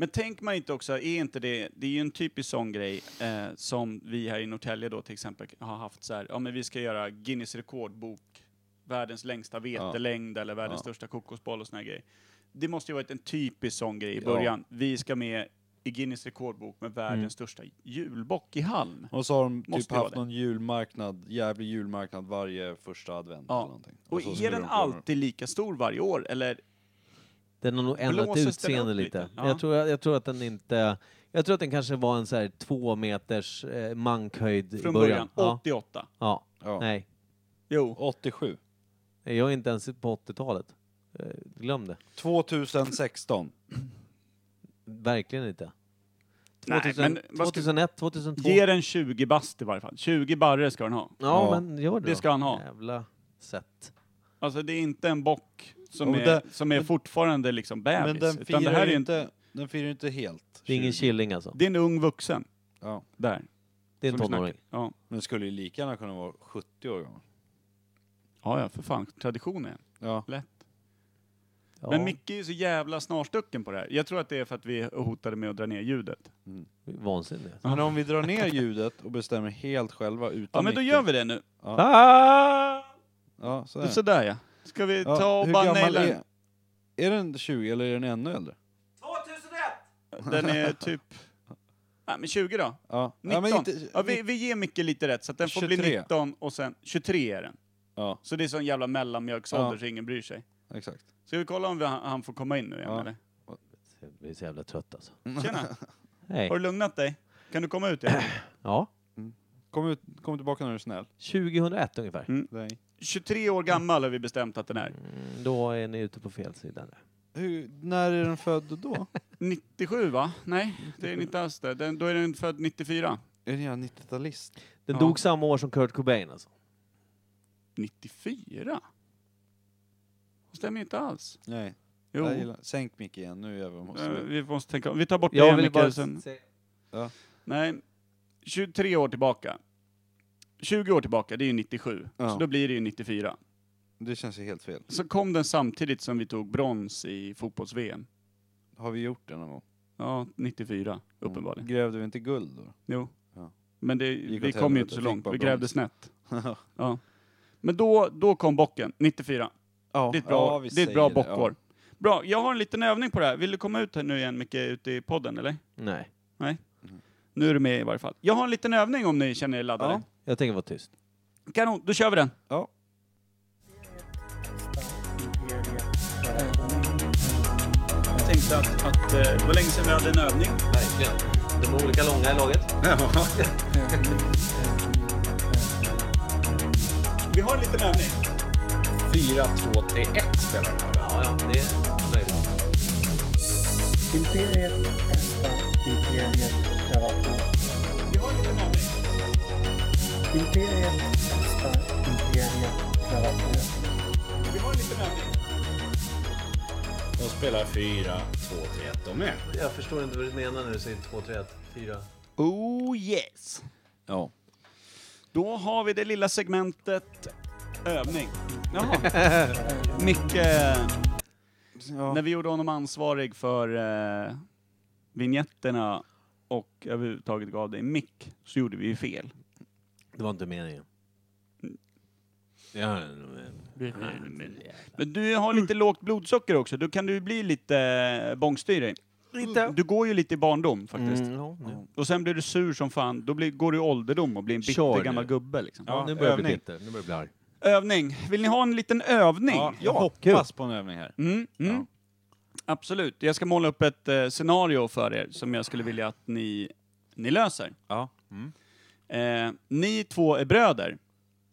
Speaker 2: Men tänk man inte också, är inte det, det är ju en typisk sån grej eh, som vi här i Norrtälje då till exempel har haft så här, ja men vi ska göra Guinness rekordbok, världens längsta vetelängd eller världens
Speaker 1: Ja.
Speaker 2: största kokosboll och såna här grejer. Det måste ju varit en typisk sån grej i
Speaker 1: Ja.
Speaker 2: början. Vi ska med i Guinness rekordbok med världens största julbock i halm.
Speaker 1: Mm. Och så har de typ
Speaker 2: Måste vara
Speaker 1: haft
Speaker 2: det.
Speaker 1: någon julmarknad, jävlig julmarknad varje första advent
Speaker 2: Ja.
Speaker 1: eller någonting.
Speaker 2: Och
Speaker 1: så
Speaker 2: är
Speaker 1: snurrar
Speaker 2: den
Speaker 1: de på
Speaker 2: alltid lika stor varje år eller?
Speaker 3: Den har nog ändrat
Speaker 2: Blåses den
Speaker 3: utseende
Speaker 2: upp
Speaker 3: lite.
Speaker 2: lite? Ja.
Speaker 3: Jag, tror, jag tror att den inte... Jag tror att den kanske var en så här två meters eh, mankhöjd i
Speaker 2: Från
Speaker 3: början.
Speaker 2: början,
Speaker 3: Ja,
Speaker 2: 88.
Speaker 3: ja.
Speaker 1: Ja.
Speaker 3: Nej,
Speaker 2: Jo.
Speaker 1: 87.
Speaker 3: jag är inte ens på 80-talet. Eh, Glöm det.
Speaker 1: 2016.
Speaker 3: Verkligen inte.
Speaker 2: Nej,
Speaker 3: 2000,
Speaker 2: men vad ska-
Speaker 3: 2001, 2002.
Speaker 2: Ge den 20 bast i varje fall. 20 barre ska den ha.
Speaker 3: Ja,
Speaker 1: Ja.
Speaker 3: men gör det
Speaker 2: Det
Speaker 3: då.
Speaker 2: ska han ha.
Speaker 3: Jävla sätt.
Speaker 2: Alltså det är inte en bock som,
Speaker 1: Och
Speaker 2: är,
Speaker 1: det-
Speaker 2: som är
Speaker 1: men-
Speaker 2: fortfarande liksom
Speaker 1: Men
Speaker 2: bebis.
Speaker 1: den
Speaker 2: utan det
Speaker 1: firar
Speaker 2: här
Speaker 1: ju
Speaker 2: är inte,
Speaker 1: inte, den firar ju inte helt.
Speaker 3: Det är ingen
Speaker 1: 20.
Speaker 3: killing alltså.
Speaker 2: det är en ung vuxen.
Speaker 1: Ja.
Speaker 2: Där.
Speaker 3: Det är en
Speaker 2: som vi snackar.
Speaker 3: tonåring.
Speaker 2: Ja.
Speaker 1: Men den skulle ju lika gärna kunna vara 70 år gammal.
Speaker 2: ja, ja för fan. Tradition är en.
Speaker 1: Ja.
Speaker 2: lätt.
Speaker 3: Ja.
Speaker 2: Men Micke är ju så jävla snarstucken på det här. Jag tror att det är för att vi hotade med att dra ner ljudet.
Speaker 3: Vansinnigt.
Speaker 1: Men om vi drar ner ljudet och bestämmer helt själva utan
Speaker 2: Ja men då
Speaker 1: micken.
Speaker 2: gör vi det nu.
Speaker 3: Ah!
Speaker 1: Ja, sådär.
Speaker 2: Sådär ja. Ska vi
Speaker 1: Ja,
Speaker 2: ta och
Speaker 1: hur
Speaker 2: bara
Speaker 1: gammal
Speaker 2: naila den?
Speaker 1: är, är den 20 eller är den ännu äldre?
Speaker 2: Den är typ... Nej men 20 då.
Speaker 1: Ja.
Speaker 2: 19.
Speaker 1: Ja,
Speaker 2: Ja,
Speaker 1: men inte,
Speaker 2: vi, vi ger Micke lite rätt så att den får
Speaker 1: 23.
Speaker 2: bli 19 och sen 23 är den.
Speaker 1: ja,
Speaker 2: Så det är sån jävla mellanmjölksålder
Speaker 1: Ja.
Speaker 2: så ingen bryr sig.
Speaker 1: exakt.
Speaker 2: Ska vi kolla om vi, han, han får komma in nu igen
Speaker 1: Ja.
Speaker 2: eller?
Speaker 3: Jag blir så jävla trött alltså.
Speaker 2: Tjena!
Speaker 3: Nej.
Speaker 2: Har du lugnat dig? Kan du komma ut igen?
Speaker 3: Ja.
Speaker 1: Kom, ut, kom tillbaka när du är snäll.
Speaker 3: 2001 ungefär.
Speaker 1: Nej.
Speaker 2: 23 år gammal har vi bestämt att den är.
Speaker 3: Mm, Då är ni ute på fel sida nu.
Speaker 1: Hur, när är den född då?
Speaker 2: 97 va? Nej, det är den inte alls det. Den, då är den född 94.
Speaker 1: är den en 90-talist?
Speaker 3: Den
Speaker 2: Ja.
Speaker 3: dog samma år som Kurt Cobain alltså.
Speaker 2: 94? Stämmer ju inte alls.
Speaker 1: Nej.
Speaker 2: Jo,
Speaker 1: Jag gillar. Sänk mick igen, nu är vi
Speaker 2: eh,
Speaker 1: måste...
Speaker 2: vi måste tänka om. Vi tar bort
Speaker 3: Jag
Speaker 2: det,
Speaker 3: vill bara
Speaker 2: Mikael. Sen.
Speaker 3: säga...
Speaker 2: Nej, 23 år tillbaka. 20 år tillbaka, det är ju 97.
Speaker 1: Ja.
Speaker 2: Så då blir det ju 94.
Speaker 1: Det känns ju helt fel.
Speaker 2: Så kom den samtidigt som vi tog brons i fotbolls-VM.
Speaker 1: Har vi gjort det någon gång?
Speaker 2: Ja, 94 uppenbarligen.
Speaker 1: Grävde vi inte guld då?
Speaker 2: Jo.
Speaker 1: Ja.
Speaker 2: Men det,
Speaker 1: Gick
Speaker 2: vi
Speaker 1: åt
Speaker 2: kom ju
Speaker 1: helvete,
Speaker 2: inte så
Speaker 1: fick
Speaker 2: långt.
Speaker 1: bara
Speaker 2: Vi grävde
Speaker 1: brons.
Speaker 2: snett. Ja. Men då, då kom bocken, 94.
Speaker 1: ja,
Speaker 2: Det är ett bra,
Speaker 1: ja,
Speaker 2: år.
Speaker 1: vi
Speaker 2: det är ett bra
Speaker 1: säger det, ja.
Speaker 2: bockår. Bra, jag har en liten övning på det här. Vill du komma ut här nu igen Micke, ute i podden eller?
Speaker 3: Nej,
Speaker 2: Nu är du med i varje fall. Jag har en liten övning om ni känner er laddade.
Speaker 3: jag tänker vara tyst.
Speaker 2: Kanon, då kör vi den.
Speaker 1: Ja.
Speaker 2: Jag tänkte att, att eh, det var länge sedan vi hade en övning.
Speaker 5: Verkligen. De är olika långa i laget.
Speaker 2: Vi har en liten övning.
Speaker 5: 4-2-3-1 spelar de Ja, ja, det är möjligt.
Speaker 10: Imperiet testar, Imperiet prövar på.
Speaker 2: Vi har en liten övning.
Speaker 10: Imperiet testar, Imperiet prövar på.
Speaker 2: Vi har en liten övning.
Speaker 11: De spelar 4, 2, 3, 1 de med.
Speaker 5: Jag förstår inte vad du menar när du säger 2-3-1, 4.
Speaker 2: Oh yes!
Speaker 1: Ja.
Speaker 2: Då har vi det lilla segmentet övning. Jaha. Micke, när vi gjorde honom ansvarig för eh, vignetterna och överhuvudtaget gav dig mick så gjorde vi ju fel.
Speaker 3: Det var inte meningen. Ja, men-
Speaker 2: Men du har lite
Speaker 3: Mm.
Speaker 2: lågt blodsocker också, då kan du bli lite eh, bångstyrig.
Speaker 3: Lite.
Speaker 2: Du går ju lite i barndom faktiskt.
Speaker 3: Mm, ja, nu.
Speaker 2: Och sen blir du sur som fan, då blir, går du i ålderdom och blir en bitter
Speaker 3: Kör nu.
Speaker 2: gammal gubbe liksom.
Speaker 3: Ja, nu börjar jag bli bitter. Nu börjar jag bli arg.
Speaker 2: Övning. Vill ni ha en liten övning?
Speaker 1: Ja, jag
Speaker 3: kul.
Speaker 1: hoppas på en övning här.
Speaker 2: Mm, mm.
Speaker 1: Ja.
Speaker 2: Absolut. Jag ska måla upp ett eh, scenario för er som jag skulle vilja att ni, ni löser.
Speaker 1: Ja. Mm.
Speaker 2: Eh, ni två är bröder.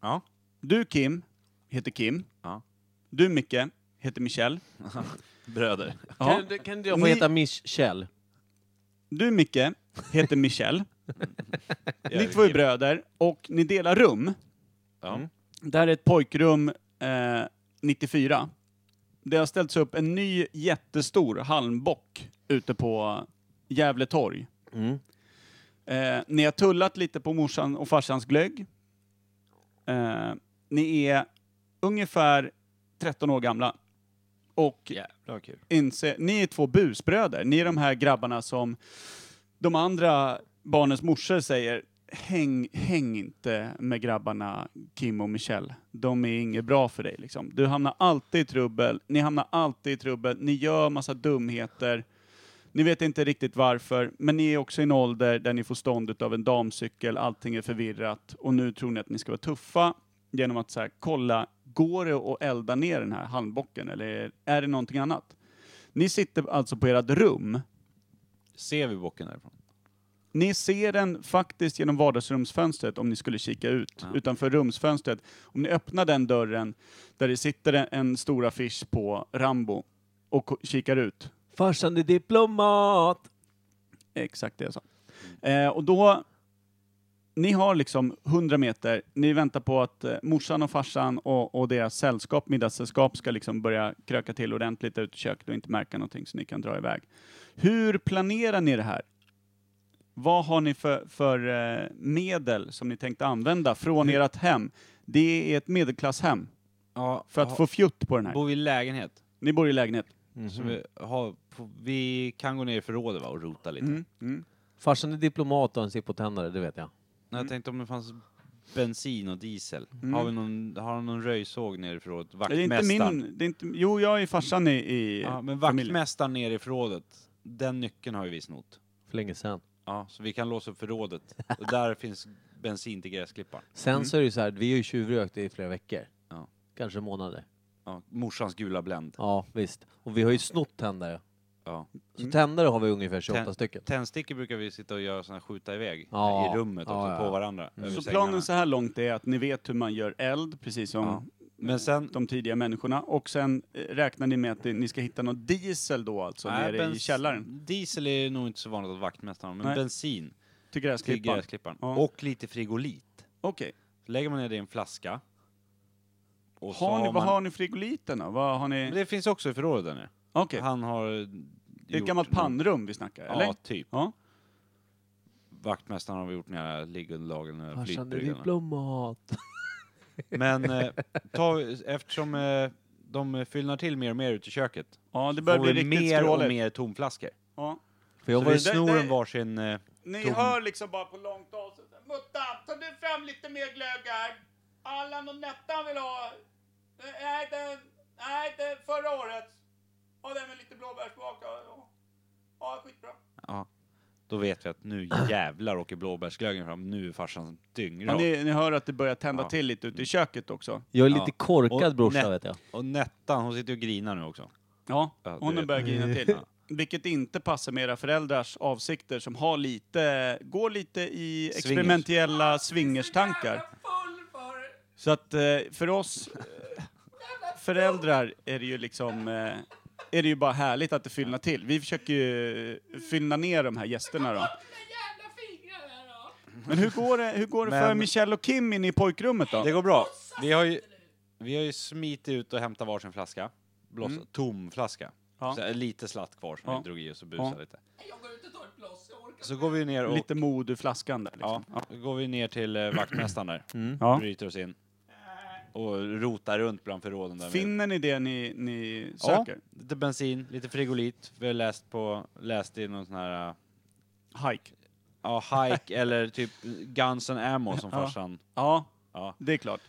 Speaker 1: Ja.
Speaker 2: Du Kim, heter Kim.
Speaker 1: Ja.
Speaker 2: Du Micke, heter Michel.
Speaker 1: Bröder.
Speaker 2: Ja.
Speaker 3: Kan, kan inte jag få
Speaker 2: Ni-
Speaker 3: heta Michel?
Speaker 2: Du Micke, heter Michel. ni två är bröder och ni delar rum.
Speaker 1: Ja.
Speaker 2: Mm. Det här är ett pojkrum eh, 94. Det har ställts upp en ny jättestor halmbock ute på Gävle torg.
Speaker 3: Mm.
Speaker 2: Eh, ni har tullat lite på morsan och farsans glögg. Eh, ni är ungefär 13 år gamla. Och
Speaker 1: Jävlar kul.
Speaker 2: inse, ni är två busbröder. Ni är de här grabbarna som de andra barnens morsor säger häng, häng inte med grabbarna Kim och Michelle. De är inget bra för dig liksom. Du hamnar alltid i trubbel, ni hamnar alltid i trubbel, ni gör massa dumheter. Ni vet inte riktigt varför, men ni är också i en ålder där ni får stånd av en damcykel, allting är förvirrat och nu tror ni att ni ska vara tuffa genom att så här, kolla, går det att elda ner den här handbocken eller är det någonting annat? Ni sitter alltså på ert rum.
Speaker 1: Ser vi bocken därifrån?
Speaker 2: Ni ser den faktiskt genom vardagsrumsfönstret om ni skulle kika ut
Speaker 1: Ja.
Speaker 2: utanför rumsfönstret. Om ni öppnar den dörren där det sitter en- en stor affisch på Rambo och ko- kikar ut
Speaker 3: Farsan är diplomat!
Speaker 2: Exakt det jag sa. Eh, och då, ni har liksom 100 meter, ni väntar på att eh, morsan och farsan och, och deras sällskap, middagssällskap, ska liksom börja kröka till ordentligt ut i köket och inte märka någonting så ni kan dra iväg. Hur planerar ni det här? Vad har ni för, för eh, medel som ni tänkte använda från ert hem? Det är ett medelklasshem
Speaker 1: Ja,
Speaker 2: för att få fjutt på den här.
Speaker 1: Bor vi i lägenhet?
Speaker 2: Ni bor i lägenhet.
Speaker 1: Så
Speaker 2: Mhm.
Speaker 1: vi, har, på, vi kan gå ner i förrådet va, och rota lite.
Speaker 2: Mm. Mm.
Speaker 3: Farsan är diplomat och han ser på tändare, det vet jag.
Speaker 1: Nej, jag tänkte om det fanns bensin och diesel. Har, vi någon, har de någon röjsåg nere i förrådet?
Speaker 2: Det Mm. är
Speaker 1: Vaktmästaren?
Speaker 2: inte min... Det är inte, jo, jag är farsan i, i
Speaker 1: Ja, men
Speaker 2: familjen.
Speaker 1: vaktmästaren nere i förrådet, den nyckeln har ju vi snott.
Speaker 3: För länge sedan.
Speaker 1: Ja, så vi kan låsa upp förrådet. Och där finns bensin till gräsklipparen.
Speaker 3: Sen så är det ju så här, vi har ju tjuvrökt i flera veckor.
Speaker 1: Mm. Ja.
Speaker 3: Kanske månader.
Speaker 1: Ja, morsans gula Blend.
Speaker 3: Ja, visst. Och vi har ju snott tändare.
Speaker 1: Ja. Mm.
Speaker 3: Så tändare har vi ungefär 28
Speaker 1: Tän-
Speaker 3: stycken.
Speaker 1: Tändstickor brukar vi sitta och göra såna här skjuta iväg
Speaker 3: Ja.
Speaker 1: i rummet
Speaker 3: Ja,
Speaker 1: också,
Speaker 3: ja,
Speaker 1: på
Speaker 3: ja.
Speaker 1: varandra. över
Speaker 2: Mm. Så
Speaker 1: sängarna.
Speaker 2: planen så här långt är att ni vet hur man gör eld, precis som
Speaker 1: Ja. Men sen,
Speaker 2: de tidiga människorna. Och sen eh, räknar ni med att ni ska hitta någon diesel då alltså,
Speaker 1: Nej,
Speaker 2: nere i
Speaker 1: bens-
Speaker 2: källaren.
Speaker 1: Diesel är nog inte så vanligt att vaktmästaren har, men
Speaker 2: Nej.
Speaker 1: bensin
Speaker 2: Till
Speaker 1: till
Speaker 2: gräsklipparen.
Speaker 1: gräsklipparen.
Speaker 2: Ja.
Speaker 1: Och lite frigolit.
Speaker 2: Okej.
Speaker 1: Så lägger man ner det i en flaska. Och så
Speaker 2: Har ni,
Speaker 1: har
Speaker 2: vad
Speaker 1: man...
Speaker 2: har ni i frigoliterna? Vad har
Speaker 1: Men
Speaker 2: ni?
Speaker 1: det finns också i förrådet där nu.
Speaker 2: Okej,
Speaker 1: Han har...
Speaker 2: det är ett gammalt pannrum vi snackar,
Speaker 1: Ja,
Speaker 2: eller?
Speaker 1: typ.
Speaker 2: Ja.
Speaker 1: Vaktmästaren har gjort några liggunderlag eller några
Speaker 3: Farsan är
Speaker 1: flytbryggarna.
Speaker 3: diplomat.
Speaker 1: Men eh, ta, eftersom eh, de fyllnar till mer och mer ute i köket.
Speaker 2: Ja, det
Speaker 1: Får
Speaker 2: börjar bli
Speaker 1: vi
Speaker 2: riktigt
Speaker 1: mer och
Speaker 2: skråligt.
Speaker 1: mer tomflaskor.
Speaker 2: Ja.
Speaker 3: För jag
Speaker 1: Så
Speaker 3: var
Speaker 1: vi
Speaker 3: ju
Speaker 2: det-
Speaker 1: snor
Speaker 2: det-
Speaker 1: en varsin... Eh,
Speaker 2: Ni
Speaker 1: Tom.
Speaker 2: hör liksom bara på långt avstånd. Mutta, ta du fram lite mer glöggar. Allan och Nettan vill ha. Nej, den, nej, den förra årets. Och den med lite blåbärssmak. Ja, ja, skitbra.
Speaker 1: ja. Då vet vi att nu jävlar åker blåbärsglöggen fram. Nu är farsan
Speaker 2: Ja,
Speaker 1: dyngrak.
Speaker 2: ni, ni hör att det börjar tända
Speaker 1: Ja.
Speaker 2: till lite ute i köket också.
Speaker 3: Jag är
Speaker 1: Ja.
Speaker 3: lite korkad
Speaker 1: Och
Speaker 3: brorsa
Speaker 1: nä-
Speaker 3: vet jag.
Speaker 1: Och Nettan, hon sitter och grinar nu också.
Speaker 2: Ja,
Speaker 1: Ja, det
Speaker 2: hon
Speaker 1: vet
Speaker 2: börjar
Speaker 1: jag.
Speaker 2: grina till.
Speaker 1: Ja.
Speaker 2: Vilket inte passar med era föräldrars avsikter som har lite, går lite i
Speaker 1: Swingers.
Speaker 2: experimentella swingerstankar. Så att eh, för oss eh, föräldrar är det ju liksom, eh, är det ju bara härligt att det fyllnar till. Vi försöker ju fyllna ner de här gästerna då. Men hur går det, hur går det för
Speaker 1: Men-
Speaker 2: Michelle och Kim inne i pojkrummet då?
Speaker 1: Det går bra. Vi har ju, vi har ju smitit ut och hämtat varsin flaska. Blåsa, Tom flaska.
Speaker 2: Mm. Ja.
Speaker 1: Så här, lite slatt kvar som
Speaker 2: Ja.
Speaker 1: vi drog i oss och busade
Speaker 2: Ja.
Speaker 1: lite. Jag går ut och tar ett bloss, jag orkar Så går vi ner och...
Speaker 2: Lite mod ur flaskan där liksom.
Speaker 1: Ja, Mm. då går vi ner till eh, vaktmästaren där.
Speaker 2: Mm. Ja.
Speaker 1: Bryter oss in. Och rotar runt bland förråden där. med-
Speaker 2: Finner ni det ni, ni
Speaker 1: ja,
Speaker 2: söker?
Speaker 1: lite bensin, lite frigolit. Vi har läst på, läst i någon sån här, eh,
Speaker 2: Hike?
Speaker 1: ja, hike eller typ Guns and ammo som
Speaker 2: Ja.
Speaker 1: farsan.
Speaker 2: Ja,
Speaker 1: Ja.
Speaker 2: det är klart.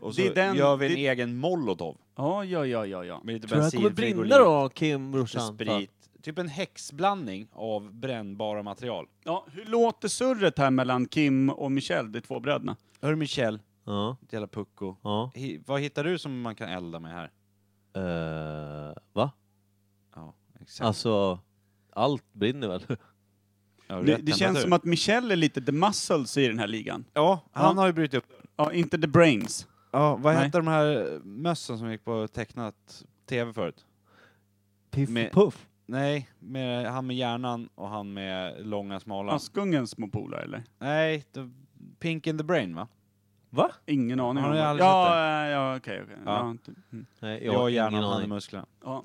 Speaker 1: Och så
Speaker 2: Det är den-
Speaker 1: gör vi en
Speaker 2: det-
Speaker 1: egen molotov.
Speaker 2: Ja, ja, ja, ja, ja.
Speaker 1: Med lite
Speaker 3: Tror du han
Speaker 1: bensin,
Speaker 3: kommer
Speaker 1: frigolit.
Speaker 3: brinna då Kim
Speaker 1: lite
Speaker 3: brorsan?
Speaker 1: sprit. Typ en häxblandning av brännbara material.
Speaker 2: ja. Hur låter surret här mellan Kim och Michelle, de två bröderna?
Speaker 1: Hörru Michel,
Speaker 3: Ja.
Speaker 1: ditt jävla pucko.
Speaker 3: ja.
Speaker 1: Hi, vad hittar du som man kan elda med här?
Speaker 3: Eh, va?
Speaker 1: Ja, exakt.
Speaker 3: Alltså, allt brinner väl?
Speaker 1: Ja,
Speaker 2: Det,
Speaker 1: rätt
Speaker 2: det känns
Speaker 1: temperatur.
Speaker 2: som att Michelle är lite the muscles i den här ligan.
Speaker 1: Ja, han
Speaker 2: Ja.
Speaker 1: har ju brutit upp.
Speaker 2: Ja, inte the brains.
Speaker 1: Ja, vad
Speaker 2: Nej.
Speaker 1: hette de här eh, mössen som gick på tecknat tv förut?
Speaker 3: Piff
Speaker 1: Med-
Speaker 3: och Puff?
Speaker 1: Nej, med, han med hjärnan och han med långa smala.
Speaker 2: Askungens små polare eller?
Speaker 1: Nej, the, Pink in the brain va?
Speaker 3: Va?
Speaker 2: Ingen aning.
Speaker 1: Har
Speaker 2: om
Speaker 1: ni
Speaker 2: vad-
Speaker 1: aldrig
Speaker 2: ja,
Speaker 1: sett
Speaker 2: ja, ja, okej, okej.
Speaker 1: Ja.
Speaker 2: Ja. inte- mm.
Speaker 3: Nej,
Speaker 1: Jag och
Speaker 3: ingen
Speaker 1: hjärnan, han
Speaker 3: aning.
Speaker 1: är musklerna.
Speaker 2: ja.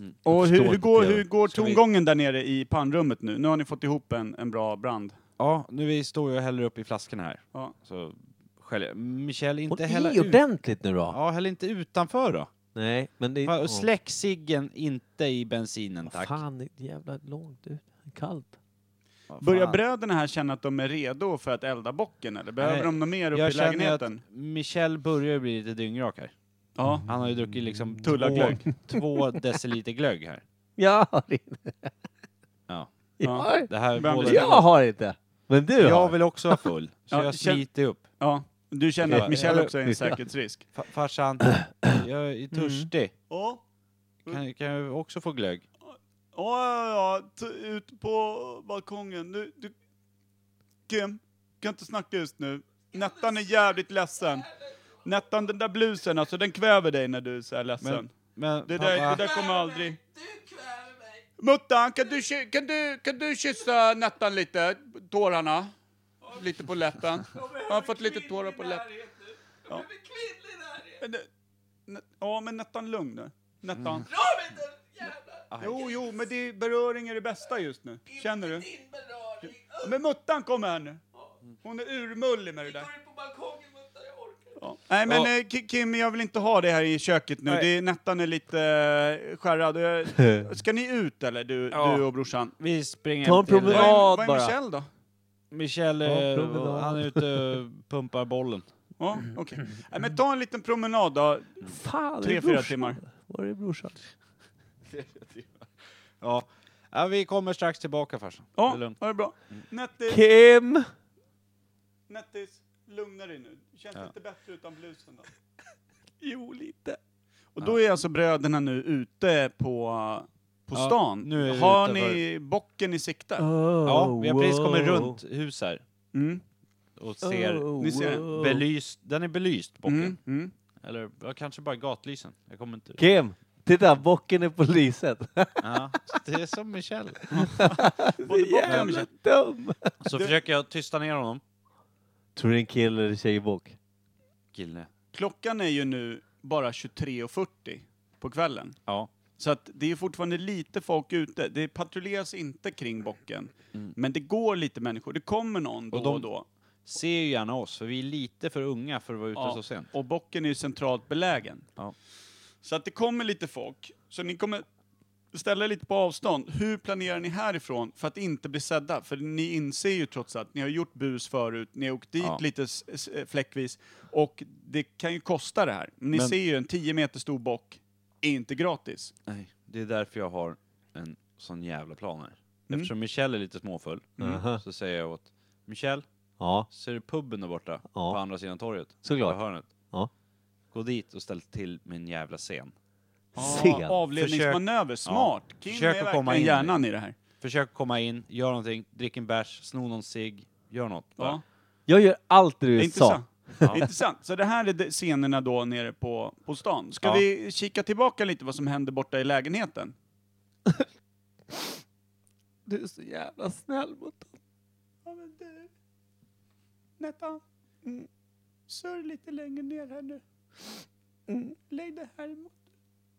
Speaker 1: Mm.
Speaker 2: Och
Speaker 3: förstår
Speaker 2: hur, hur,
Speaker 3: inte
Speaker 2: går,
Speaker 3: det.
Speaker 2: hur går
Speaker 1: Ska vi-
Speaker 2: tongången där nere i pannrummet nu? Nu har ni fått ihop en, en bra brand.
Speaker 1: Ja, nu vi står ju och häller upp i flaskorna här.
Speaker 2: Ja.
Speaker 1: Så skäljer Michel,
Speaker 3: Hon
Speaker 1: inte hälla
Speaker 3: är
Speaker 1: ut.
Speaker 3: ju ordentligt nu då.
Speaker 1: Ja, häll inte utanför då.
Speaker 3: Nej, men det...
Speaker 1: Fan, och Släck ciggen inte i bensinen
Speaker 3: Vad
Speaker 1: tack.
Speaker 3: Fan, det är jävla långt ut. Kallt.
Speaker 1: Vad fan.
Speaker 2: Börjar bröderna här känna att de är redo för att elda bocken eller behöver
Speaker 1: Nej,
Speaker 2: de något mer uppe i
Speaker 1: Jag känner ju
Speaker 2: lägenheten?
Speaker 1: att Michel börjar ju bli lite dyngrak här.
Speaker 2: Ja.
Speaker 1: Han har ju druckit liksom
Speaker 2: Tulla
Speaker 1: två,
Speaker 2: glögg.
Speaker 1: två deciliter glögg här.
Speaker 3: Jag har inte.
Speaker 1: Ja.
Speaker 2: Ja.
Speaker 1: Det här
Speaker 2: Börjar
Speaker 1: båda
Speaker 2: bli-
Speaker 3: Jag har inte. Men du
Speaker 1: Jag
Speaker 3: har.
Speaker 1: vill också vara full, så
Speaker 2: Ja,
Speaker 1: jag
Speaker 2: känn-
Speaker 1: smiter upp.
Speaker 2: ja. Du känner
Speaker 1: Ja.
Speaker 2: att Michelle också är en
Speaker 3: Ja.
Speaker 2: säkerhetsrisk?
Speaker 1: Fa- farsan, jag är törstig.
Speaker 2: Ja.
Speaker 1: Kan, kan jag också få glögg?
Speaker 2: Ja, ja, ja. T- ut på balkongen. Du, du... Kim, kan inte snacka just nu. Nettan är jävligt ledsen. Nettan, den där blusen, alltså den kväver dig när du är så här ledsen.
Speaker 1: Men, men
Speaker 2: det, där,
Speaker 1: pappa,
Speaker 2: det där kommer aldrig... Muttan, kan du, ky- kan, du, kan du kyssa Nettan lite? Tårarna? Lite på läppen. Jag har fått lite tårar på läppen. Ja. Men det- Ne- Ja, men Nettan, lugn nu.
Speaker 3: Mm.
Speaker 2: Nettan.
Speaker 3: Ah,
Speaker 2: Jo, jo, men det är beröring är det bästa just nu. Känner du? Men Muttan kommer här nu. Hon är urmullig med det där. Ja. Nej men
Speaker 1: Ja.
Speaker 2: eh, Ki- Kim, jag vill inte ha det här i köket nu.
Speaker 1: Nej.
Speaker 2: Det är, Nettan är lite eh, skärrad. Och jag- Ska ni ut eller, du,
Speaker 1: Ja.
Speaker 2: du och brorsan?
Speaker 1: vi springer
Speaker 3: Ta
Speaker 1: hem
Speaker 3: en
Speaker 1: till...
Speaker 2: Vad
Speaker 3: promenad.
Speaker 2: är,
Speaker 3: Ja,
Speaker 2: vad är
Speaker 3: bara.
Speaker 2: Michelle då?
Speaker 1: Michel,
Speaker 3: Ta en
Speaker 1: eh,
Speaker 3: promenad.
Speaker 1: han är ute och pumpar bollen.
Speaker 2: Ja, okej. Nej, Men ta en liten promenad då.
Speaker 3: Fan,
Speaker 2: Tre,
Speaker 3: är det
Speaker 2: fyra
Speaker 3: brorsan?
Speaker 2: timmar.
Speaker 3: Var är brorsan?
Speaker 1: Ja. ja, vi kommer strax tillbaka farsan.
Speaker 2: Ja,
Speaker 1: Det är lugnt. Mm.
Speaker 2: ha det bra. Nettis,
Speaker 3: Kim!
Speaker 2: Nettis, lugna dig nu. Känns
Speaker 1: Ja.
Speaker 2: lite bättre utan blusen då?
Speaker 3: Jo, lite.
Speaker 2: Och då är alltså bröderna nu ute på, på
Speaker 1: Ja,
Speaker 2: stan.
Speaker 1: nu är vi
Speaker 2: Har
Speaker 1: ute
Speaker 2: ni bocken i sikte?
Speaker 1: Ja, vi har precis
Speaker 2: Oh.
Speaker 1: kommit runt hus här
Speaker 2: Mm.
Speaker 1: och ser...
Speaker 2: Ni ser
Speaker 1: oh. Belyst, den är belyst, bocken.
Speaker 2: Mm. Mm.
Speaker 1: Eller ja, kanske bara gatlysen. Jag kommer inte...
Speaker 3: Kim! Titta, bocken är på lyset.
Speaker 1: Ja, det är som Michel.
Speaker 2: Både bocken och
Speaker 3: Jävla
Speaker 2: Michelle.
Speaker 3: dum!
Speaker 1: Så försöker jag tysta ner honom.
Speaker 3: Tror du det är en kille eller tjejbock?
Speaker 1: Kille.
Speaker 2: Klockan är ju nu bara 23.40 på kvällen.
Speaker 1: Ja.
Speaker 2: Så att det är fortfarande lite folk ute. Det patrulleras inte kring bocken. Men det går lite människor. Det kommer någon då
Speaker 1: Mm. Och
Speaker 2: och,
Speaker 1: de-
Speaker 2: då.
Speaker 1: Ser ju gärna oss, för vi är lite för unga för att vara ute
Speaker 2: Ja,
Speaker 1: så sent.
Speaker 2: Och bocken är ju centralt belägen.
Speaker 1: Ja.
Speaker 2: Så att det kommer lite folk. Så ni kommer ställa er lite på avstånd. Hur planerar ni härifrån för att inte bli sedda? För ni inser ju trots allt, ni har gjort bus förut, ni har åkt dit
Speaker 1: Ja.
Speaker 2: lite s- s- fläckvis. Och det kan ju kosta det här. Ni
Speaker 1: Men-
Speaker 2: ser ju en 10 meter stor bock är inte gratis.
Speaker 1: Nej, det är därför jag har en sån jävla plan här.
Speaker 2: Mm.
Speaker 1: Eftersom Michelle är lite småfull
Speaker 3: Aha.
Speaker 1: så säger jag åt Michelle,
Speaker 3: Ja,
Speaker 1: ser du puben där borta?
Speaker 3: Ja.
Speaker 1: På andra sidan torget?
Speaker 3: Såklart.
Speaker 1: På hörnet?
Speaker 3: Ja.
Speaker 1: Gå dit och ställ till med en jävla scen.
Speaker 3: Sen.
Speaker 2: Ah, avledningsmanöver, smart!
Speaker 1: Ja.
Speaker 2: Kim
Speaker 1: Försök
Speaker 2: är
Speaker 1: att
Speaker 2: verkligen
Speaker 1: komma in.
Speaker 2: hjärnan i det här.
Speaker 1: Försök komma in, gör någonting, drick en bärs, sno någon cigg, gör något.
Speaker 2: Ja.
Speaker 1: bara.
Speaker 3: jag gör allt det
Speaker 2: Det är
Speaker 3: du sa.
Speaker 2: Intressant. Intressant. Så det här är de- scenerna då nere på, på stan. Ska
Speaker 1: Ja.
Speaker 2: vi kika tillbaka lite vad som hände borta i lägenheten?
Speaker 3: Du är så jävla snäll mot dem.
Speaker 2: Ja, men du. Nettan. Mm. Sörj lite längre ner här nu. Mm. Lägg dig här emot.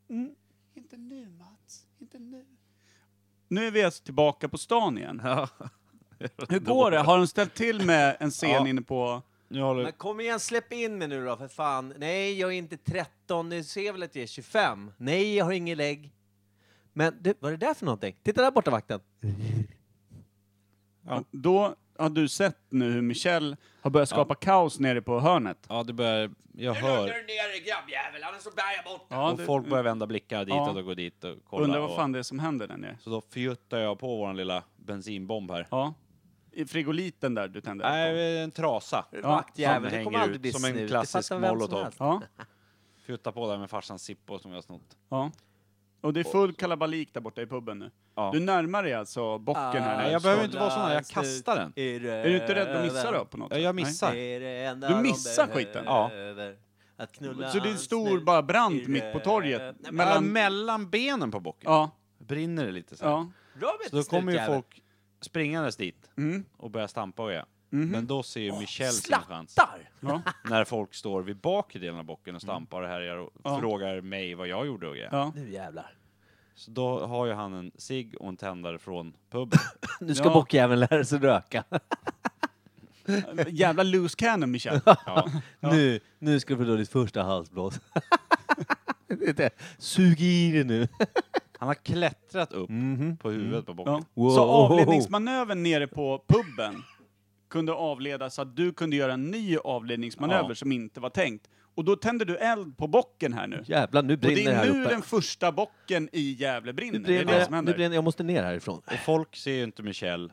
Speaker 2: Mm. Inte nu Mats, inte nu. Nu är vi alltså tillbaka på stan igen. Hur går det? Har de ställt till med en scen
Speaker 1: Ja.
Speaker 2: inne på...
Speaker 1: Nu håller
Speaker 3: Men kom igen, släpp in mig nu då för fan. Nej, jag är inte 13. Ni ser väl att jag är 25? Nej, jag har ingen lägg. Men du, vad är det där för någonting? Titta där borta vakten.
Speaker 2: Ja. Då har du sett nu hur Michelle har börjat skapa kaos nere på hörnet.
Speaker 1: Ja, det börjar... Jag hör.
Speaker 5: ner grabbjävel, annars så bär jag bort
Speaker 2: Ja,
Speaker 1: och
Speaker 2: du-
Speaker 1: folk börjar vända blickar ditåt
Speaker 2: Ja.
Speaker 1: och gå dit och kolla.
Speaker 2: Undrar vad
Speaker 1: och-
Speaker 2: fan det är som händer där nere.
Speaker 1: Så då fjuttar jag på våran lilla bensinbomb här.
Speaker 2: Ja. I frigoliten där du tände eld på.
Speaker 1: Nej, en trasa.
Speaker 3: Vaktjävel,
Speaker 1: som
Speaker 3: du kommer
Speaker 1: hänger
Speaker 3: aldrig
Speaker 1: ut
Speaker 3: bli
Speaker 1: som en
Speaker 3: snut. Det
Speaker 1: klassisk
Speaker 3: fattar vem som
Speaker 1: molotov.
Speaker 3: helst.
Speaker 2: Ja,
Speaker 1: Fjuttar på där med farsans Zippo som jag har snott.
Speaker 2: ja. Och det är full kalabalik där borta i puben nu.
Speaker 1: Ja.
Speaker 2: Du närmar dig alltså bocken här.
Speaker 3: Ah,
Speaker 2: när
Speaker 1: nej,
Speaker 2: du
Speaker 1: jag
Speaker 2: står.
Speaker 1: behöver inte vara sån här, jag kastar den.
Speaker 2: Är du inte rädd att missa då på något
Speaker 1: Ja,
Speaker 2: sätt?
Speaker 1: jag missar.
Speaker 2: Du missar skiten.
Speaker 1: Ja.
Speaker 3: Att
Speaker 2: Nej.
Speaker 3: knulla
Speaker 2: Så det är en
Speaker 3: hans
Speaker 2: stor
Speaker 3: snut.
Speaker 2: bara brand mitt på torget?
Speaker 3: Nej, men-
Speaker 1: Mellan,
Speaker 2: Mellan...
Speaker 1: mellan benen på bocken
Speaker 2: Ja,
Speaker 1: brinner det lite så, här.
Speaker 2: ja.
Speaker 3: Robert,
Speaker 1: så då kommer ju
Speaker 3: snutjävel.
Speaker 1: folk springandes dit
Speaker 2: Mm.
Speaker 1: och börjar stampa och greja.
Speaker 2: Mhm.
Speaker 1: Men då ser ju Michelle sin chans.
Speaker 3: Slattar!
Speaker 2: Ja,
Speaker 1: När folk står vid bakre delen av bocken och stampar och härjar och
Speaker 2: Ja.
Speaker 1: frågar mig vad jag gjorde och grejer.
Speaker 2: ja.
Speaker 3: Nu jävlar.
Speaker 1: Så då har ju han en cigg och en tändare från puben.
Speaker 3: Nu ska
Speaker 2: Ja.
Speaker 3: bockjäveln lära sig röka.
Speaker 2: Jävla loose cannon, Michel.
Speaker 1: Ja.
Speaker 3: Nu, nu ska du få då ditt första halsblås. Det är det. Sug i dig nu.
Speaker 1: Han har klättrat upp på huvudet på bocken.
Speaker 2: Mhm. Ja.
Speaker 3: Wow.
Speaker 2: Så avledningsmanövern nere på puben kunde avledas så att du kunde göra en ny avledningsmanöver
Speaker 1: Ja.
Speaker 2: som inte var tänkt. Och då tänder du eld på bocken här nu.
Speaker 3: Jävlar, nu
Speaker 2: Och det
Speaker 3: brinner det
Speaker 2: är
Speaker 3: här
Speaker 2: nu
Speaker 3: uppe.
Speaker 2: den första bocken i Gävle brinner.
Speaker 3: Nu
Speaker 2: Det är det som
Speaker 3: brinner, nu
Speaker 2: händer.
Speaker 3: brinner, jag måste ner härifrån.
Speaker 1: Och folk ser ju inte Michelle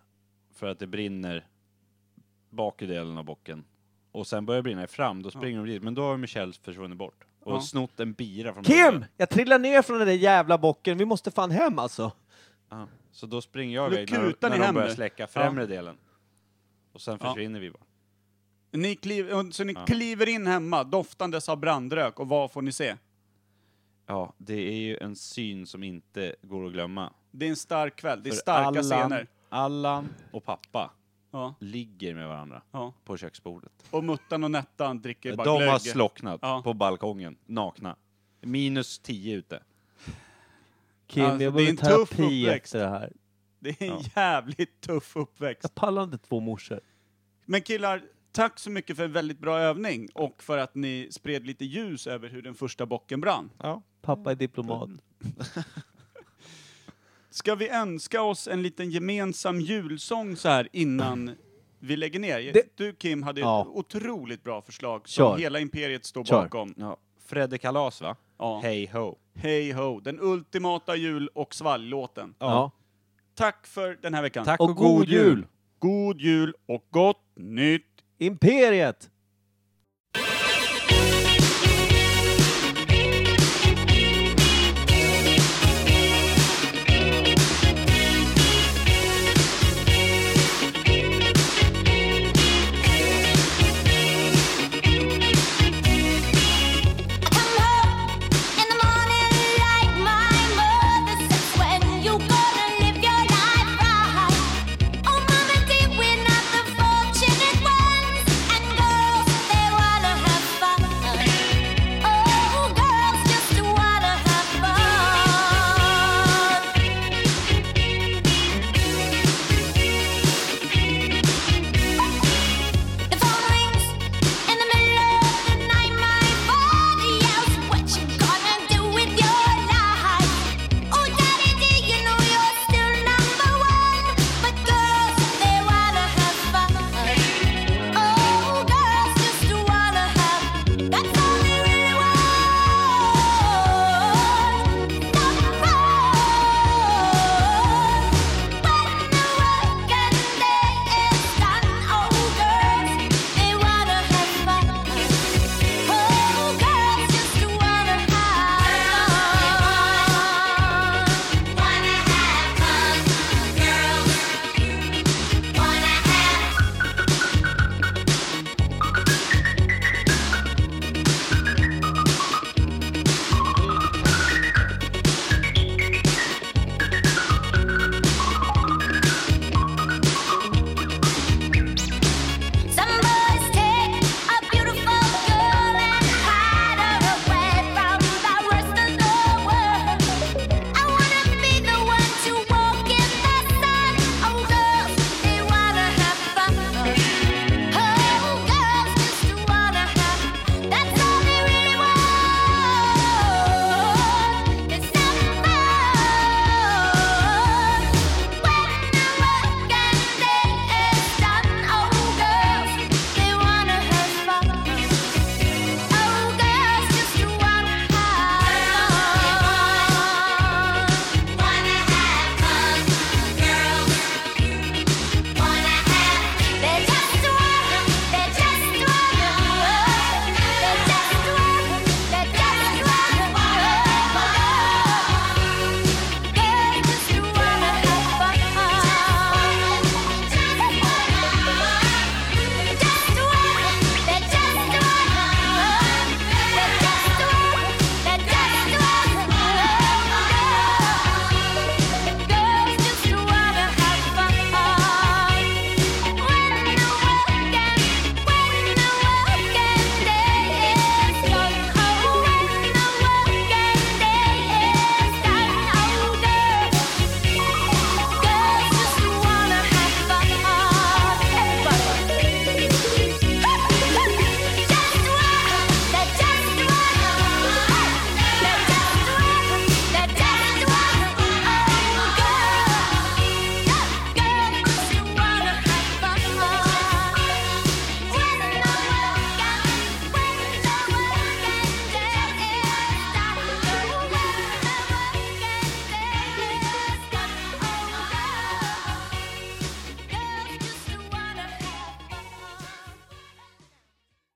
Speaker 1: för att det brinner bakre delen av bocken. Och sen börjar det brinna i fram, då springer de dit. Men då har Michelle försvunnit bort. Och
Speaker 2: Ja.
Speaker 1: snott en bira från
Speaker 3: Kim!
Speaker 1: bocken.
Speaker 3: Jag trillar ner från den där jävla bocken. Vi måste fan hem alltså.
Speaker 1: Ja. Så då springer jag
Speaker 2: Nu
Speaker 1: iväg när,
Speaker 2: kutar ni
Speaker 1: när de
Speaker 2: hem
Speaker 1: börjar
Speaker 2: nu.
Speaker 1: släcka främre delen. Och sen
Speaker 2: Ja.
Speaker 1: försvinner vi bara.
Speaker 2: Ni kliv, och- så ni kliver in hemma, doftandes av brandrök, och vad får ni se?
Speaker 1: Ja, det är ju en syn som inte går att glömma.
Speaker 2: Det är en stark kväll, det är
Speaker 1: För
Speaker 2: starka
Speaker 1: Allan,
Speaker 2: scener.
Speaker 1: Allan och pappa
Speaker 2: Ja,
Speaker 1: ligger med varandra
Speaker 2: ja.
Speaker 1: på köksbordet.
Speaker 2: Och Muttan och Nettan dricker
Speaker 1: De
Speaker 2: bara glögg.
Speaker 1: har slocknat
Speaker 2: Ja.
Speaker 1: på balkongen, nakna. Minus 10 ute.
Speaker 3: Kim,
Speaker 2: Alltså,
Speaker 3: jag
Speaker 2: det är
Speaker 3: behöver
Speaker 2: en tuff
Speaker 3: terapi
Speaker 2: uppväxt.
Speaker 3: efter det här.
Speaker 2: Det är en
Speaker 1: Ja.
Speaker 2: jävligt tuff uppväxt.
Speaker 3: Jag pallar inte två morsor.
Speaker 2: Men killar, tack så mycket för en väldigt bra övning och för att ni spred lite ljus över hur den första bocken brann.
Speaker 3: Pappa är diplomat.
Speaker 2: Ska vi önska oss en liten gemensam julsång så här innan vi lägger ner?
Speaker 3: Det-
Speaker 2: Du Kim hade
Speaker 3: Ja.
Speaker 2: ett otroligt bra förslag som
Speaker 3: Kör.
Speaker 2: hela imperiet står
Speaker 3: Kör.
Speaker 2: bakom.
Speaker 1: Ja. Fredde Kalas va?
Speaker 2: Ja.
Speaker 1: Hej ho.
Speaker 2: Hej ho, den ultimata jul och svall-låten.
Speaker 3: Ja.
Speaker 2: Tack för den här veckan.
Speaker 1: Tack
Speaker 3: Och god jul!
Speaker 2: God jul och gott nytt
Speaker 3: Imperiet!